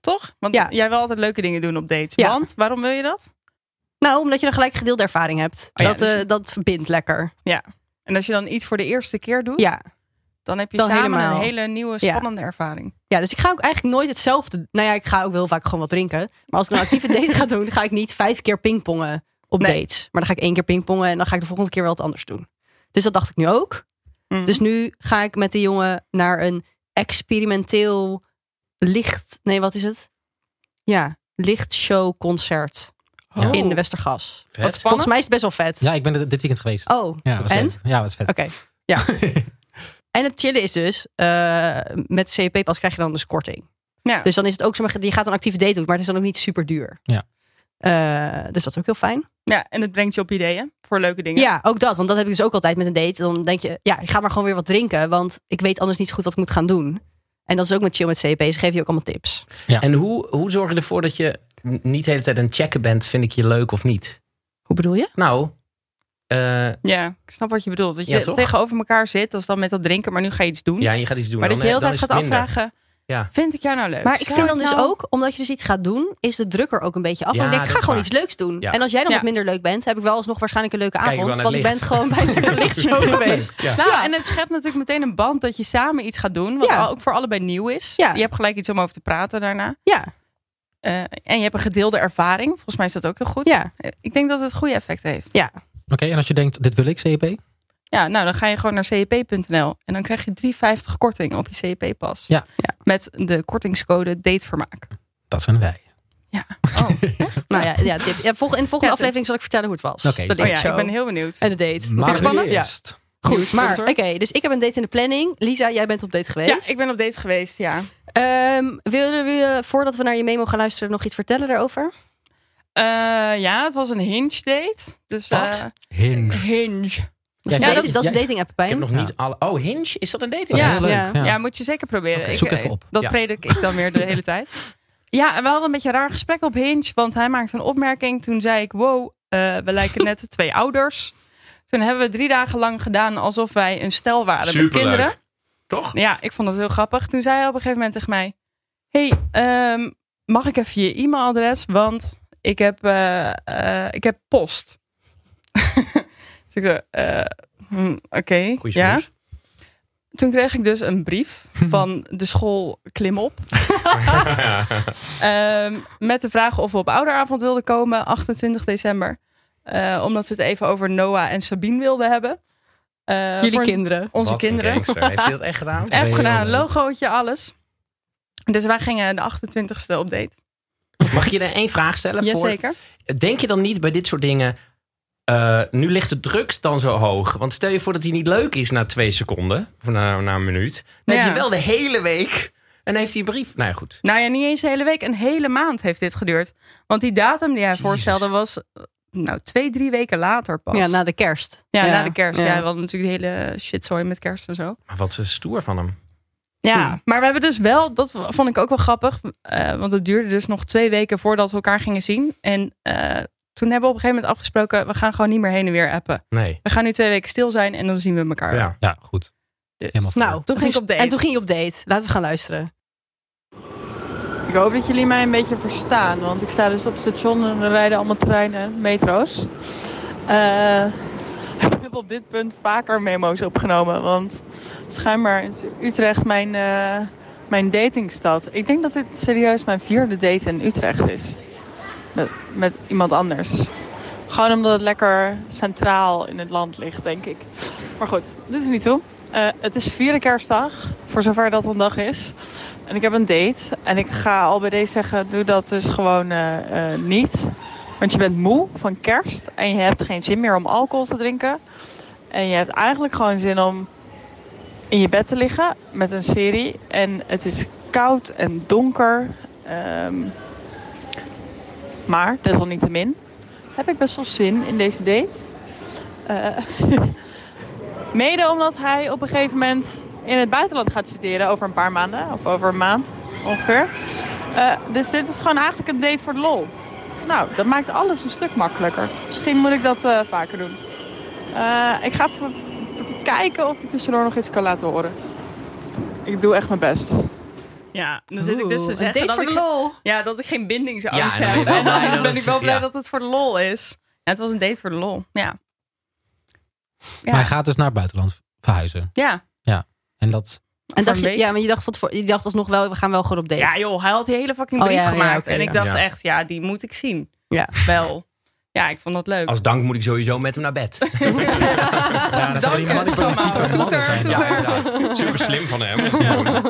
[SPEAKER 4] Toch? Want
[SPEAKER 3] Ja.
[SPEAKER 4] jij wil altijd leuke dingen doen op dates.
[SPEAKER 3] Ja.
[SPEAKER 4] Want, waarom wil je dat?
[SPEAKER 3] nou, omdat je dan gelijk gedeelde ervaring hebt.
[SPEAKER 4] Oh ja,
[SPEAKER 3] dat,
[SPEAKER 4] dus-
[SPEAKER 3] eh, dat bindt lekker.
[SPEAKER 4] En als je dan iets voor de eerste keer doet,
[SPEAKER 3] Ja.
[SPEAKER 4] dan heb je
[SPEAKER 3] Dan
[SPEAKER 4] samen
[SPEAKER 3] helemaal.
[SPEAKER 4] een hele nieuwe,
[SPEAKER 3] Ja.
[SPEAKER 4] spannende ervaring.
[SPEAKER 3] ja, dus ik ga ook eigenlijk nooit hetzelfde... Nou ja, ik ga ook heel vaak gewoon wat drinken. Maar als ik een actieve date ga doen, ga ik niet vijf keer pingpongen op
[SPEAKER 4] Nee.
[SPEAKER 3] dates. Maar dan ga ik één keer pingpongen en dan ga ik de volgende keer wel wat anders doen. Dus dat dacht ik nu ook. Dus nu ga ik met die jongen naar een experimenteel licht. Nee, wat is het? Ja, lichtshowconcert
[SPEAKER 1] Ja.
[SPEAKER 3] in de
[SPEAKER 2] Vet.
[SPEAKER 3] Westergas.
[SPEAKER 4] Wat Oh. spannend.
[SPEAKER 3] Volgens mij is het best wel vet.
[SPEAKER 1] Ja, ik ben er dit weekend geweest.
[SPEAKER 3] Oh, oké.
[SPEAKER 1] Ja, was
[SPEAKER 3] en?
[SPEAKER 1] vet. Ja, was vet.
[SPEAKER 3] En het chillen is dus, eh, met de CEP-pas krijg je dan dus korting.
[SPEAKER 4] Ja.
[SPEAKER 3] Dus dan is het ook, zeg maar, je gaat een actieve date doen, maar het is dan ook niet super duur.
[SPEAKER 1] Ja.
[SPEAKER 3] Eh, dus dat is ook heel fijn.
[SPEAKER 4] ja, en het brengt je op ideeën voor leuke dingen.
[SPEAKER 3] Ja, ook dat. Want dat heb ik dus ook altijd met een date. Dan denk je, ja, ik ga maar gewoon weer wat drinken. Want ik weet anders niet zo goed wat ik moet gaan doen. En dat is ook met chill met CEP. Ze geven je ook allemaal tips.
[SPEAKER 2] En hoe, hoe zorg je ervoor dat je n- niet de hele tijd aan het checken bent, vind ik je leuk of niet?
[SPEAKER 3] Hoe bedoel je?
[SPEAKER 2] Nou, eh,
[SPEAKER 4] Ja, ik snap wat je bedoelt. Dat je
[SPEAKER 2] Ja, toch?
[SPEAKER 4] tegenover elkaar zit, dat is dan met dat drinken, maar nu ga je iets doen.
[SPEAKER 2] ja, je gaat iets doen.
[SPEAKER 4] maar dat
[SPEAKER 2] dan,
[SPEAKER 4] je heel
[SPEAKER 2] dan
[SPEAKER 4] de tijd
[SPEAKER 2] is het
[SPEAKER 4] gaat
[SPEAKER 2] minder.
[SPEAKER 4] afvragen,
[SPEAKER 2] Ja.
[SPEAKER 4] vind ik jou nou leuk?
[SPEAKER 3] Maar ik
[SPEAKER 4] Zou
[SPEAKER 3] vind dan dus
[SPEAKER 4] nou-
[SPEAKER 3] ook, omdat je dus iets gaat doen, is de druk er ook een beetje af.
[SPEAKER 2] Ja,
[SPEAKER 3] Want ik denk, ik ga
[SPEAKER 2] dat is
[SPEAKER 3] gewoon
[SPEAKER 2] waar.
[SPEAKER 3] iets leuks doen.
[SPEAKER 2] Ja.
[SPEAKER 3] En als jij dan
[SPEAKER 4] Ja.
[SPEAKER 3] wat minder leuk bent, heb ik wel alsnog waarschijnlijk een leuke
[SPEAKER 2] Kijk ik
[SPEAKER 3] avond.
[SPEAKER 2] wel
[SPEAKER 3] Want
[SPEAKER 2] naar
[SPEAKER 3] ik
[SPEAKER 2] het
[SPEAKER 3] ben gewoon bij de
[SPEAKER 4] zo
[SPEAKER 3] lichtshow geweest.
[SPEAKER 2] Ja.
[SPEAKER 4] Nou, en het schept natuurlijk meteen een band dat je samen iets gaat doen, wat
[SPEAKER 3] Ja.
[SPEAKER 4] al- ook voor allebei nieuw is.
[SPEAKER 3] Ja.
[SPEAKER 4] Je hebt gelijk iets om over te praten daarna.
[SPEAKER 3] Ja,
[SPEAKER 4] Eh, en je hebt een gedeelde ervaring. Volgens mij is dat ook heel goed.
[SPEAKER 3] ja.
[SPEAKER 4] Eh, Ik denk dat het goede effect heeft.
[SPEAKER 3] Ja.
[SPEAKER 1] Oké, en als je denkt, dit wil ik, E CEP?
[SPEAKER 4] Ja, nou dan ga je gewoon naar cep.nl en dan krijg je 3,50 korting op je CEP-pas.
[SPEAKER 1] Ja.
[SPEAKER 3] Ja.
[SPEAKER 4] Met de kortingscode datevermaak.
[SPEAKER 1] Dat zijn wij.
[SPEAKER 4] Oh,
[SPEAKER 3] Nou ja, ja, tip. Ja, volg- in de volgende
[SPEAKER 4] Ja,
[SPEAKER 3] aflevering zal ik vertellen hoe het was.
[SPEAKER 1] Oké. Oh
[SPEAKER 3] De
[SPEAKER 4] oh ja,
[SPEAKER 3] lichtshow
[SPEAKER 4] ik ben heel benieuwd.
[SPEAKER 3] en de date.
[SPEAKER 1] Maar
[SPEAKER 3] Natuurlijk.
[SPEAKER 1] nu
[SPEAKER 4] spannend? Ja.
[SPEAKER 1] eerst.
[SPEAKER 3] Goed,
[SPEAKER 4] Nieuwe
[SPEAKER 3] maar oké,
[SPEAKER 4] sponsor.
[SPEAKER 3] dus ik heb een date in de planning. Lisa, jij bent op date
[SPEAKER 4] Ja,
[SPEAKER 3] geweest.
[SPEAKER 4] ik ben op date geweest, ja.
[SPEAKER 3] Ehm, willen we, voordat we naar je memo gaan luisteren, nog iets vertellen daarover?
[SPEAKER 4] Eh, ja, het was een hinge date. Dus, eh,
[SPEAKER 1] Wat? Hinge.
[SPEAKER 4] hinge.
[SPEAKER 3] Dat is,
[SPEAKER 1] Ja,
[SPEAKER 3] een
[SPEAKER 1] dat
[SPEAKER 3] dat,
[SPEAKER 1] is-
[SPEAKER 3] dat is een
[SPEAKER 1] ja,
[SPEAKER 3] dating app,
[SPEAKER 2] Ik heb nog
[SPEAKER 1] Ja.
[SPEAKER 2] niet alle... Oh, Hinge? Is dat een dating?
[SPEAKER 1] Dat is
[SPEAKER 4] Ja.
[SPEAKER 1] heel leuk.
[SPEAKER 3] Ja.
[SPEAKER 1] Ja.
[SPEAKER 4] Ja, moet je zeker proberen.
[SPEAKER 1] Oké, zoek
[SPEAKER 4] eh,
[SPEAKER 1] even op.
[SPEAKER 4] Dat
[SPEAKER 2] Ja.
[SPEAKER 4] predik ik dan weer de hele tijd. Ja, en we hadden een beetje een raar gesprek op Hinge, want hij maakte een opmerking. Toen zei ik, wow, eh, we lijken net de twee ouders. Toen hebben we drie dagen lang gedaan alsof wij een stel waren met
[SPEAKER 2] Superleuk.
[SPEAKER 4] kinderen.
[SPEAKER 2] Toch?
[SPEAKER 4] Ja, ik vond dat heel grappig. Toen zei hij op een gegeven moment tegen mij: Hey, ehm, mag ik even je e-mailadres? Want ik heb, eh, eh, ik heb post. dus ik zei: eh, hm, Oké.
[SPEAKER 2] Goeie
[SPEAKER 4] ja.
[SPEAKER 2] smoes.
[SPEAKER 4] Toen kreeg ik dus een brief van de school Klimop. Ehm, met de vraag of we op ouderavond wilden komen, 28 december. Eh, omdat ze het even over Noah en Sabine wilden hebben. Eh, voor
[SPEAKER 3] kinderen.
[SPEAKER 4] Onze
[SPEAKER 2] Wat een
[SPEAKER 4] kinderen.
[SPEAKER 2] gangster. Heeft hij dat echt gedaan?
[SPEAKER 4] Echt
[SPEAKER 1] Heel
[SPEAKER 4] gedaan,
[SPEAKER 1] leuk.
[SPEAKER 4] logootje, alles. Dus wij gingen de 28ste op date.
[SPEAKER 2] Mag ik je er één vraag stellen? Voor?
[SPEAKER 4] Jazeker.
[SPEAKER 2] Denk je dan niet bij dit soort dingen... eh, nu ligt de drugs dan zo hoog. Want stel je voor dat hij niet leuk is na twee seconden. Of na, na een minuut. Dan
[SPEAKER 4] Ja.
[SPEAKER 2] heb je wel de hele week. En heeft hij een brief. Nou ja, goed.
[SPEAKER 4] Nou ja, niet eens de hele week. Een hele maand heeft dit geduurd. Want die datum die hij
[SPEAKER 2] Jezus.
[SPEAKER 4] voorstelde was... eh, Nou, twee, drie weken later pas.
[SPEAKER 3] Ja, na de kerst.
[SPEAKER 4] Ja, na de kerst. Ja. we hadden natuurlijk de hele shitzooi met kerst en zo.
[SPEAKER 2] Maar wat is stoer van hem.
[SPEAKER 4] Ja,
[SPEAKER 3] Hmm.
[SPEAKER 4] maar we hebben dus wel, dat vond ik ook wel grappig, eh, want het duurde dus nog twee weken voordat we elkaar gingen zien. En eh, toen hebben we op een gegeven moment afgesproken, we gaan gewoon niet meer heen en weer appen.
[SPEAKER 2] Nee.
[SPEAKER 4] We gaan nu twee weken stil zijn en dan zien we elkaar.
[SPEAKER 2] Ja.
[SPEAKER 1] Ja, goed.
[SPEAKER 4] Dus.
[SPEAKER 1] Helemaal voor.
[SPEAKER 3] Nou,
[SPEAKER 4] Toen ging ik op date.
[SPEAKER 3] En toen ging je op date. Laten we gaan luisteren.
[SPEAKER 5] Ik hoop dat jullie mij een beetje verstaan, want ik sta dus op het station en er rijden allemaal treinen, metro's. Eh, ik heb op dit punt vaker memo's opgenomen, want schijnbaar is Utrecht mijn, eh, mijn datingstad. Ik denk dat dit serieus mijn vierde date in Utrecht is. Met, met iemand anders. Gewoon omdat het lekker centraal in het land ligt, denk ik. Maar goed, doet er niet toe. Eh, het is vierde kerstdag, voor zover dat een dag is. En ik heb een date. En ik ga al bij deze zeggen, doe dat dus gewoon eh, eh, niet. Want je bent moe van kerst. En je hebt geen zin meer om alcohol te drinken. En je hebt eigenlijk gewoon zin om in je bed te liggen met een serie. En het is koud en donker. Ehm, maar, desalniettemin, heb ik best wel zin in deze date. Eh, mede omdat hij op een gegeven moment in het buitenland gaat studeren over een paar maanden of over een maand ongeveer. Eh, dus dit is gewoon eigenlijk een date voor de lol. Nou, dat maakt alles een stuk makkelijker. Misschien moet ik dat eh, vaker doen. Eh, ik ga even kijken of ik tussendoor nog iets kan laten horen. Ik doe echt mijn best.
[SPEAKER 4] Ja, dan dus
[SPEAKER 3] Oeh, een date voor de lol.
[SPEAKER 4] ja, dat ik geen bindingsangst
[SPEAKER 2] Ja, en dan
[SPEAKER 4] heb.
[SPEAKER 2] ben je wel blij dat
[SPEAKER 4] En dan ben
[SPEAKER 2] het-
[SPEAKER 4] ik wel blij
[SPEAKER 2] ja.
[SPEAKER 4] dat het voor de lol is. Ja, het was een date voor de lol. Ja, Ja.
[SPEAKER 1] Maar hij gaat dus naar het buitenland verhuizen.
[SPEAKER 4] ja.
[SPEAKER 1] En dat...
[SPEAKER 3] En dacht
[SPEAKER 4] een
[SPEAKER 3] je,
[SPEAKER 4] week.
[SPEAKER 3] ja, maar je dacht, van tevoren- je dacht alsnog wel, we gaan wel gewoon op date.
[SPEAKER 4] Ja, joh, hij had die hele fucking
[SPEAKER 3] Oh,
[SPEAKER 4] brief
[SPEAKER 3] ja, ja,
[SPEAKER 4] gemaakt.
[SPEAKER 3] oké,
[SPEAKER 4] en ik
[SPEAKER 3] ja.
[SPEAKER 4] dacht
[SPEAKER 2] Ja.
[SPEAKER 4] echt, ja, die moet ik zien.
[SPEAKER 3] Ja.
[SPEAKER 4] Wel. Ja, ik vond dat leuk.
[SPEAKER 2] Als dank moet ik sowieso met hem naar bed.
[SPEAKER 1] Ja, dat zou die
[SPEAKER 4] Dank
[SPEAKER 1] manipulatieve
[SPEAKER 4] je, Samma.
[SPEAKER 1] mannen
[SPEAKER 4] Toeter,
[SPEAKER 1] zijn.
[SPEAKER 4] toeter.
[SPEAKER 1] Ja.
[SPEAKER 2] Super slim van hem. Ja.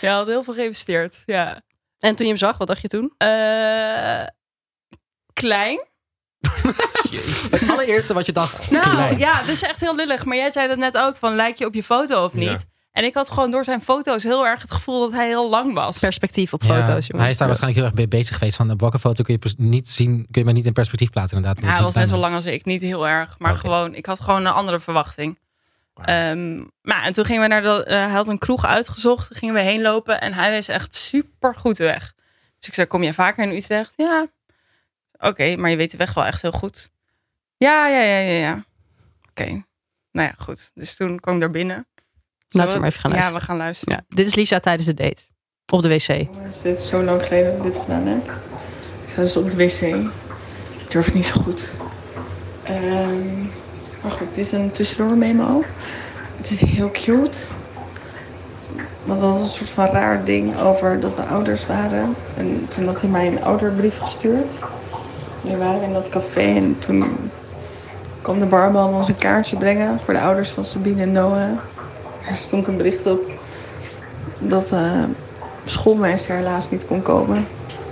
[SPEAKER 4] Ja, had heel veel geïnvesteerd. Ja.
[SPEAKER 3] En toen je hem zag, wat dacht je toen?
[SPEAKER 4] Eh, klein.
[SPEAKER 1] Het allereerste wat je dacht.
[SPEAKER 4] Nou
[SPEAKER 1] klein.
[SPEAKER 4] ja, dus echt heel lullig. Maar jij zei dat net ook: van lijk je op je foto of niet?
[SPEAKER 2] Ja.
[SPEAKER 4] En ik had gewoon door zijn foto's heel erg het gevoel dat hij heel lang was.
[SPEAKER 3] Perspectief op
[SPEAKER 1] Ja,
[SPEAKER 3] foto's,
[SPEAKER 1] Hij is
[SPEAKER 3] jongens.
[SPEAKER 1] daar waarschijnlijk heel erg mee bezig geweest. Van de bakkenfoto kun je pers- niet zien, kun je maar niet in perspectief plaatsen inderdaad.
[SPEAKER 4] Ja, hij was net zo
[SPEAKER 1] lang.
[SPEAKER 4] lang als ik, niet heel erg. Maar
[SPEAKER 1] Oké.
[SPEAKER 4] gewoon, ik had gewoon een andere verwachting. Ehm, maar en toen gingen we naar de. eh, hij had een kroeg uitgezocht, toen gingen we heen lopen en hij was echt super goed weg. Dus ik zei: Kom jij vaker in Utrecht? Ja. Oké, maar je weet de weg wel echt heel goed. Ja, ja, ja, ja, ja. Oké. Nou ja, goed. Dus toen kwam ik daar binnen.
[SPEAKER 3] Laten we
[SPEAKER 4] Zullen
[SPEAKER 3] maar even gaan
[SPEAKER 4] Ja,
[SPEAKER 3] luisteren.
[SPEAKER 4] we gaan luisteren.
[SPEAKER 3] Ja, dit is Lisa tijdens de date. Op de wc.
[SPEAKER 5] Jongens, dit is zo lang geleden dat ik dit gedaan heb. Ik zat dus op de wc. Ik durf het niet zo goed. Ehm maar goed, dit is een tussendoor memo. Het is heel cute. Want dat was een soort van raar ding over dat we ouders waren. En toen had hij mij een ouderbrief gestuurd. We waren in dat café en toen kwam de barman ons een kaartje brengen voor de ouders van Sabine en Noah. Er stond een bericht op dat eh, schoolmeester helaas niet kon komen.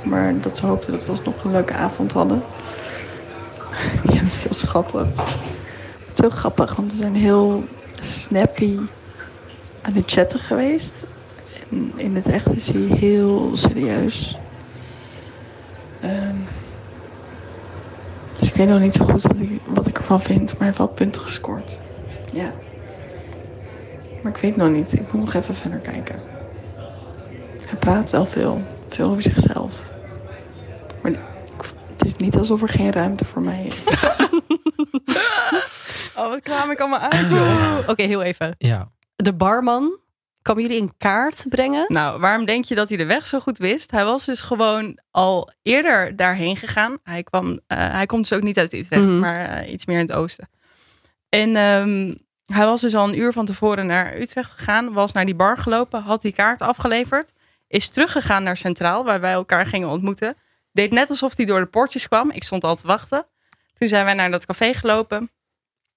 [SPEAKER 5] Maar dat ze hoopte dat we nog een leuke avond hadden. Ja, dat is heel schattig. Het is heel grappig, want we zijn heel snappy aan het chatten geweest. En in het echt is hij heel serieus. Ehm, dus ik weet nog niet zo goed wat ik, wat ik ervan vind, maar hij heeft wel punten gescoord. Ja. Maar ik weet nog niet. Ik moet nog even verder kijken. Hij praat wel veel. Veel over zichzelf. Maar ik- het is niet alsof er geen ruimte voor mij is.
[SPEAKER 4] Oh, wat kraam ik allemaal uit.
[SPEAKER 3] Oeh, Oh, Oké, heel even.
[SPEAKER 1] Ja.
[SPEAKER 3] De barman kwam jullie een kaart brengen.
[SPEAKER 4] Nou, waarom denk je dat hij de weg zo goed wist? Hij was dus gewoon al eerder daarheen gegaan. Hij, kwam, eh, hij komt dus ook niet uit Utrecht,
[SPEAKER 3] Mhm.
[SPEAKER 4] maar eh, iets meer in het oosten. En ehm, hij was dus al een uur van tevoren naar Utrecht gegaan. Was naar die bar gelopen, had die kaart afgeleverd. Is teruggegaan naar Centraal, waar wij elkaar gingen ontmoeten. Deed net alsof hij door de poortjes kwam. Ik stond al te wachten. Toen zijn wij naar dat café gelopen.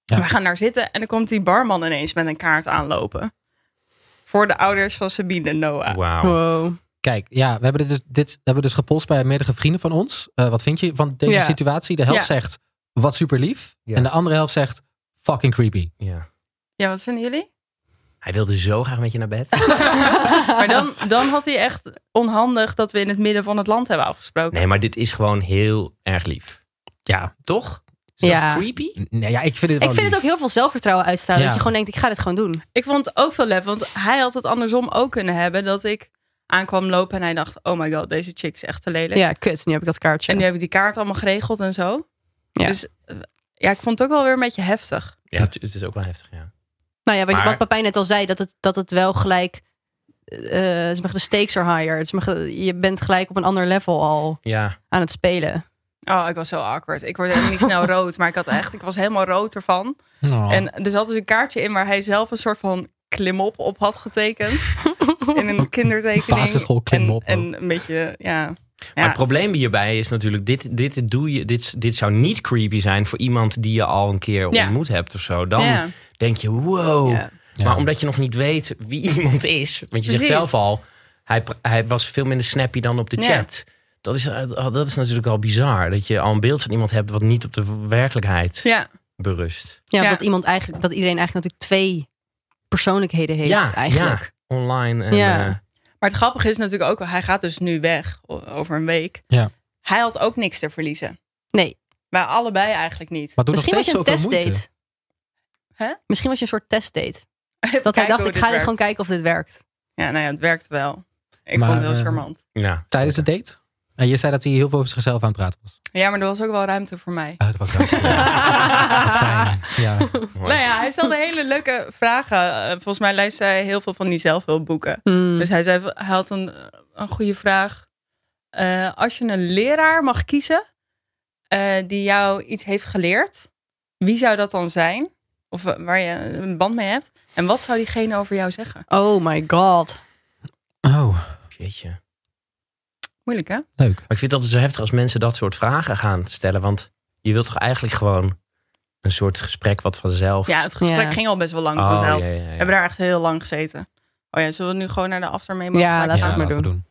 [SPEAKER 1] Ja.
[SPEAKER 4] We gaan daar zitten en dan komt die barman ineens met een kaart aanlopen. Voor de ouders van Sabine en Noah.
[SPEAKER 2] Wauw.
[SPEAKER 3] Wow.
[SPEAKER 1] Kijk, ja, we hebben dit dus, dit hebben we dus gepolst bij meerdere vrienden van ons. Eh, wat vind je van deze
[SPEAKER 3] Ja.
[SPEAKER 1] situatie? De helft
[SPEAKER 4] Ja.
[SPEAKER 1] zegt, wat super lief.
[SPEAKER 2] Ja.
[SPEAKER 1] En de andere helft zegt fucking creepy.
[SPEAKER 2] Ja.
[SPEAKER 4] Ja, wat vinden jullie?
[SPEAKER 2] Hij wilde zo graag met je naar bed.
[SPEAKER 4] Maar dan, dan had hij echt onhandig dat we in het midden van het land hebben afgesproken.
[SPEAKER 2] Nee, maar dit is gewoon heel erg lief.
[SPEAKER 1] Ja.
[SPEAKER 2] Toch? Is
[SPEAKER 3] Ja.
[SPEAKER 2] dat creepy?
[SPEAKER 1] Nee, nou ja, ik vind het
[SPEAKER 3] Ik
[SPEAKER 1] wel
[SPEAKER 3] vind het ook
[SPEAKER 1] lief.
[SPEAKER 3] heel veel zelfvertrouwen uitstralen.
[SPEAKER 1] Ja.
[SPEAKER 3] Dat je gewoon denkt, ik ga dit gewoon doen.
[SPEAKER 4] Ik vond het ook veel lef, want hij had het andersom ook kunnen hebben. Dat ik aankwam lopen en hij dacht, oh my god, deze chick is echt te lelijk.
[SPEAKER 3] Ja, kut. Nu heb ik dat kaartje.
[SPEAKER 4] En nu heb ik die kaart allemaal geregeld en zo.
[SPEAKER 3] Ja.
[SPEAKER 4] Dus eh, ja, ik vond het ook wel weer een beetje heftig.
[SPEAKER 2] Ja, het het is ook wel heftig, ja.
[SPEAKER 3] nou ja, wat,
[SPEAKER 2] Maar-
[SPEAKER 3] wat Papijn net al zei, dat het, dat het wel gelijk... eh, eh, de stakes are higher. Het is maar ge- je bent gelijk op een ander level al
[SPEAKER 2] Ja.
[SPEAKER 3] aan het spelen.
[SPEAKER 4] Oh, ik was zo awkward. Ik word helemaal niet snel rood, maar ik, had echt, ik was helemaal rood ervan.
[SPEAKER 1] Oh.
[SPEAKER 4] En er zat dus een kaartje in waar hij zelf een soort van klimop op had getekend. in een kindertekening.
[SPEAKER 1] Basisschool klimop
[SPEAKER 4] En, en een beetje, ja.
[SPEAKER 2] Maar
[SPEAKER 4] ja.
[SPEAKER 2] het probleem hierbij is natuurlijk, dit, dit, doe je, dit, dit zou niet creepy zijn voor iemand die je al een keer
[SPEAKER 4] Ja.
[SPEAKER 2] ontmoet hebt of zo. Dan
[SPEAKER 4] Ja.
[SPEAKER 2] denk je, wow.
[SPEAKER 3] Ja.
[SPEAKER 1] Ja.
[SPEAKER 2] Maar omdat je nog niet weet wie iemand is, want je
[SPEAKER 4] Precies.
[SPEAKER 2] zegt zelf al, hij, pra- hij was veel minder snappy dan op de
[SPEAKER 4] Ja.
[SPEAKER 2] chat. Dat is, eh, dat is natuurlijk al bizar, dat je al een beeld van iemand hebt wat niet op de werkelijkheid
[SPEAKER 4] ja.
[SPEAKER 2] berust.
[SPEAKER 3] Ja,
[SPEAKER 4] Ja.
[SPEAKER 3] dat iemand eigenlijk, dat iedereen eigenlijk natuurlijk twee persoonlijkheden heeft
[SPEAKER 2] ja,
[SPEAKER 3] eigenlijk.
[SPEAKER 2] ja, online. En,
[SPEAKER 3] Ja.
[SPEAKER 2] eh,
[SPEAKER 4] Maar het grappige is natuurlijk ook, hij gaat dus nu weg o- over een week.
[SPEAKER 1] Ja.
[SPEAKER 4] Hij had ook niks te verliezen.
[SPEAKER 3] Nee.
[SPEAKER 4] Wij allebei eigenlijk niet.
[SPEAKER 1] Maar doe nog
[SPEAKER 3] Misschien was
[SPEAKER 1] steeds
[SPEAKER 3] je een
[SPEAKER 1] zoveel moeite.
[SPEAKER 3] testdate.
[SPEAKER 4] Hè?
[SPEAKER 3] Misschien was je een soort testdate.
[SPEAKER 4] Even
[SPEAKER 3] Dat hij
[SPEAKER 4] kijken
[SPEAKER 3] dacht,
[SPEAKER 4] hoe
[SPEAKER 3] ik ga dit
[SPEAKER 4] werkt.
[SPEAKER 3] gewoon kijken of dit werkt.
[SPEAKER 4] Ja, nou ja, het werkt wel. Ik
[SPEAKER 1] Maar,
[SPEAKER 4] vond het
[SPEAKER 1] eh,
[SPEAKER 4] heel charmant.
[SPEAKER 2] ja.
[SPEAKER 1] Tijdens de date? En je zei dat hij heel veel over zichzelf aan het praten was.
[SPEAKER 4] Ja, maar er was ook wel ruimte voor mij.
[SPEAKER 1] Ah, dat was wel Wat fijn. Ja.
[SPEAKER 2] Mooi.
[SPEAKER 4] Nou ja, hij stelde hele leuke vragen. Eh, Volgens mij leest hij heel veel van die zelfhulpboeken.
[SPEAKER 3] Hmm.
[SPEAKER 4] Dus hij, zei, hij had een, een goede vraag. Eh, als je een leraar mag kiezen eh, die jou iets heeft geleerd, wie zou dat dan zijn? Of wa- waar je een band mee hebt? En wat zou diegene over jou zeggen?
[SPEAKER 3] Oh my god.
[SPEAKER 1] Oh,
[SPEAKER 2] Jeetje.
[SPEAKER 4] Moeilijk, hè?
[SPEAKER 1] leuk.
[SPEAKER 2] Maar ik vind het altijd zo heftig als mensen dat soort vragen gaan stellen. Want je wilt toch eigenlijk gewoon een soort gesprek wat vanzelf...
[SPEAKER 4] Ja, het gesprek
[SPEAKER 3] Ja.
[SPEAKER 4] ging al best wel lang
[SPEAKER 2] Oh,
[SPEAKER 4] vanzelf.
[SPEAKER 2] ja, ja, ja.
[SPEAKER 4] We hebben daar echt heel lang gezeten. Oh ja, zullen we nu gewoon naar de after mee?
[SPEAKER 3] Ja,
[SPEAKER 4] maken?
[SPEAKER 3] laten we
[SPEAKER 1] Ja,
[SPEAKER 3] het maar
[SPEAKER 1] laten we
[SPEAKER 3] doen.
[SPEAKER 1] doen.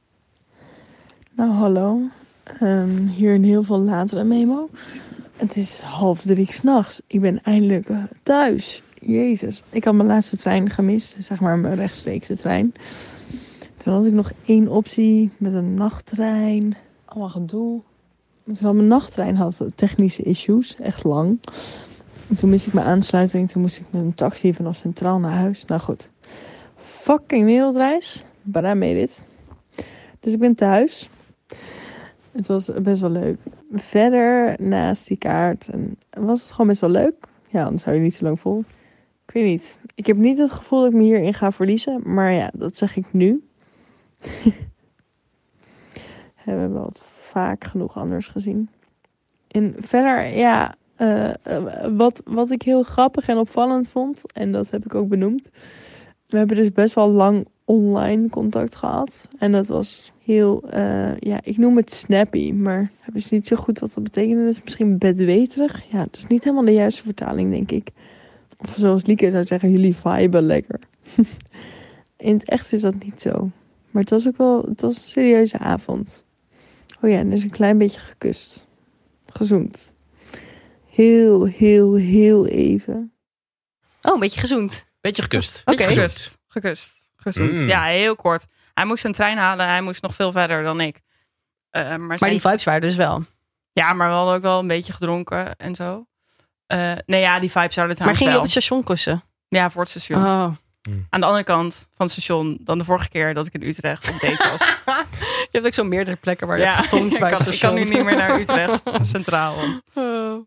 [SPEAKER 5] Nou, hallo. Ehm, hier een heel veel latere memo. Het is half drie s'nachts. Ik ben eindelijk eh, thuis. Jezus. Ik had mijn laatste trein gemist. Zeg maar mijn rechtstreekse trein. Toen had ik nog één optie met een nachttrein. Allemaal gedoe. Maar Terwijl mijn nachttrein had technische issues. Echt lang. En toen miste ik mijn aansluiting. Toen moest ik met een taxi vanaf Centraal naar huis. Nou goed. Fucking wereldreis. But I made it. Dus ik ben thuis. Het was best wel leuk. Verder, naast die kaart, en was het gewoon best wel leuk. Ja, anders hou je niet zo lang vol. Ik weet niet. Ik heb niet het gevoel dat ik me hierin ga verliezen. Maar ja, dat zeg ik nu. We hebben we wat vaak genoeg anders gezien. En verder, ja, eh, eh, wat, wat ik heel grappig en opvallend vond. En dat heb ik ook benoemd. We hebben dus best wel lang online contact gehad. En dat was heel, eh, ja, ik noem het snappy, maar ik wist niet zo goed wat dat betekende. Dus misschien bedweterig. Ja, dat is niet helemaal de juiste vertaling, denk ik. Of zoals Lieke zou zeggen, jullie viben lekker. In het echt is dat niet zo. Maar het was ook wel, het was een serieuze avond. Oh ja, en dus een klein beetje gekust. Gezoend. Heel, heel, heel even.
[SPEAKER 3] Oh, een beetje gezoend.
[SPEAKER 2] Beetje gekust.
[SPEAKER 1] Oh.
[SPEAKER 3] Oké.
[SPEAKER 2] Beetje
[SPEAKER 4] Gekust.
[SPEAKER 2] gekust.
[SPEAKER 4] Gekust. Gezoend.
[SPEAKER 2] Mm.
[SPEAKER 4] Ja, heel kort. Hij moest zijn trein halen. Hij moest nog veel verder dan ik. Eh, maar
[SPEAKER 3] Maar
[SPEAKER 4] zijn-
[SPEAKER 3] die vibes waren dus wel.
[SPEAKER 4] Ja, maar we hadden ook wel een beetje gedronken en zo. Eh, nee, ja, die vibes
[SPEAKER 3] Maar
[SPEAKER 4] zouden trouwens
[SPEAKER 3] ging je
[SPEAKER 4] wel.
[SPEAKER 3] op het station kussen?
[SPEAKER 4] Ja, voor het station.
[SPEAKER 3] Oh.
[SPEAKER 4] Aan de andere kant van het station dan de vorige keer dat ik in Utrecht op date was.
[SPEAKER 3] Je hebt ook zo meerdere plekken waar je
[SPEAKER 4] ja,
[SPEAKER 3] hebt getongd
[SPEAKER 4] ik,
[SPEAKER 3] bij het
[SPEAKER 4] kan, ik kan nu
[SPEAKER 3] station.
[SPEAKER 4] niet meer naar Utrecht Centraal, want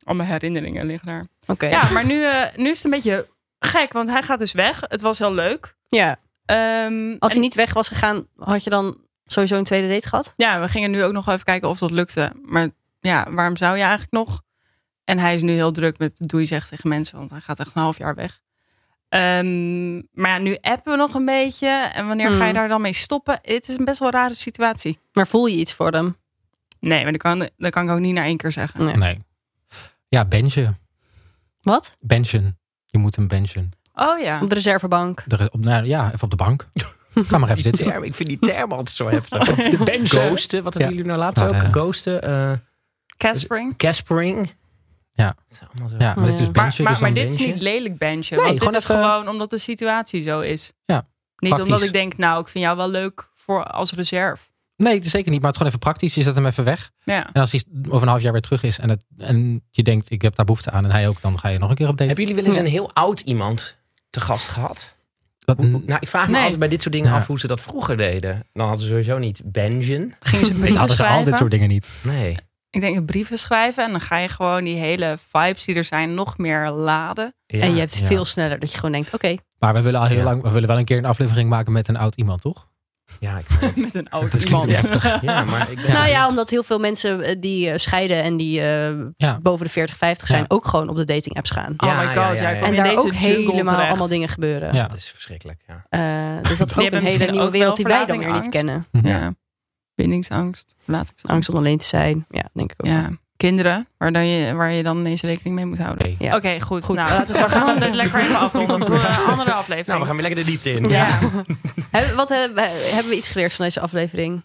[SPEAKER 4] al mijn herinneringen liggen daar.
[SPEAKER 3] Oh. Oké.
[SPEAKER 4] Ja, maar nu, eh, nu is het een beetje gek, want hij gaat dus weg. Het was heel leuk.
[SPEAKER 3] Ja.
[SPEAKER 4] Ehm,
[SPEAKER 3] Als hij
[SPEAKER 4] en-
[SPEAKER 3] niet weg was gegaan, had je dan sowieso een tweede date gehad?
[SPEAKER 4] Ja, we gingen nu ook nog wel even kijken of dat lukte. Maar ja, waarom zou je eigenlijk nog? En hij is nu heel druk met doei zegt tegen mensen, want hij gaat echt een half jaar weg. Ehm, maar ja, nu appen we nog een beetje. En wanneer ga je
[SPEAKER 3] Hmm.
[SPEAKER 4] daar dan mee stoppen? Het is een best wel rare situatie.
[SPEAKER 3] Maar voel je iets voor hem?
[SPEAKER 4] Nee, maar dat kan, dat kan ik ook niet naar één keer zeggen.
[SPEAKER 3] Nee.
[SPEAKER 1] Nee. Ja, benchen.
[SPEAKER 3] Wat?
[SPEAKER 1] Benchen. Je moet hem benchen.
[SPEAKER 4] Oh ja.
[SPEAKER 3] Op de reservebank.
[SPEAKER 1] Er, op, nou, ja, even op de bank. Ga maar even
[SPEAKER 2] Die
[SPEAKER 1] zitten.
[SPEAKER 2] term, ik vind die term altijd zo heftig.
[SPEAKER 1] De benchen.
[SPEAKER 2] Ghosten, wat hadden
[SPEAKER 1] Ja. Nou, eh,
[SPEAKER 2] jullie nou laatst
[SPEAKER 1] Ah,
[SPEAKER 2] ook?
[SPEAKER 1] ja.
[SPEAKER 2] Ghosten, eh
[SPEAKER 4] Caspering.
[SPEAKER 2] caspering. Het is allemaal zo.
[SPEAKER 1] Ja, maar dit is dus
[SPEAKER 3] Ja.
[SPEAKER 4] Maar,
[SPEAKER 1] benchen.
[SPEAKER 4] maar,
[SPEAKER 1] dus
[SPEAKER 4] maar
[SPEAKER 1] dan
[SPEAKER 4] dit is
[SPEAKER 2] benchen.
[SPEAKER 4] niet lelijk benchen.
[SPEAKER 1] Nee,
[SPEAKER 4] want
[SPEAKER 1] gewoon
[SPEAKER 4] dit is
[SPEAKER 1] even-
[SPEAKER 4] gewoon omdat de situatie zo is.
[SPEAKER 1] Ja,
[SPEAKER 4] Niet omdat
[SPEAKER 1] praktisch.
[SPEAKER 4] ik denk, nou, ik vind jou wel leuk voor als reserve.
[SPEAKER 1] Nee, het is zeker niet. Maar het is gewoon even praktisch. Je zet hem even weg.
[SPEAKER 4] Ja.
[SPEAKER 1] En als hij over een half jaar weer terug is en, het, en je denkt, ik heb daar behoefte aan en hij ook, dan ga je nog een keer op date.
[SPEAKER 2] Hebben jullie wel eens een heel oud iemand te gast gehad?
[SPEAKER 1] Dat-
[SPEAKER 2] Hoe- hoe- Nou, ik vraag me
[SPEAKER 4] Nee.
[SPEAKER 2] altijd bij dit soort dingen
[SPEAKER 1] Ja.
[SPEAKER 2] af hoe ze dat vroeger deden. Dan hadden ze sowieso niet Benjen.
[SPEAKER 4] Gingen ze
[SPEAKER 1] dat
[SPEAKER 4] brieven
[SPEAKER 1] hadden ze
[SPEAKER 4] schrijven.
[SPEAKER 1] al dit soort dingen niet.
[SPEAKER 2] Nee.
[SPEAKER 4] Ik denk brieven schrijven. En dan ga je gewoon die hele vibes die er zijn nog meer laden.
[SPEAKER 2] Ja.
[SPEAKER 3] en je hebt
[SPEAKER 1] ja.
[SPEAKER 3] veel sneller dat je gewoon denkt, oké,
[SPEAKER 1] Maar we willen al heel
[SPEAKER 2] Ja.
[SPEAKER 1] lang, we willen wel een keer een aflevering maken met een oud iemand, toch?
[SPEAKER 2] Ja, ik weet het.
[SPEAKER 4] Met een oud
[SPEAKER 1] Dat klinkt
[SPEAKER 4] iemand.
[SPEAKER 1] weer heftig.
[SPEAKER 2] ja, maar ik ben...
[SPEAKER 3] Nou ja, omdat heel veel mensen eh, die eh, scheiden en die eh,
[SPEAKER 1] Ja.
[SPEAKER 3] boven de 40, 50 zijn,
[SPEAKER 1] Ja.
[SPEAKER 3] ook gewoon op de dating apps gaan.
[SPEAKER 4] Oh my
[SPEAKER 2] Ja,
[SPEAKER 4] god,
[SPEAKER 2] ja, ja,
[SPEAKER 4] ja, ik
[SPEAKER 2] ja.
[SPEAKER 4] kom
[SPEAKER 3] en
[SPEAKER 4] in
[SPEAKER 3] daar
[SPEAKER 4] deze
[SPEAKER 3] ook
[SPEAKER 4] jungle
[SPEAKER 3] helemaal
[SPEAKER 4] terecht.
[SPEAKER 3] allemaal dingen gebeuren.
[SPEAKER 1] Ja.
[SPEAKER 2] Dat is verschrikkelijk, ja.
[SPEAKER 3] Eh, dus dat is
[SPEAKER 4] Die
[SPEAKER 3] ook
[SPEAKER 4] hebben
[SPEAKER 3] een hele
[SPEAKER 4] misschien
[SPEAKER 3] nieuwe
[SPEAKER 4] ook
[SPEAKER 3] wereld die
[SPEAKER 4] wel
[SPEAKER 3] wij dan weer niet
[SPEAKER 4] verlatingsangst.
[SPEAKER 3] kennen.
[SPEAKER 1] Mhm.
[SPEAKER 4] Ja. Bindingsangst. Verlatingsangst.
[SPEAKER 3] Angst om alleen te zijn. Ja, denk ik ook.
[SPEAKER 4] Ja. Kinderen, waar, dan je, waar je dan ineens rekening mee moet houden.
[SPEAKER 1] Oké.
[SPEAKER 3] Ja.
[SPEAKER 4] Oké, goed.
[SPEAKER 3] Goed,
[SPEAKER 4] Nou,
[SPEAKER 3] laten we het
[SPEAKER 4] we gaan
[SPEAKER 3] maar-
[SPEAKER 4] dit lekker even afronden voor een andere aflevering.
[SPEAKER 2] Nou, we gaan weer lekker de diepte in.
[SPEAKER 4] Ja.
[SPEAKER 3] Ja. Hebben, wat, hebben we- hebben we iets geleerd van deze aflevering?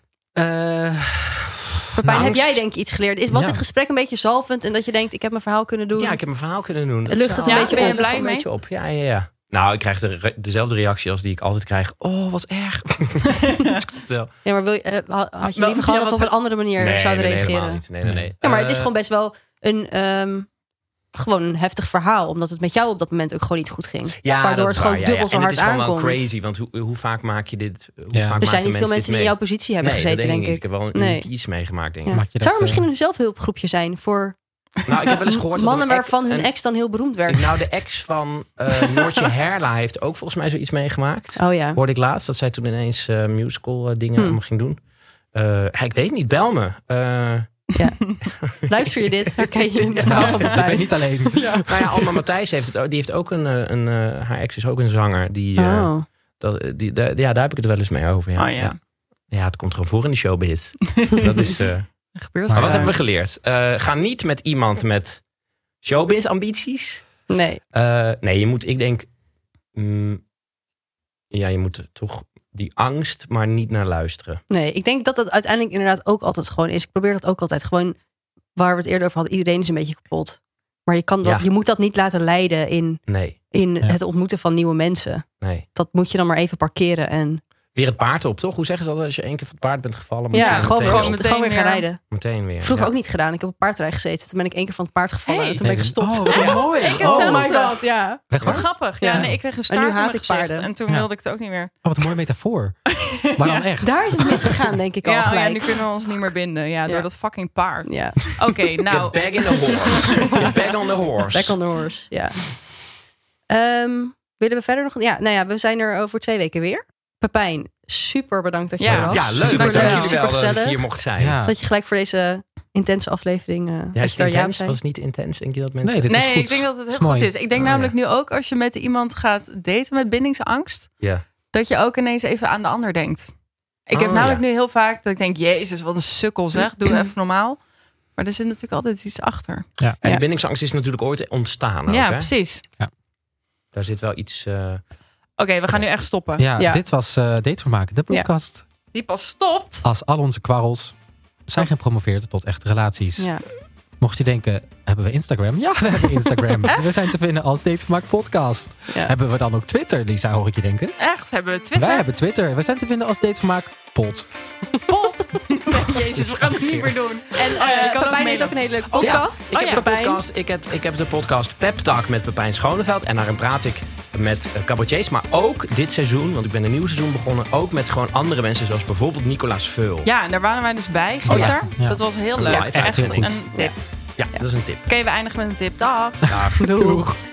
[SPEAKER 3] Pepijn,
[SPEAKER 1] Nou,
[SPEAKER 3] heb jij denk ik iets geleerd? Is, was
[SPEAKER 1] Ja.
[SPEAKER 3] dit gesprek een beetje zalvend en dat je denkt, ik heb mijn verhaal kunnen doen?
[SPEAKER 2] Ja, ik heb mijn verhaal kunnen doen.
[SPEAKER 3] Het lucht het
[SPEAKER 4] Ja,
[SPEAKER 3] een beetje
[SPEAKER 4] ben je
[SPEAKER 3] op.
[SPEAKER 4] blij
[SPEAKER 2] een
[SPEAKER 4] mee?
[SPEAKER 2] beetje op. Ja, ja, ja. Nou, ik krijg de, re- dezelfde reactie als die ik altijd krijg. Oh, wat erg. Dat klopt wel.
[SPEAKER 3] Ja, maar wil je, eh, ha- had je
[SPEAKER 4] Wel,
[SPEAKER 3] liever gehad
[SPEAKER 4] ja,
[SPEAKER 3] dat we op
[SPEAKER 4] wat-
[SPEAKER 3] een andere manier
[SPEAKER 2] nee,
[SPEAKER 3] zouden
[SPEAKER 2] nee, nee,
[SPEAKER 3] reageren?
[SPEAKER 2] helemaal niet. Nee, nee, nee.
[SPEAKER 3] Ja, maar het is
[SPEAKER 2] Eh,
[SPEAKER 3] gewoon best wel een, ehm, gewoon een heftig verhaal. Omdat het met jou op dat moment ook gewoon niet goed ging.
[SPEAKER 2] ja,
[SPEAKER 3] waardoor
[SPEAKER 2] dat
[SPEAKER 3] het
[SPEAKER 2] is
[SPEAKER 3] gewoon
[SPEAKER 2] waar,
[SPEAKER 3] dubbel zo
[SPEAKER 2] en
[SPEAKER 3] hard
[SPEAKER 2] het is gewoon wel
[SPEAKER 3] aankomt.
[SPEAKER 2] crazy, want hoe, hoe vaak maak je dit... Hoe
[SPEAKER 1] Ja.
[SPEAKER 2] vaak
[SPEAKER 1] Er
[SPEAKER 3] Er
[SPEAKER 2] maken
[SPEAKER 3] zijn niet veel
[SPEAKER 2] dit
[SPEAKER 3] mensen die in
[SPEAKER 2] mee?
[SPEAKER 3] jouw positie hebben
[SPEAKER 2] nee,
[SPEAKER 3] gezeten,
[SPEAKER 2] dat denk,
[SPEAKER 3] denk
[SPEAKER 2] ik.
[SPEAKER 3] ik.
[SPEAKER 2] niet. Ik heb wel een
[SPEAKER 3] Nee.
[SPEAKER 2] uniek iets meegemaakt, denk ik.
[SPEAKER 3] Ja.
[SPEAKER 1] Maak je dat,
[SPEAKER 3] Zou er misschien
[SPEAKER 1] eh,
[SPEAKER 3] een zelfhulpgroepje zijn voor
[SPEAKER 2] Nou, ik heb wel eens gehoord dat
[SPEAKER 3] mannen
[SPEAKER 2] een ex-
[SPEAKER 3] waarvan hun
[SPEAKER 2] een-
[SPEAKER 3] ex dan heel beroemd werd?
[SPEAKER 2] Nou, de ex van eh Noortje Herla heeft ook volgens mij zoiets meegemaakt.
[SPEAKER 3] Oh ja.
[SPEAKER 2] Hoorde ik laatst dat zij toen ineens eh, musical eh, dingen
[SPEAKER 3] Hmm.
[SPEAKER 2] allemaal ging doen. Eh, ik weet niet, bel me. Eh,
[SPEAKER 3] Luister je dit? Herken je het verhaal
[SPEAKER 1] Nou,
[SPEAKER 3] van
[SPEAKER 1] ik ben
[SPEAKER 3] Pepijn?
[SPEAKER 1] niet alleen.
[SPEAKER 2] Nou ja, Alma Matthijs heeft het ook. Die heeft ook een. eh, een eh, haar ex is ook een zanger. Die, eh,
[SPEAKER 3] Oh.
[SPEAKER 2] dat, eh, die, daar- ja, daar heb ik het wel eens mee over. Ja,
[SPEAKER 4] Oh ja.
[SPEAKER 2] Ja, het komt gewoon voor in de showbiz. dat is, eh,
[SPEAKER 4] Gebeurt
[SPEAKER 2] maar
[SPEAKER 1] Maar
[SPEAKER 2] wat
[SPEAKER 1] ja.
[SPEAKER 2] hebben we geleerd? Eh, ga niet met iemand met showbiz-ambities.
[SPEAKER 3] Nee.
[SPEAKER 2] Eh, nee, je moet, ik denk. mm, ja, je moet toch die angst, maar niet naar luisteren.
[SPEAKER 3] nee, ik denk dat dat uiteindelijk inderdaad ook altijd gewoon is. Ik probeer dat ook altijd gewoon, waar we het eerder over hadden, iedereen is een beetje kapot. Maar je, kan dat,
[SPEAKER 2] Ja.
[SPEAKER 3] je moet dat niet laten leiden in,
[SPEAKER 2] Nee,
[SPEAKER 3] in
[SPEAKER 1] Ja.
[SPEAKER 3] het ontmoeten van nieuwe mensen.
[SPEAKER 2] nee.
[SPEAKER 3] Dat moet je dan maar even parkeren. En,
[SPEAKER 2] Weer het paard op, toch? Hoe zeggen ze dat als je één keer van het paard bent gevallen? moet
[SPEAKER 3] ja,
[SPEAKER 2] je
[SPEAKER 3] gewoon,
[SPEAKER 2] meteen
[SPEAKER 3] gewoon,
[SPEAKER 2] weer op.
[SPEAKER 4] meteen
[SPEAKER 3] gewoon weer gaan
[SPEAKER 4] weer.
[SPEAKER 3] rijden.
[SPEAKER 2] Meteen weer.
[SPEAKER 3] Vroeger
[SPEAKER 2] ja.
[SPEAKER 3] ook niet gedaan. Ik heb op paardrij gezeten. Toen ben ik één keer van het paard gevallen.
[SPEAKER 4] Hey.
[SPEAKER 3] en toen ben ik gestopt.
[SPEAKER 1] Oh, wat mooi.
[SPEAKER 4] Hetzelfde.
[SPEAKER 1] Oh, my God.
[SPEAKER 3] ja.
[SPEAKER 1] Echt
[SPEAKER 4] Wat
[SPEAKER 1] waar?
[SPEAKER 4] grappig. Ja,
[SPEAKER 3] Ja.
[SPEAKER 4] nee, ik kreeg een
[SPEAKER 3] En
[SPEAKER 4] staart
[SPEAKER 3] nu
[SPEAKER 4] in
[SPEAKER 3] haat
[SPEAKER 4] mijn
[SPEAKER 3] ik
[SPEAKER 4] gezicht
[SPEAKER 3] paarden.
[SPEAKER 4] En toen
[SPEAKER 1] Ja.
[SPEAKER 4] wilde ik het ook niet meer.
[SPEAKER 1] Oh, wat een mooie metafoor. Maar dan echt.
[SPEAKER 3] Daar is het misgegaan, denk ik al
[SPEAKER 4] Ja, oh ja, nu
[SPEAKER 3] gelijk.
[SPEAKER 4] kunnen we ons niet meer binden. Ja, door
[SPEAKER 3] Ja.
[SPEAKER 4] dat fucking paard.
[SPEAKER 3] Ja,
[SPEAKER 4] Oké, nou.
[SPEAKER 2] Get back in the horse. Get back on the horse.
[SPEAKER 3] back on the horse. Ja. Ehm, willen we verder nog? Ja, nou ja, we zijn er over twee weken weer. Pepijn, super bedankt dat je
[SPEAKER 4] Ja.
[SPEAKER 3] er was.
[SPEAKER 2] Ja, leuk.
[SPEAKER 3] Super
[SPEAKER 2] Dank
[SPEAKER 4] leuk.
[SPEAKER 2] jullie wel
[SPEAKER 3] super
[SPEAKER 2] dat ik
[SPEAKER 3] gezellig.
[SPEAKER 2] hier mocht zijn. Ja,
[SPEAKER 1] Ja.
[SPEAKER 3] Dat je gelijk voor deze intense aflevering. eh
[SPEAKER 2] is
[SPEAKER 3] dat
[SPEAKER 2] het
[SPEAKER 3] je daar ja op
[SPEAKER 2] intens?
[SPEAKER 3] zei.
[SPEAKER 2] Was het niet intens? Denk je dat mensen...
[SPEAKER 1] Nee, dit is
[SPEAKER 4] nee,
[SPEAKER 1] goed.
[SPEAKER 4] ik denk dat het heel
[SPEAKER 1] mooi.
[SPEAKER 4] goed is. Ik denk
[SPEAKER 2] Oh,
[SPEAKER 4] namelijk nu ook als je met iemand gaat daten met bindingsangst,
[SPEAKER 2] Ja.
[SPEAKER 4] dat je ook ineens even aan de ander denkt. Ik heb
[SPEAKER 2] Oh,
[SPEAKER 4] namelijk
[SPEAKER 2] ja.
[SPEAKER 4] nu heel vaak dat ik denk, jezus, wat een sukkel zeg, doe even normaal. Maar er zit natuurlijk altijd iets achter.
[SPEAKER 2] En
[SPEAKER 3] Ja.
[SPEAKER 2] die bindingsangst is natuurlijk ooit ontstaan. ook,
[SPEAKER 1] Nou,
[SPEAKER 4] ja,
[SPEAKER 2] hè?
[SPEAKER 4] precies.
[SPEAKER 2] Daar zit wel iets... eh,
[SPEAKER 4] Oké, we gaan nu echt stoppen.
[SPEAKER 1] Ja,
[SPEAKER 3] Ja.
[SPEAKER 1] dit was eh Date Vermaken, de podcast.
[SPEAKER 4] Die pas stopt.
[SPEAKER 1] Als al onze kwarrels zijn gepromoveerd tot echte relaties.
[SPEAKER 3] Ja.
[SPEAKER 1] Mocht je denken, hebben we Instagram? Ja, we hebben Instagram. we zijn te vinden als Date Vermaak podcast.
[SPEAKER 3] Ja.
[SPEAKER 1] Hebben we dan ook Twitter, Lisa, hoor ik je denken?
[SPEAKER 4] Echt, hebben we Twitter?
[SPEAKER 1] Wij hebben Twitter. We zijn te vinden als Date Vermaak pod.
[SPEAKER 4] Pot. Nee, jezus, we gaan het niet meer doen. Oh
[SPEAKER 3] En
[SPEAKER 2] Oh
[SPEAKER 4] ja, je
[SPEAKER 3] eh,
[SPEAKER 4] kan ook
[SPEAKER 3] Pepijn
[SPEAKER 4] mee.
[SPEAKER 3] heeft ook een hele leuke
[SPEAKER 2] ja,
[SPEAKER 3] podcast. Oh
[SPEAKER 2] ik, heb
[SPEAKER 3] ja.
[SPEAKER 2] de podcast, ik, heb, ik heb de podcast Pep Talk met Pepijn Schoneveld. En daarin praat ik met eh, cabaretiers. Maar ook dit seizoen, want ik ben een nieuw seizoen begonnen. Ook met gewoon andere mensen, zoals bijvoorbeeld Nicolaas Veul.
[SPEAKER 4] Ja, en daar waren wij dus bij gisteren.
[SPEAKER 1] Oh Ja.
[SPEAKER 4] Dat was heel
[SPEAKER 2] Ja,
[SPEAKER 4] leuk.
[SPEAKER 2] echt heel goed.
[SPEAKER 4] een tip.
[SPEAKER 2] Ja, dat is een tip.
[SPEAKER 4] Oké, we eindigen met een tip. Dag.
[SPEAKER 2] Daar.
[SPEAKER 3] Doeg.